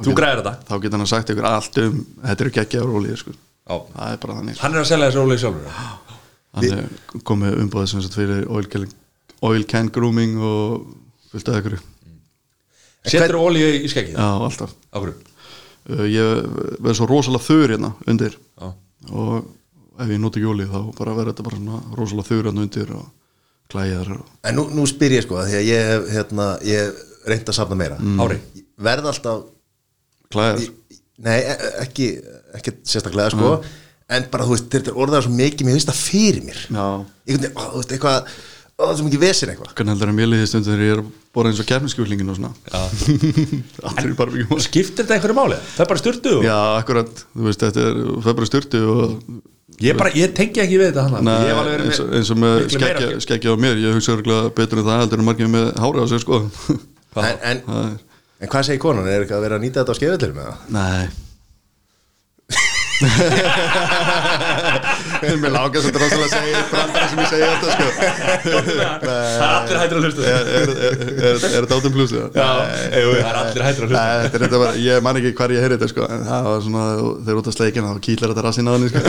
S1: þú græðir þetta
S3: Þá getur hann sagt ykkur allt um Þetta eru geggjaður ólíð sko
S1: Já.
S3: Það er bara þannig
S1: Hann er að selja þessu ólega sjálfur
S3: Ah. Hann er komið umbúðið sem sagt fyrir oil can, oil can grooming og fullt af ykkur Já,
S1: Setur ólega í skeggið
S3: alltaf
S1: Á hverju?
S3: Uh, Ég verð svo rosalega þurr hérna undir
S1: Já.
S3: og ef ég nota ekki olíu þá bara verður þetta bara svona rosalega þurr hérna undir og klæjar og
S2: En nú, nú spyr ég sko, af því að ég hef hérna, ég hef reynd að safna meira
S3: Mm.
S1: Ári
S2: Ég Verð alltaf,
S3: klæjar
S2: nei e- ekki, ekki sérstaklega sko En bara þú veist, þetta er orðað svo mikið, mér finnst það fyrir mér
S3: Já
S2: Ég veit, þú veist, eitthvað, ó, það er svo mikið vesinn eitthvað
S3: Hvernig heldur að mér liði stundum þegar ég er að bora eins og kefniskjúlingin og svona
S1: Já.
S3: Allir bara mikið mál
S1: Skiptir þetta einhverju máli? Það er bara styrtu og
S3: Já, akkurat, þú veist, þetta er, það er bara styrtu og
S1: Ég, bara, ég tengi ekki við þetta hann
S3: Nei,
S1: Ég hef alveg verið
S3: eins, og- eins og með
S1: miklu meira
S3: skeggja, skeggja á mér, ég hugsa örgulega betur en það heldur en margir með hárið á sig, sko
S1: Hvað?
S2: en, en,
S3: Það er,
S2: en hvað segir konan, er eitthvað að vera að nýta þetta á skeifellir með það?
S3: nei Mér lágast þetta rosalega að segja brandar sem ég segja þetta, sko
S1: Það er allir hættur að hlusta
S3: er, er, er, er, er þetta átum pluss eða?
S1: Já, jú, það er allir hættur að hlusta
S3: Nei, þetta er þetta bara, ég man ekki hvar ég heyri þetta sko, en það var svona, þeir eru út að sleikina þá kýlar þetta rassinn á henni sko.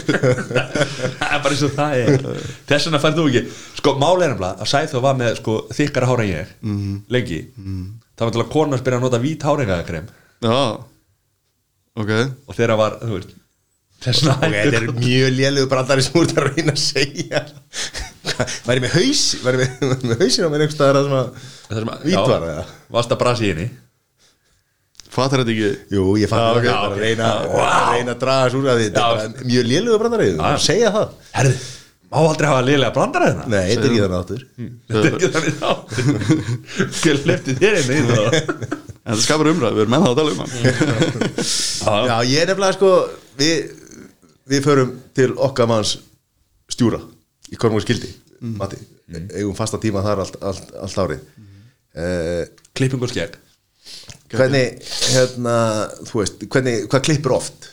S1: Það er bara eins og það er Þess vegna færðu þú ekki Sko, máli er nefnilega að Sæþó var með sko, þykkara hára en ég Lengi Það var til að konan spyrja að nota vít hárengakrem
S3: Já, ok,
S1: Og þeirra var, þú veist Þess vegna
S2: Ok,
S1: hættur
S2: þetta er mjög lélugu brandari sem úr þetta að reyna að segja Væri með haus, væri með, með hausin á mér einhvers staðar að
S1: Það
S2: sem
S1: sem
S2: að
S1: að-
S2: Vít
S1: já.
S2: var það
S1: Varst að brasi í henni
S3: fattar þetta ekki
S2: Jú, ég fann
S3: Já,
S2: það
S3: ok,
S2: okay, að
S1: ok.
S2: reyna,
S1: Vá.
S2: að reyna að draga svo að
S1: Já.
S2: þetta er bara mjög lélugu brandari,
S1: Já.
S2: segja það
S1: Herði, má aldrei hafa liðlega brandar eða
S2: Nei, þetta er ekki þannig áttur
S3: Mm.
S1: Þetta er ekki þannig þá Hver hlifti þér inn í það
S3: En það skapar umræð, við erum ennþá að tala um hann
S2: Já, ég er nefnilega sko, við, við förum til okkar manns stjúra í Kormungur skildi,
S3: Mm.
S2: Matti eigum fasta tíma þar allt, allt, allt árið Eh,
S1: Klipping og skegg
S2: Hvernig, hérna, þú veist, hvernig, hvað klippur oft?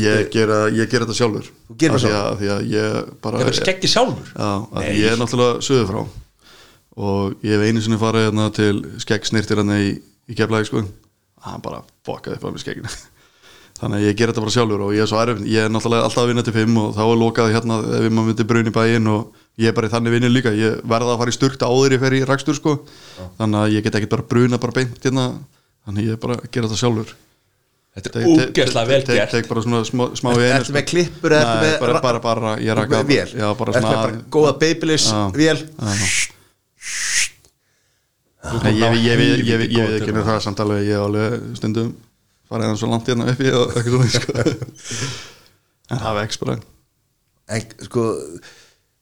S3: Ég gera, ég gera þetta sjálfur
S2: Þú gerir
S3: Af því
S2: sjálfur?
S3: að- Því að ég bara
S1: Það er skeggi sjálfur
S3: Já, að því ég er náttúrulega söður frá og ég hef einu sinni farið hérna til skeggsnirtir hann í, í keflaði sko hann bara fokkaði upp á mig skeggina þannig að ég ger þetta bara sjálfur og ég er svo erfn ég er náttúrulega alltaf að vinna til 5 og þá er lokað hérna ef maður myndi brun í bæinn og ég er bara í þannig vinnu líka, ég verða að fara í sturt áður ég fer í rakstur sko þannig að ég get ekkert bara bruna bara beint hérna þannig að ég bara gera þetta sjálfur
S1: Þetta
S3: Tek-
S1: er
S3: tek-
S1: úgeðslega vel
S3: tek-
S1: gert
S3: tek bara svona smá, smá í einu,
S2: Ertu
S3: sko.
S2: með klippur, ertu
S3: Nei,
S2: með
S3: bara, bara, bara, ég
S2: Ertu
S3: raka
S2: með vél?
S3: já, bara
S2: Ertu
S3: svona
S2: með bara góða babyliss
S3: Já.
S2: vél?
S3: Nei, ég, ég, ég, ég, ég, ég, ég
S1: Góður.
S3: ekki með það samt alveg, ég hef alveg stundum farið hann svo langt hérna upp í og eitthvað svona sko. en það vex bara
S2: En sko,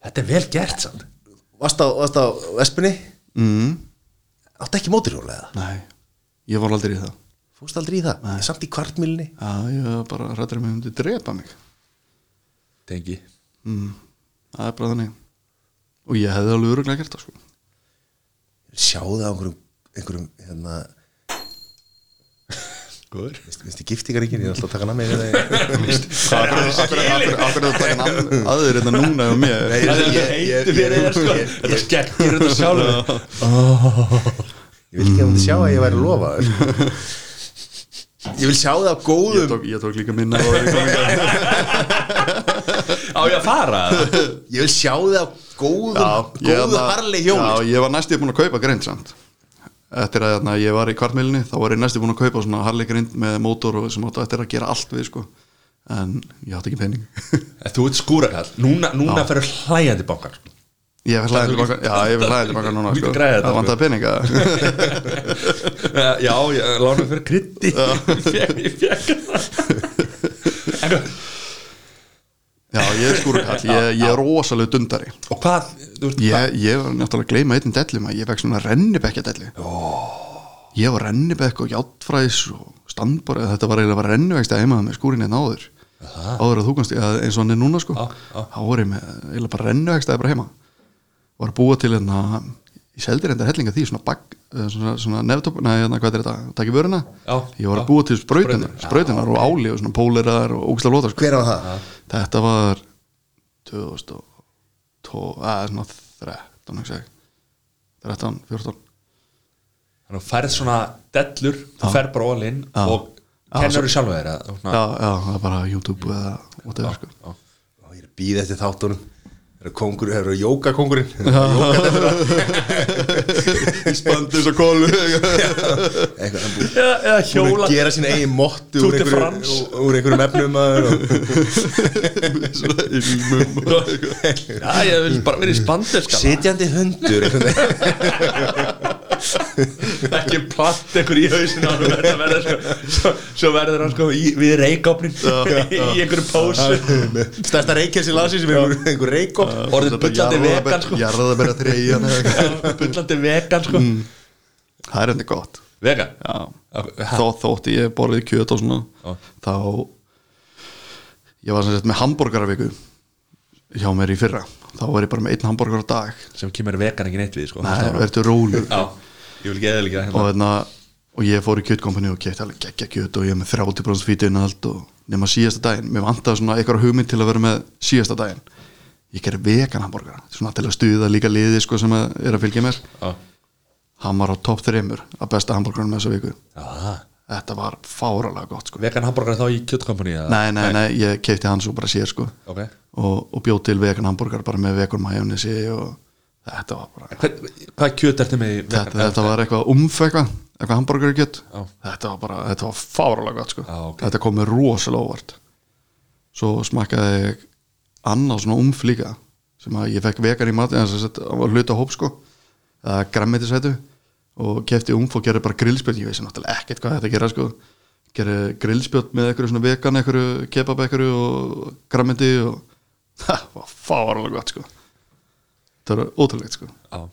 S1: Þetta er vel gert samt
S2: varst á, varst á Vespunni,
S3: mm,
S2: áttu ekki mótirhjóla eða?
S3: nei, ég var aldrei í það
S2: Fórst aldrei í það? Nei. Samt í kvartmilni?
S3: já, ég var bara rættur að mér myndi drepa mig
S1: Tengi
S3: mm, það er bara þannig og ég hefði alveg öruglega gert það sko.
S2: Sjáðu það á einhverjum, einhverjum, hérna,
S1: Góður
S2: veist, veist, giftingaríkin, ég er alltaf að taka namið það.
S1: Það er alveg skilin
S3: akkur er þetta takin aður þetta núna og mér
S2: Nei,
S1: Það er alveg heitu fyrir þér sko Þetta skegg gerir þetta sjálfur
S2: Ég vil ekki að hún sjá að ég væri að lofa það, sko. Ég vil sjá það á
S3: ég
S2: góðum,
S3: tók, ég tók líka minna og það er
S1: Á ég að fara
S2: ég vil sjá það á góðum,
S3: ég
S2: góðu
S3: þarna-
S2: harli hjóli.
S3: Já, ég var næstu búin að kaupa grind samt Eftir að þarna, ég var í kvartmiðlinni þá var ég næstu búin að kaupa svona harli grind með mótor og sem áttu eftir að gera allt við sko En ég átti ekki pening
S1: Þú ert skúrakall Núna, núna ferur hlæjandi bankar
S3: Ég fyrir hlæðið tilbaka, já, ég fyrir hlæðið tilbaka núna
S1: Lítið
S3: sko
S1: græði þetta,
S3: Það vantaði peninga
S1: Eh, Já, ég lánaði fyrir krytti Ég fekk það En
S3: Já, ég er skúrukall, ég, ég er rosalega dundari
S1: og hvað Þú veist
S3: Ég, ég var náttúrulega að gleyma einn dellum að ég fekk svona rennibekja delli Ég var rennibekk og játfræs og standbara, þetta var eiginlega bara renniveksta heima með skúrin einn áður áður að þú kannst, eða eins og hann er núna sko
S1: Já, já.
S3: þá var ég með, eiginlega bara renniveksta bara heima var að búa til hérna ég seldi reyndar hellinga því, svona bag eh, svona, svona neftop, nei, hérna, hvað er þetta, takk í vöruna
S1: Já,
S3: ég var
S1: já.
S3: að búa til sprautinar,
S1: Sprautur, já,
S3: sprautinar og áli og svona póleraðar og ógislega lótar sko.
S2: Hver á það?
S3: þetta var 2012 eða svona 13 hugsa ég. 13, 14
S1: Þannig að þú færð svona dellur, þú færð bara all in
S3: Já.
S1: og
S3: Já,
S1: kennur þú sjálfa þér að-
S3: já,
S1: svona-
S3: já, það er bara YouTube eða whatever sko
S1: Já.
S2: og ég er býð eftir þáttunum það eru kongur, það eru jókakongurinn jókadelra
S3: Spandis og kólu
S2: eitthvað, hann búið
S1: Eða eða
S2: Hún
S1: hjóla
S2: að gera sín eigin mottu
S1: Tour de
S2: úr einhverjum,
S1: France.
S2: úr- úr einhverjum efnum maður og
S1: Já, ég vil bara vera í spandelskala
S2: sitjandi hundur einhvern veginn.
S1: ekki platt einhver í hausinu og verður að verða sko, svo, svo verður hann sko í, við reikofnin í einhverju pósu
S2: stærsta reykjelsi lasi sem er einhver- einhver reykop
S1: orðið bullandi vegan sko
S3: Jarðabæra treyjan eða eitthvað.
S1: bullandi vegan sko
S3: Mm. Það er hendur gott
S1: vegan
S3: Já.
S1: Ha,
S3: Þó, þótti ég borðið kjöt og svona þá ég var sem sagt með hambúrgaraviku hjá mér í fyrra þá var ég bara með einn hambúrgar á dag
S1: sem kemur vegan ekki neitt við sko
S3: Nei, verður rólu
S1: já, ég vil ekki eða líka
S3: og,
S1: hérna
S3: þarna, og ég fór í kjötkompani og kefti alveg geggja kjöt og ég er með 30% fítið allt og nema síðasta daginn mér vantaði svona einhverja hugmynd til að vera með síðasta daginn ég gerði vegan hambúrgara svona til að stuða líka liði sko sem að er að fylgja mér
S1: Já.
S3: hann var á topp þreymur að besta hambúrgaranum þessa viku
S1: Já,
S3: þetta var fáralega gott sko
S1: vegan hamburger þá í kjötkompani
S3: nei, nei, nei, ég keipti hann svo bara sér sko
S1: ok
S3: og, og bjóð til vegan hambúrgar bara með vegan majónesi og þetta var bara
S1: Hvern- hvað kjöt ertu með í
S3: þetta,
S1: vegan
S3: þetta var eitthvað umf eitthvað eitthvað hambúrgarkjöt
S1: Já.
S3: þetta var bara, þetta var fáralega gott sko
S1: Já, ok.
S3: þetta kom mér rosalega óvart svo smakkaði ég annað svona umf líka sem að ég fekk vegan í mat það var hluta hóp sko eða grammetisætu og kefti umf og gerði bara grillspjöld ég veist náttúrulega ekkert hvað þetta gera sko gerði grillspjöld með einhverju svona vegan einhverju kebab einhverju og grammeti og það var fáralega gott sko þetta var ótrúlegt sko
S1: Já.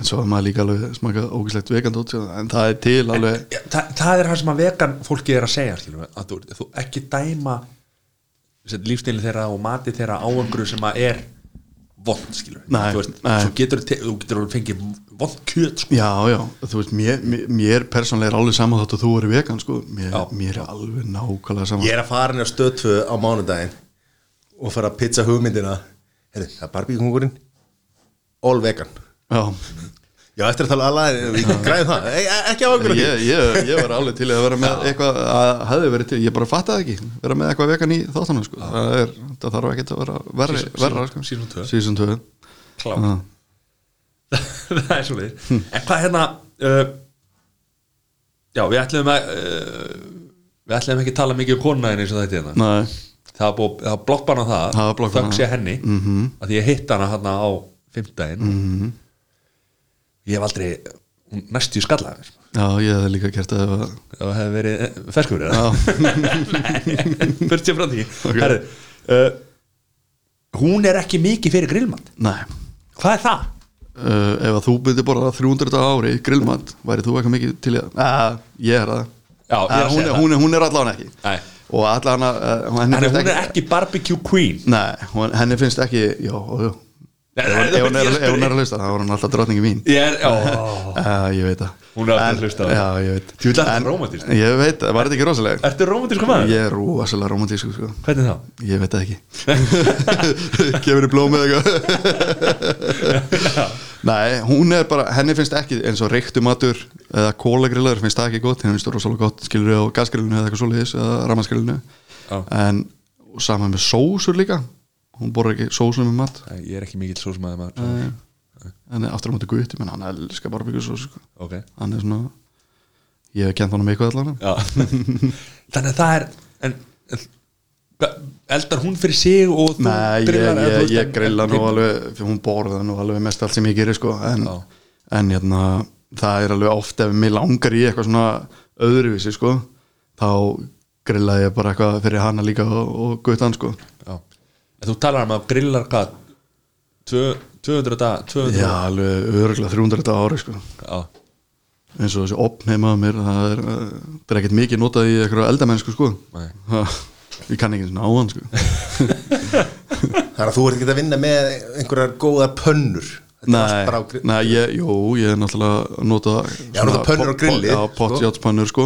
S3: En svo er maður líka alveg smakað ógæslegt vegan út sko. en það er til alveg
S1: Já, það, það er það sem að vegan fólki er að segja skilur, við, að þú, þú ekki dæma lífstilin þeirra og mati þeirra á einhverju sem að er vond skilur við.
S3: Nei,
S1: þú, veist,
S3: nei.
S1: Svo getur, te- þú getur alveg fengið vond kjöt sko.
S3: Já, já, þú veist, mér, mér, mér persónlega er alveg saman þátt að þú eru vegan sko. mér,
S1: Já.
S3: mér er alveg nákvæmlega saman
S2: ég er að fara henni á stöðtvö á mánudaginn og fara að pizza hugmyndina Heyrðu, það er barbíkongurinn all vegan
S3: Já,
S2: já eftir að tala alveg við græðum það Ei, e, ekki á
S3: ég,
S2: okkur
S3: ég, ég var alveg til í að vera með eitthvað að hefði verið til, ég bara fattaði ekki vera með eitthvað vegan í þáttunum sko. það, er, það þarf ekki að vera verri,
S1: Season-
S3: verra sko.
S1: season- season tvö.
S3: Season 2
S1: Klárt. það er svo leið
S3: Hm.
S1: en hvað hérna uh, já við ætlum að uh, við ætlum ekki að tala mikið um konaðin eins og þetta hérna
S3: Nei,
S1: það var búið- það var blokkbanna það
S3: Það Mhm. var blokkbannað.
S1: þöggs ég henni mm að því ég hitt hana hann á fimmtdægin
S3: Mhm.
S1: -hmm. ég hef aldrei hún næstu í skalla
S3: já, ég hefði líka gert að
S1: það hefði verið eh, ferskur eða?
S3: já,
S1: Nei, burt sér frá því
S3: Ok.
S1: Herru, uh, hún er ekki mikið fyrir grillmann
S3: Nei,
S1: hvað er það?
S3: uh, ef að þú myndir borða 300 daga á ári grillmat, væri þú eitthvað mikið til í það uh, ég er það
S1: Já, ég er að
S3: Eh, hún,
S1: segja
S3: er,
S1: það.
S3: hún, er, hún er allan ekki
S1: Nei.
S3: og allan að uh, henni,
S1: Henni,
S3: finnst
S1: hún er ekki barbecue queen
S3: nei, hún, henni finnst ekki já, ó, já.
S1: Nei,
S3: Ef,
S1: nei, þú
S3: hún- ef, hún
S1: veist,
S3: er,
S1: ég
S3: ef hún er
S1: spurði.
S3: að hlusta þá er hún alltaf drottningi mín
S1: ég er ó,
S3: uh, ég veit það
S1: Hún er alltaf að
S3: En-
S1: hlusta á það.
S3: já, ég veit
S1: Djú, þetta er
S3: En-
S1: rómantískt.
S3: ég veit, var þetta ekki rosalega
S1: ertu romantísku maður?
S3: ég er rosalega romantísku sko.
S1: hvernig þá?
S3: ég veit það ekki gefur þið blóm eða eitthvað nei, hún er bara, henni finnst ekki eins og reyktumatur eða kólagrillaður finnst það ekki gott, henni finnst það rosalega gott skilur á gasgrillinu eða eitthvað svoleiðis eða ramaskgrillinu
S1: Já.
S3: en og saman með sósur líka hún borður ekki sósur með mat
S1: Nei, ég er ekki mikill sósmaður maður
S3: en aftur á móti gutti, menn hann elskar barbíkusós sko.
S1: ok
S3: hann er svona ég hef kent hann um eitthvað allan
S1: Já. þannig að það er en, en hva- eldar hún fyrir sig og þú
S3: Nei, ég,
S1: grillar, eða þú
S3: ég,
S1: veist,
S3: ég
S1: en-
S3: grilla
S1: en-
S3: nú alveg fyrir hún borða nú alveg mest allt sem ég gerir sko en,
S1: Já.
S3: en hérna, það er alveg oft ef mér langar í eitthvað svona öðruvísi sko þá grilla ég bara eitthvað fyrir hana líka og, og gutt hann sko
S1: Já. En þú talar um að grillar hvað Tvö- 200 dag 200
S3: Já, alveg örgulega 300 þetta ári sko
S1: Já.
S3: eins og þessi opn heima á mér það er, uh, það er ekkert mikið notað í eitthvað eldamennsku sko
S1: Nei.
S3: ég kann ekki eins og ná hann sko
S2: þannig að þú ert ekki að vinna með einhverjar góðar pönnur Þetta er allt
S3: Nei,
S2: bara á grill.
S3: nei ég, jú, ég er náttúrulega að nota
S2: Já, nota pönnur á grilli,
S3: Já,
S2: sko.
S3: potjátspönnur sko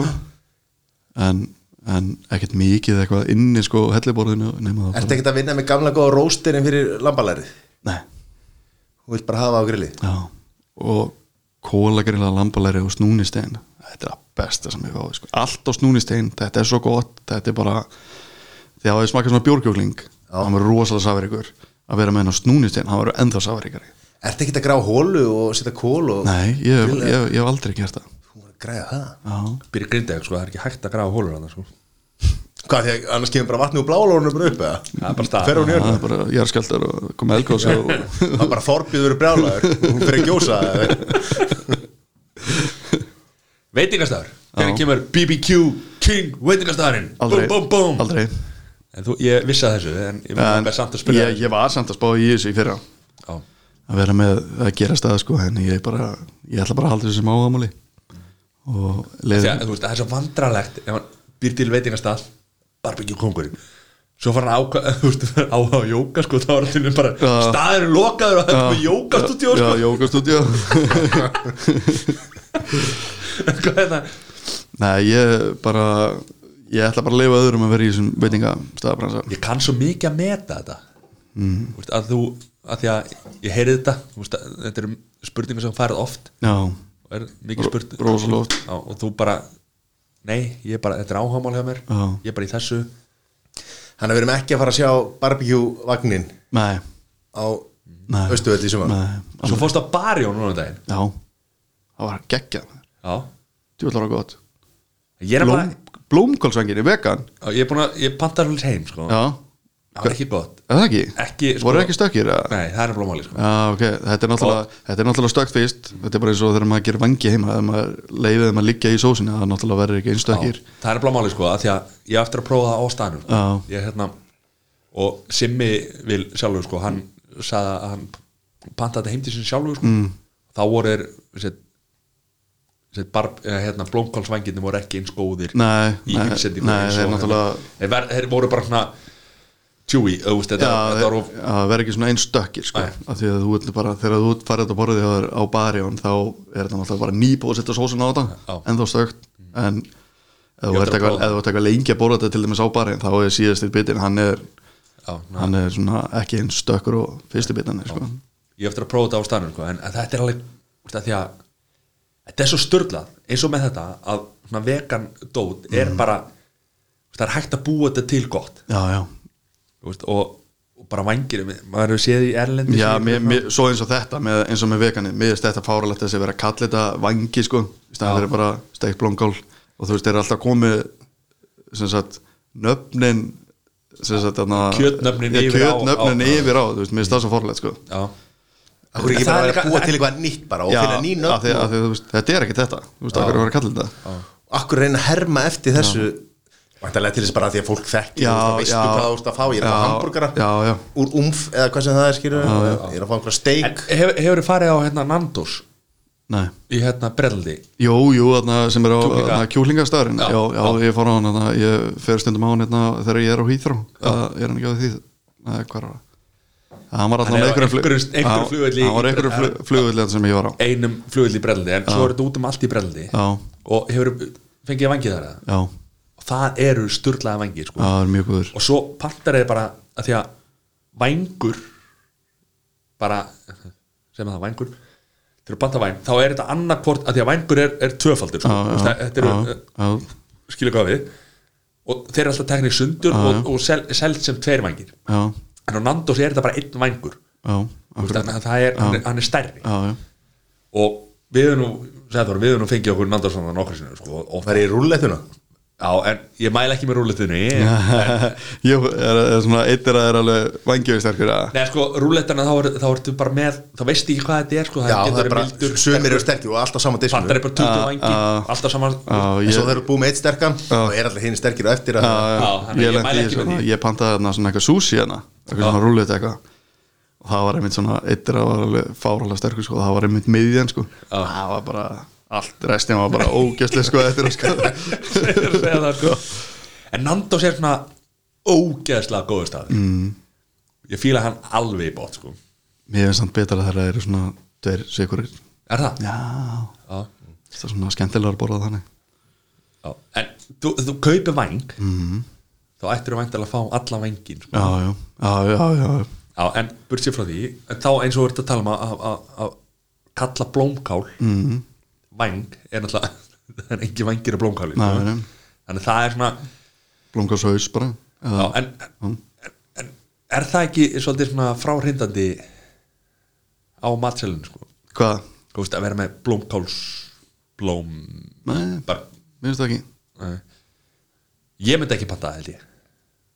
S3: En en ekkert mikið eitthvað inni sko helliborðinu nema það
S2: Ertu ekkert að vinna með gamla góða róstirinn fyrir lambalærið?
S3: Nei,
S2: Hún vill bara hafa það á grillið
S3: já og kólagrilla lambalæri og snúnistein þetta er að besta sem ég fáið sko. allt á snúnistein, þetta er svo gott þetta er bara, þegar það smakar svona bjórkjókling það var rosalega safaríkur að vera með hennar snúnistein, það var ennþá safaríkari
S2: Ertu ekkert að grá hólu og setja kól og
S3: Nei, ég, hef- ég, ég hef aldrei gert það
S2: Hún er að græða það
S3: Já,
S1: Byrja grindaðið, sko, það er ekki hægt að grafa hólur hann, sko
S2: Hvað, því að annars kemur bara vatni úr blálónum bara upp eða?
S1: Það er bara staðan.
S2: Fer hún í
S3: það
S2: örnum?
S3: er bara jarðskjaldar og komið elgós og
S2: Það er bara þorpiður brjálaður Hún fyrir að gjósa eða?
S1: Veitingastæður, hvernig kemur BBQ King veitingastæðurinn
S3: aldrei,
S1: búm, búm, búm.
S3: aldrei.
S1: En þú, ég vissi að þessu, en ég var bara samt að spyrja
S3: ég, ég var samt að spá í þessu í fyrra
S1: Já.
S3: að vera með að gera stað sko, en ég, bara, ég ætla bara að halda þessu sem áhamáli og leið,
S1: Því að, þú veist, það er svo vandralegt ef hann býr til veitingastæð barbecue kongurinn Svo fara hann ákvæða, þú veist, áhuga á jóka, sko, þá er allir bara,
S3: Já.
S1: staðurinn lokaður og það er með jókastúdíó,
S3: já,
S1: sko,
S3: jókastúdíó
S1: hvað er það?
S3: Nei, ég bara ég ætla bara að leifa öðrum að vera í þessum veitinga staðabransa
S1: ég kann svo mikið að meta þetta
S3: Mhm.
S1: mm. veist, að þú, að því að ég heyri þetta þú veist, að, þetta eru spurningar sem færð oft
S3: Já,
S1: og er mikið spurt
S3: rosalega oft.
S1: Já, og þú bara, nei, ég bara þetta er áhámál hjá mér,
S3: Já.
S1: ég er bara í þessu
S2: Þannig að við erum ekki að fara að sjá barbecue-vagnin
S3: nei,
S2: á
S3: Nei.
S2: Östuvelli í sumar
S3: nei
S1: svo fórst á barjó núna um daginn
S3: Já, það var geggjað
S1: já.
S3: Djúvallar var gott
S1: ég er
S3: Blóm,
S1: bara,
S3: Blómkálsvængir í vegan
S1: ég er búin að ég panta allir heim, sko,
S3: Já,
S1: það er ekki gott
S3: er það ekki?
S1: Ekki, sko-
S3: Voru ekki stökkir? eða?
S1: nei, það er blómáli, sko
S3: Já, ok, þetta er náttúrulega, þetta er náttúrulega stökt fyrst Þetta er bara eins og þegar maður gerir vangi heima Þegar maður leiðið maður liggja í sósinu Það náttúrulega verður ekki einn stökkir
S1: Já, það er blámáli sko, að því að ég á eftir að prófa það á staðnum sko.
S3: Já.
S1: ég, hérna, og Simmi vil sjálfur sko, hann sagði að hann panta þetta heim til sín sjálfur sko. mm. þá voru er sér, sér barb, eh, hérna, blómkálsvængirni voru ekki eins góðir
S3: Nei,
S1: í
S3: nei,
S1: uppsetningu
S3: nei,
S1: eins
S3: þeir
S1: og-
S3: náttúrulega-
S1: þeir, ver, þeir voru bara svona tjúi, auðvist þetta,
S3: Já,
S1: þetta var of,
S3: það verður ekki svona einn stökkir sko,
S1: Nei.
S3: af því að þú ert bara, þegar þú ert farið að borðið hjá þér á barjón þá er þetta náttúrulega bara nýbúið að setja sósun á þetta
S1: Já. Mm.
S3: en þá stökt en ef þú
S1: Ég ætla
S3: ert
S1: að
S3: eitthvað
S1: prófa.
S3: ef þú ert eitthvað lengi að borða þetta til dæmis á barjón þá er síðastir bitin, hann er
S1: já, ná,
S3: hann er svona ekki einn stökkur og fyrsti bitin er, sko.
S1: ég á eftir að prófa þetta á staðnum sko, en, en þetta er alveg úst, að því að þetta er svo störlað eins og með þetta að svona, vegan dót er
S3: Mhm.
S1: bara úst, það er hægt að búa þetta til gott
S3: Já, já,
S1: úst, og, og bara vangir maður hefur séð í erlendi
S3: já mér, mér, svo eins og þetta með, eins og með veganið, mér er þetta fáralegt þessi verið að kalla þetta vangi sko, í staðan fyrir bara steikt blómkál og þú veist, þeir eru alltaf komið sem sagt, nöfnin sem sagt, þarna
S1: Kjötnöfnin
S3: Já,
S1: yfir á-
S3: kjötnöfnin
S1: á-
S3: yfir á, þú veist, mér er það svo fórlega sko.
S1: já,
S2: Það er
S1: En
S2: ekki
S1: það
S2: bara
S1: er
S2: að
S1: líka-
S2: búa til eitthvað nýtt bara og finna ný
S3: af því,
S2: nöfn
S3: af því, þú veist, þetta er ekki þetta þú veist, akkur er að vera að kalla þetta
S2: og akkur reyna að herma eftir þessu Vantarlega til þess bara að því að fólk þekki
S3: Já,
S2: þú veist, þá veistu
S3: já.
S2: hvað þú ert að fá, ég er að fá
S3: Já,
S2: hambúrgara
S3: já, já.
S2: úr umf eða hvað sem það er skýrur ég er að fá einhverja
S1: en
S2: steik
S1: hefur, hefur þið farið á hérna Nandos
S3: Nei.
S1: í hérna Breldi
S3: Jú, jú, þarna sem er á
S1: Kjúklinga.
S3: þarna kjúklingastæðurinn já, já, ég fór á hann, þarna, ég fer stundum á hann þarna, þegar ég er á Hýþró er hann ekki á því, nei, hvað er það hann var alltaf
S1: Hann er á
S3: einhverjum flug-
S1: einhverjum- einhverjum
S3: Já,
S1: flugvelli í-
S3: hann var einhverjum flugulli sem ég var á
S1: einum flugill í Breldi en svo er þetta út um allt í Breldi
S3: Já.
S1: og hefur fengið vangið þar eða?
S3: já,
S1: og það eru störlaða vangir sko.
S3: það er mjög góður
S1: og svo pantar þeir bara að því að vængur bara sem það vængur til að panta væng, þá er þetta annarkvort að því að vængur er, er tvöfaldur sko.
S3: Já,
S1: Þú veist,
S3: já,
S1: þetta eru,
S3: já, já,
S1: skilja hvað við og þeir eru alltaf teknir sundur og, og sel, selst sem tveir vængir
S3: já,
S1: en á Nandos er þetta bara einn vængur
S3: já,
S1: Þú veist,
S3: akkurat.
S1: þannig að það er, hann er, hann er stærri
S3: já, já.
S1: og við erum nú, sagði Þór, við erum nú fengið okkur Nandos þannig nokkru sinni sko, og, og,
S2: Það er í rúlletuna
S1: já, en ég mæla ekki með rúlletinu
S3: Jú, er, er svona, eitt er að það er alveg vangjöfisterkur að
S1: Nei, sko, rúlettana þá, er, þá ertu bara með þá veist ekki hvað þetta er, sko
S2: Já, það
S1: getur
S2: er
S1: verið
S2: bara,
S1: mildur,
S2: sumir
S1: sterkur,
S2: eru sterkir sko. og alltaf saman disknum
S1: Fattar er
S2: en
S1: bara 20
S3: Ah,
S1: vangi,
S3: ah.
S1: alltaf saman
S3: Já, ég-
S2: svo þeir eru búið með eitt sterkan og er allir hinn sterkir og eftir að
S1: Já,
S3: já,
S1: þannig að
S3: ég
S1: ég mæli
S3: lendi í
S1: ekki með
S3: svona,
S1: því.
S3: ég pantaði þarna svona eitthvað sushi hérna, eitthvað svona rúlið eitthvað og það var einmitt svona, eittir að var alveg fáralega sterkur sko, það var einmitt miðjan sko það var bara, allt restin var bara ógæslega sko eftir að sko
S1: segja það, sko. en Nandos er svona ógeðslega góðu staði mm. ég fíla hann alveg í bótt, sko
S3: mér finnst samt betra þegar það eru svona tveir sikurir,
S1: er það?
S3: já
S1: Já.
S3: það er svona skemmtilega að borða þannig
S1: Já. en þú, þú kaupir væng
S2: Mm.
S1: þá ættir þú væntalega að fá alla vængin sko.
S3: já, já, já, já, já, já.
S1: Já, en burtsið frá því en þá eins og þú ert að tala um að- að- að- að kalla blómkál
S3: Mhm.
S1: -hmm. væng er náttúrulega það er engin vængir af blómkáli
S3: Nei,
S1: sko.
S3: nei.
S1: þannig það er svona
S3: blómkálshaus bara
S1: já,
S3: eða,
S1: en, en, en er það ekki svolítið svona fráhrindandi á matselinu sko
S3: hvað,
S1: Þú veist, að vera með blómkáls blóm
S3: nei,
S1: bara,
S3: minnst það ekki
S1: nei. eh? ég myndi ekki panta það held ég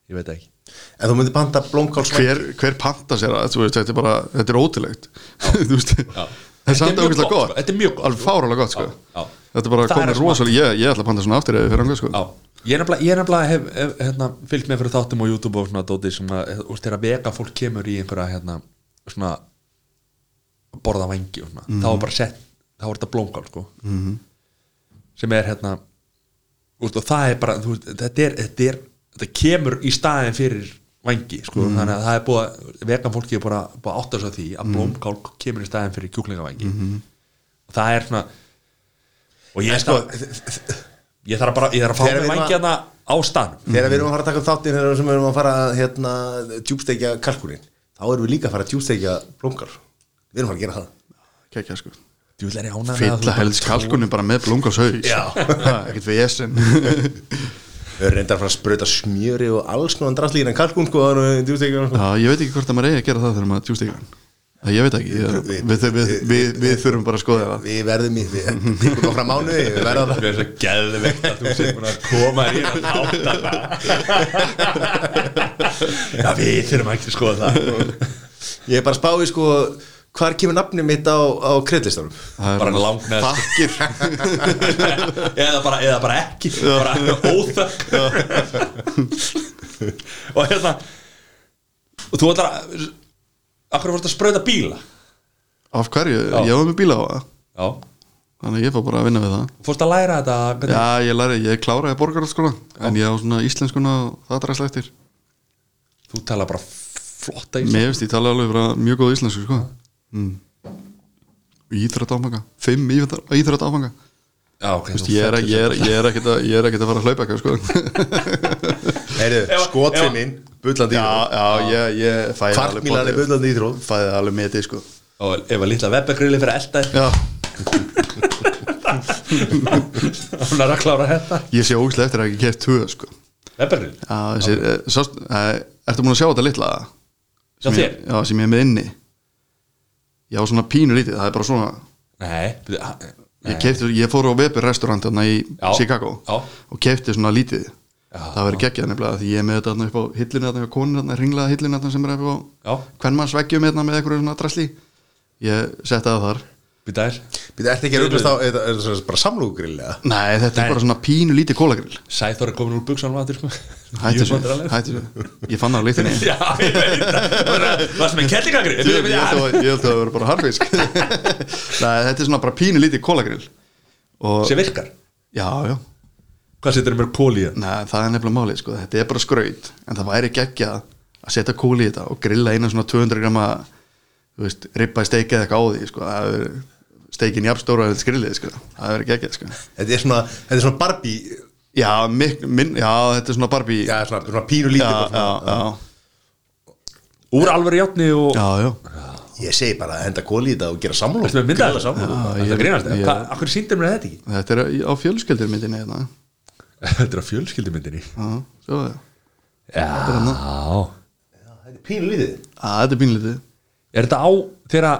S1: ég veit það ekki
S2: En þú myndir panta blómkálsvæng
S3: hver, hver panta sér að þú veist, þetta er bara, þetta er ótilegt þú veist, þetta
S1: Þetta
S3: er
S1: er
S3: samt
S1: mjög
S3: ákveðslega
S1: gott,
S3: gott
S1: sko. Þetta er mjög gott,
S3: alveg
S1: sko.
S3: fárálega gott, sko
S1: Já, já.
S3: þetta er bara
S1: Það er
S3: komið
S1: það sem
S3: rosalega, ég, ég ætla að panta svona aftur eða fyrir hann, sko
S1: Já, ég er nefnilega, ég er nefnilega hef, hef hérna, fylgt með fyrir þáttum á YouTube og svona dóti sem að, þú veist, þegar vega fólk kemur í einhverja, hérna, svona að borða vangi og svona þá er bara sett, þá er þetta blómkál, sko sem er, hérna þú veist, og það er bara, þú veist, þetta er, þetta er þetta kemur í staðin fyrir vangi, sko, þannig að það er búið að vegan fólki er bara, bara átt að svo því að blómkál kemur í staðin fyrir kjúklingavangi og það er svona og ég
S2: sko,
S1: þarf- Ég þarf að bara, ég þarf að fá
S2: Þegar
S1: mig
S2: við
S1: vangi hérna á staðnum
S2: Þegar við erum að fara að taka um þáttin þegar sem við erum að fara að, hérna, djúbstekja kalkunin þá erum við líka að fara að djúbstekja blómkál Við erum að fara að gera það
S3: kekja, sko
S1: Þú vil er ég ánægð með að þú
S3: fylla
S1: bara
S3: helst
S1: trúir-
S3: kalkunum bara með blómkálshaus
S2: Já.
S3: ekkert við essin
S2: Við erum reyndar að fara að sprauta smjöri og alls konar drastlíðin en kalkun sko þannig að djúbstekja hann, sko.
S3: Já, ég veit ekki hvort að maður eigi að gera það þegar maður tjústíkar hann Það ég veit ekki, ég,
S2: Við-
S3: við, við, við, við þurfum bara að skoða það
S2: Við verðum í því Við erum frá mánuði, við verðum
S1: Mér
S2: það
S1: er svo geðveikt að þú sér búin að koma í að átta það Já, við þurfum ekki að skoða það
S2: Ég er bara að spá í sko Hvar kemur nafnið mitt á, á kreidlistanum?
S3: Það er
S1: Bara
S3: bara
S1: langnæst.
S3: Þakkir
S1: eða, bara, eða bara ekki bara óþökk Og hérna Og þú ætlar að Akkur fórst að sprauta bíla
S3: Af hverju,
S1: Já.
S3: ég var með bíla á það
S1: Já
S3: Þannig að ég fór bara að vinna við það
S1: Fórst að læra þetta hvernig-
S3: Já, ég læri, ég kláraði borgarhaldsskóla En ég á svona íslenskuna og það dræst eftir
S1: Þú tala bara flotta í
S3: Mér finnst ég tala alveg bara mjög góð íslensku, sko mm. Íþrætt áfanga Fimm íþrætt áfanga
S1: Já, ok þú
S3: Ég er,
S1: fellur
S3: ég er, ég er ekkert að, ég er ekkert að fara að hlaupa eitthvað, sko
S2: Heyrðu,
S1: Ef-
S2: skotfinn minn, bullandi í
S3: Já, já, ég, ég fæði
S2: Kvartmílan er bullandi í þróð
S3: Fæði alveg metið, sko
S1: Og ef að litla webbergrilli fyrir eldaði
S3: Já,
S1: Hún er að klára þetta
S3: ég sé ógæslega eftir að ekki kert tvö sko.
S1: Webbergrilli?
S3: Já, þessi, eh, sást, eh, Ertu múin að sjá þetta litla?
S1: Já,
S3: Sem ég-
S1: þér?
S3: Já, sem ég er með inni Já, svona pínu lítið, það er bara svona
S1: Nei, byrju, ha- nei.
S3: Ég, kefti, ég fór á Weber restaurant þarna í
S1: Já,
S3: Chicago
S1: já.
S3: og kefti svona lítið
S1: Já,
S3: Það verður geggjað nefnilega því ég er með þetta þarna upp á hillinu þarna hjá konur þarna, ringlaða hillinu þarna sem er upp á
S1: Já.
S3: kvenmannsveggjum hérna með einhverju svona drasli Ég setti það þar
S1: Býta þér
S2: Býta, ertu ekki að rúkast á, er er það bara samlúkugrillega?
S3: Nei, þetta
S1: Nei.
S3: er bara svona pínu lítið kólagrill
S1: Sæþór er komin úr buksanum aftur sko.
S3: Hættu
S1: Jú, vandrar
S3: þessu,
S1: alveg.
S3: hættu þessu Ég fann það á lítinu
S1: Já, ég veit það Varst með kettlingagri
S3: Ég ég held að ég held að það verður bara harfisk Nei, þetta er svona bara pínu lítið kólagrill og,
S1: Sem virkar
S3: Já, já,
S1: Hvað setur mér kól í það?
S3: Nei, það er nefnilega málið sko. Þetta er bara skraut En það væri geggjað að setja kúli í þetta og grilla eina svona 200 grama þú veist, ribba steikið eða eitthvað á því sko. Það er steikin jafnstóra eða skrillið, sko. það verður geggjað sko.
S2: Þetta er svona, þetta er svona Barbie
S3: já, mik, minn, já, þetta er svona Barbie
S2: Já, svona, svona pínu lítið
S3: já,
S2: bara svona.
S3: já,
S1: Úr alveg játni og
S3: já, já.
S2: Ég segi bara að henda kóli í þetta og gera samlók
S1: Varst með myndaði Það
S3: ég-
S1: grínast
S3: ég-
S1: Hvað- Akkur síndir mér þetta ekki?
S3: Þetta er á fjölskyldur myndinni hérna.
S1: Þetta er á fjölskyldumyndinni
S3: Já, sjá það.
S1: Já
S2: Þetta er pínu lítið
S3: Á, Þetta er pínlítið
S1: Er þetta á þegar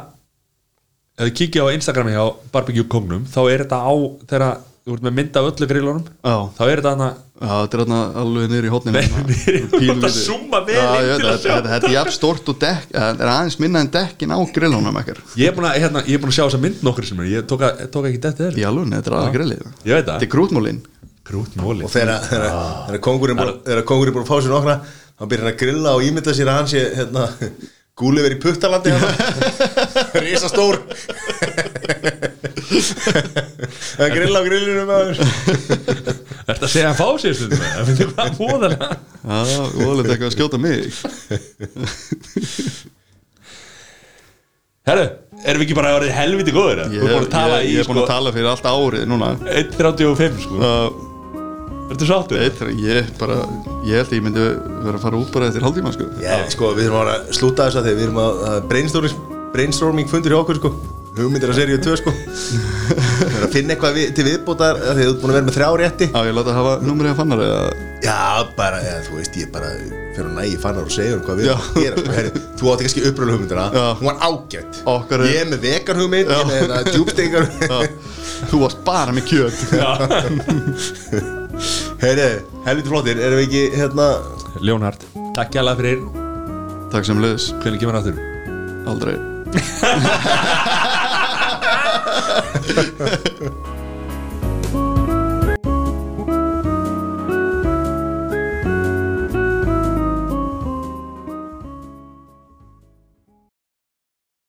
S1: Ef þið kíkja á Instagrami hjá Barbecue Kongnum Þá er þetta á þegar Þú ert með mynda af öllu grillunum
S3: Já.
S1: Þá er þetta annað
S3: Já, þetta er þarna alveg niður í hérna. hótninu
S1: Nei, niður í- þú ert að zooma vel inn til að sjá
S3: Þetta þetta er jafn stort og dekk eh, Þetta er aðeins minna en dekkin á grillunum ekkert
S1: Ég er búin að, hérna, ég er búin að sjá þessa mynd nokkur sem er Ég tók, að, tók ekki þetta þér
S3: Í alveg, þetta er aðeins grillið
S1: Ég veit það.
S3: Þetta er krútmólin
S1: Krútmóli
S2: Og þegar þegar- þegar kongurinn búin- þegar kongurinn búin að fá sér nokkra þá byrjar hann að grilla og ímynda sér að hann sé hérna, gúlifir í hérna. puttalandi Rísa stór Það grilla á grillinu maður
S1: Þetta segja að fá sér stundum Það finnst ég hvað fóðan
S3: Já, ólega eitthvað að skjóta mig
S1: Herru, erum við ekki bara orðið helviti góður? eða?
S3: Ég
S1: Við erum búin að tala sko.
S3: ég-
S1: í
S3: ég er búin
S1: sko
S3: að tala fyrir allt árið núna
S1: 1.35 sko
S3: Uh,
S1: Verður sáttur?
S3: Eitt, ég bara, ég held að ég myndi vera að fara út bara eftir haldíma sko
S2: Já, sko, við erum að slúta þess að því Við erum að að brainstorming, brainstorming fundur hjá okkur, sko Hugmyndir að seríu 2, sko Við erum að finna eitthvað við, til viðbótar af Því að þú ert búin að vera með þrjá rétti
S3: Á ég láta hafa numrið að fannar eða
S2: Já, bara, ja, þú veist, ég bara fyrir að nægi fannar og segja um hvað við
S3: Já.
S2: erum að gera sko, herri, Þú átti kannski upprölu hugmyndina
S3: Já.
S2: Hún var ágætt
S3: Okkar er-
S2: Ég er með vegan hugmynd, ég er með hérna djúptingar
S3: Já, Þú varst bara með kjöt
S1: Já
S2: Herri, helviti flottir, erum við ekki hérna
S1: Leonhard, takk hjá fyrir
S3: Takk sem leiðis,
S1: Hvernig kemur aftur?
S3: aldrei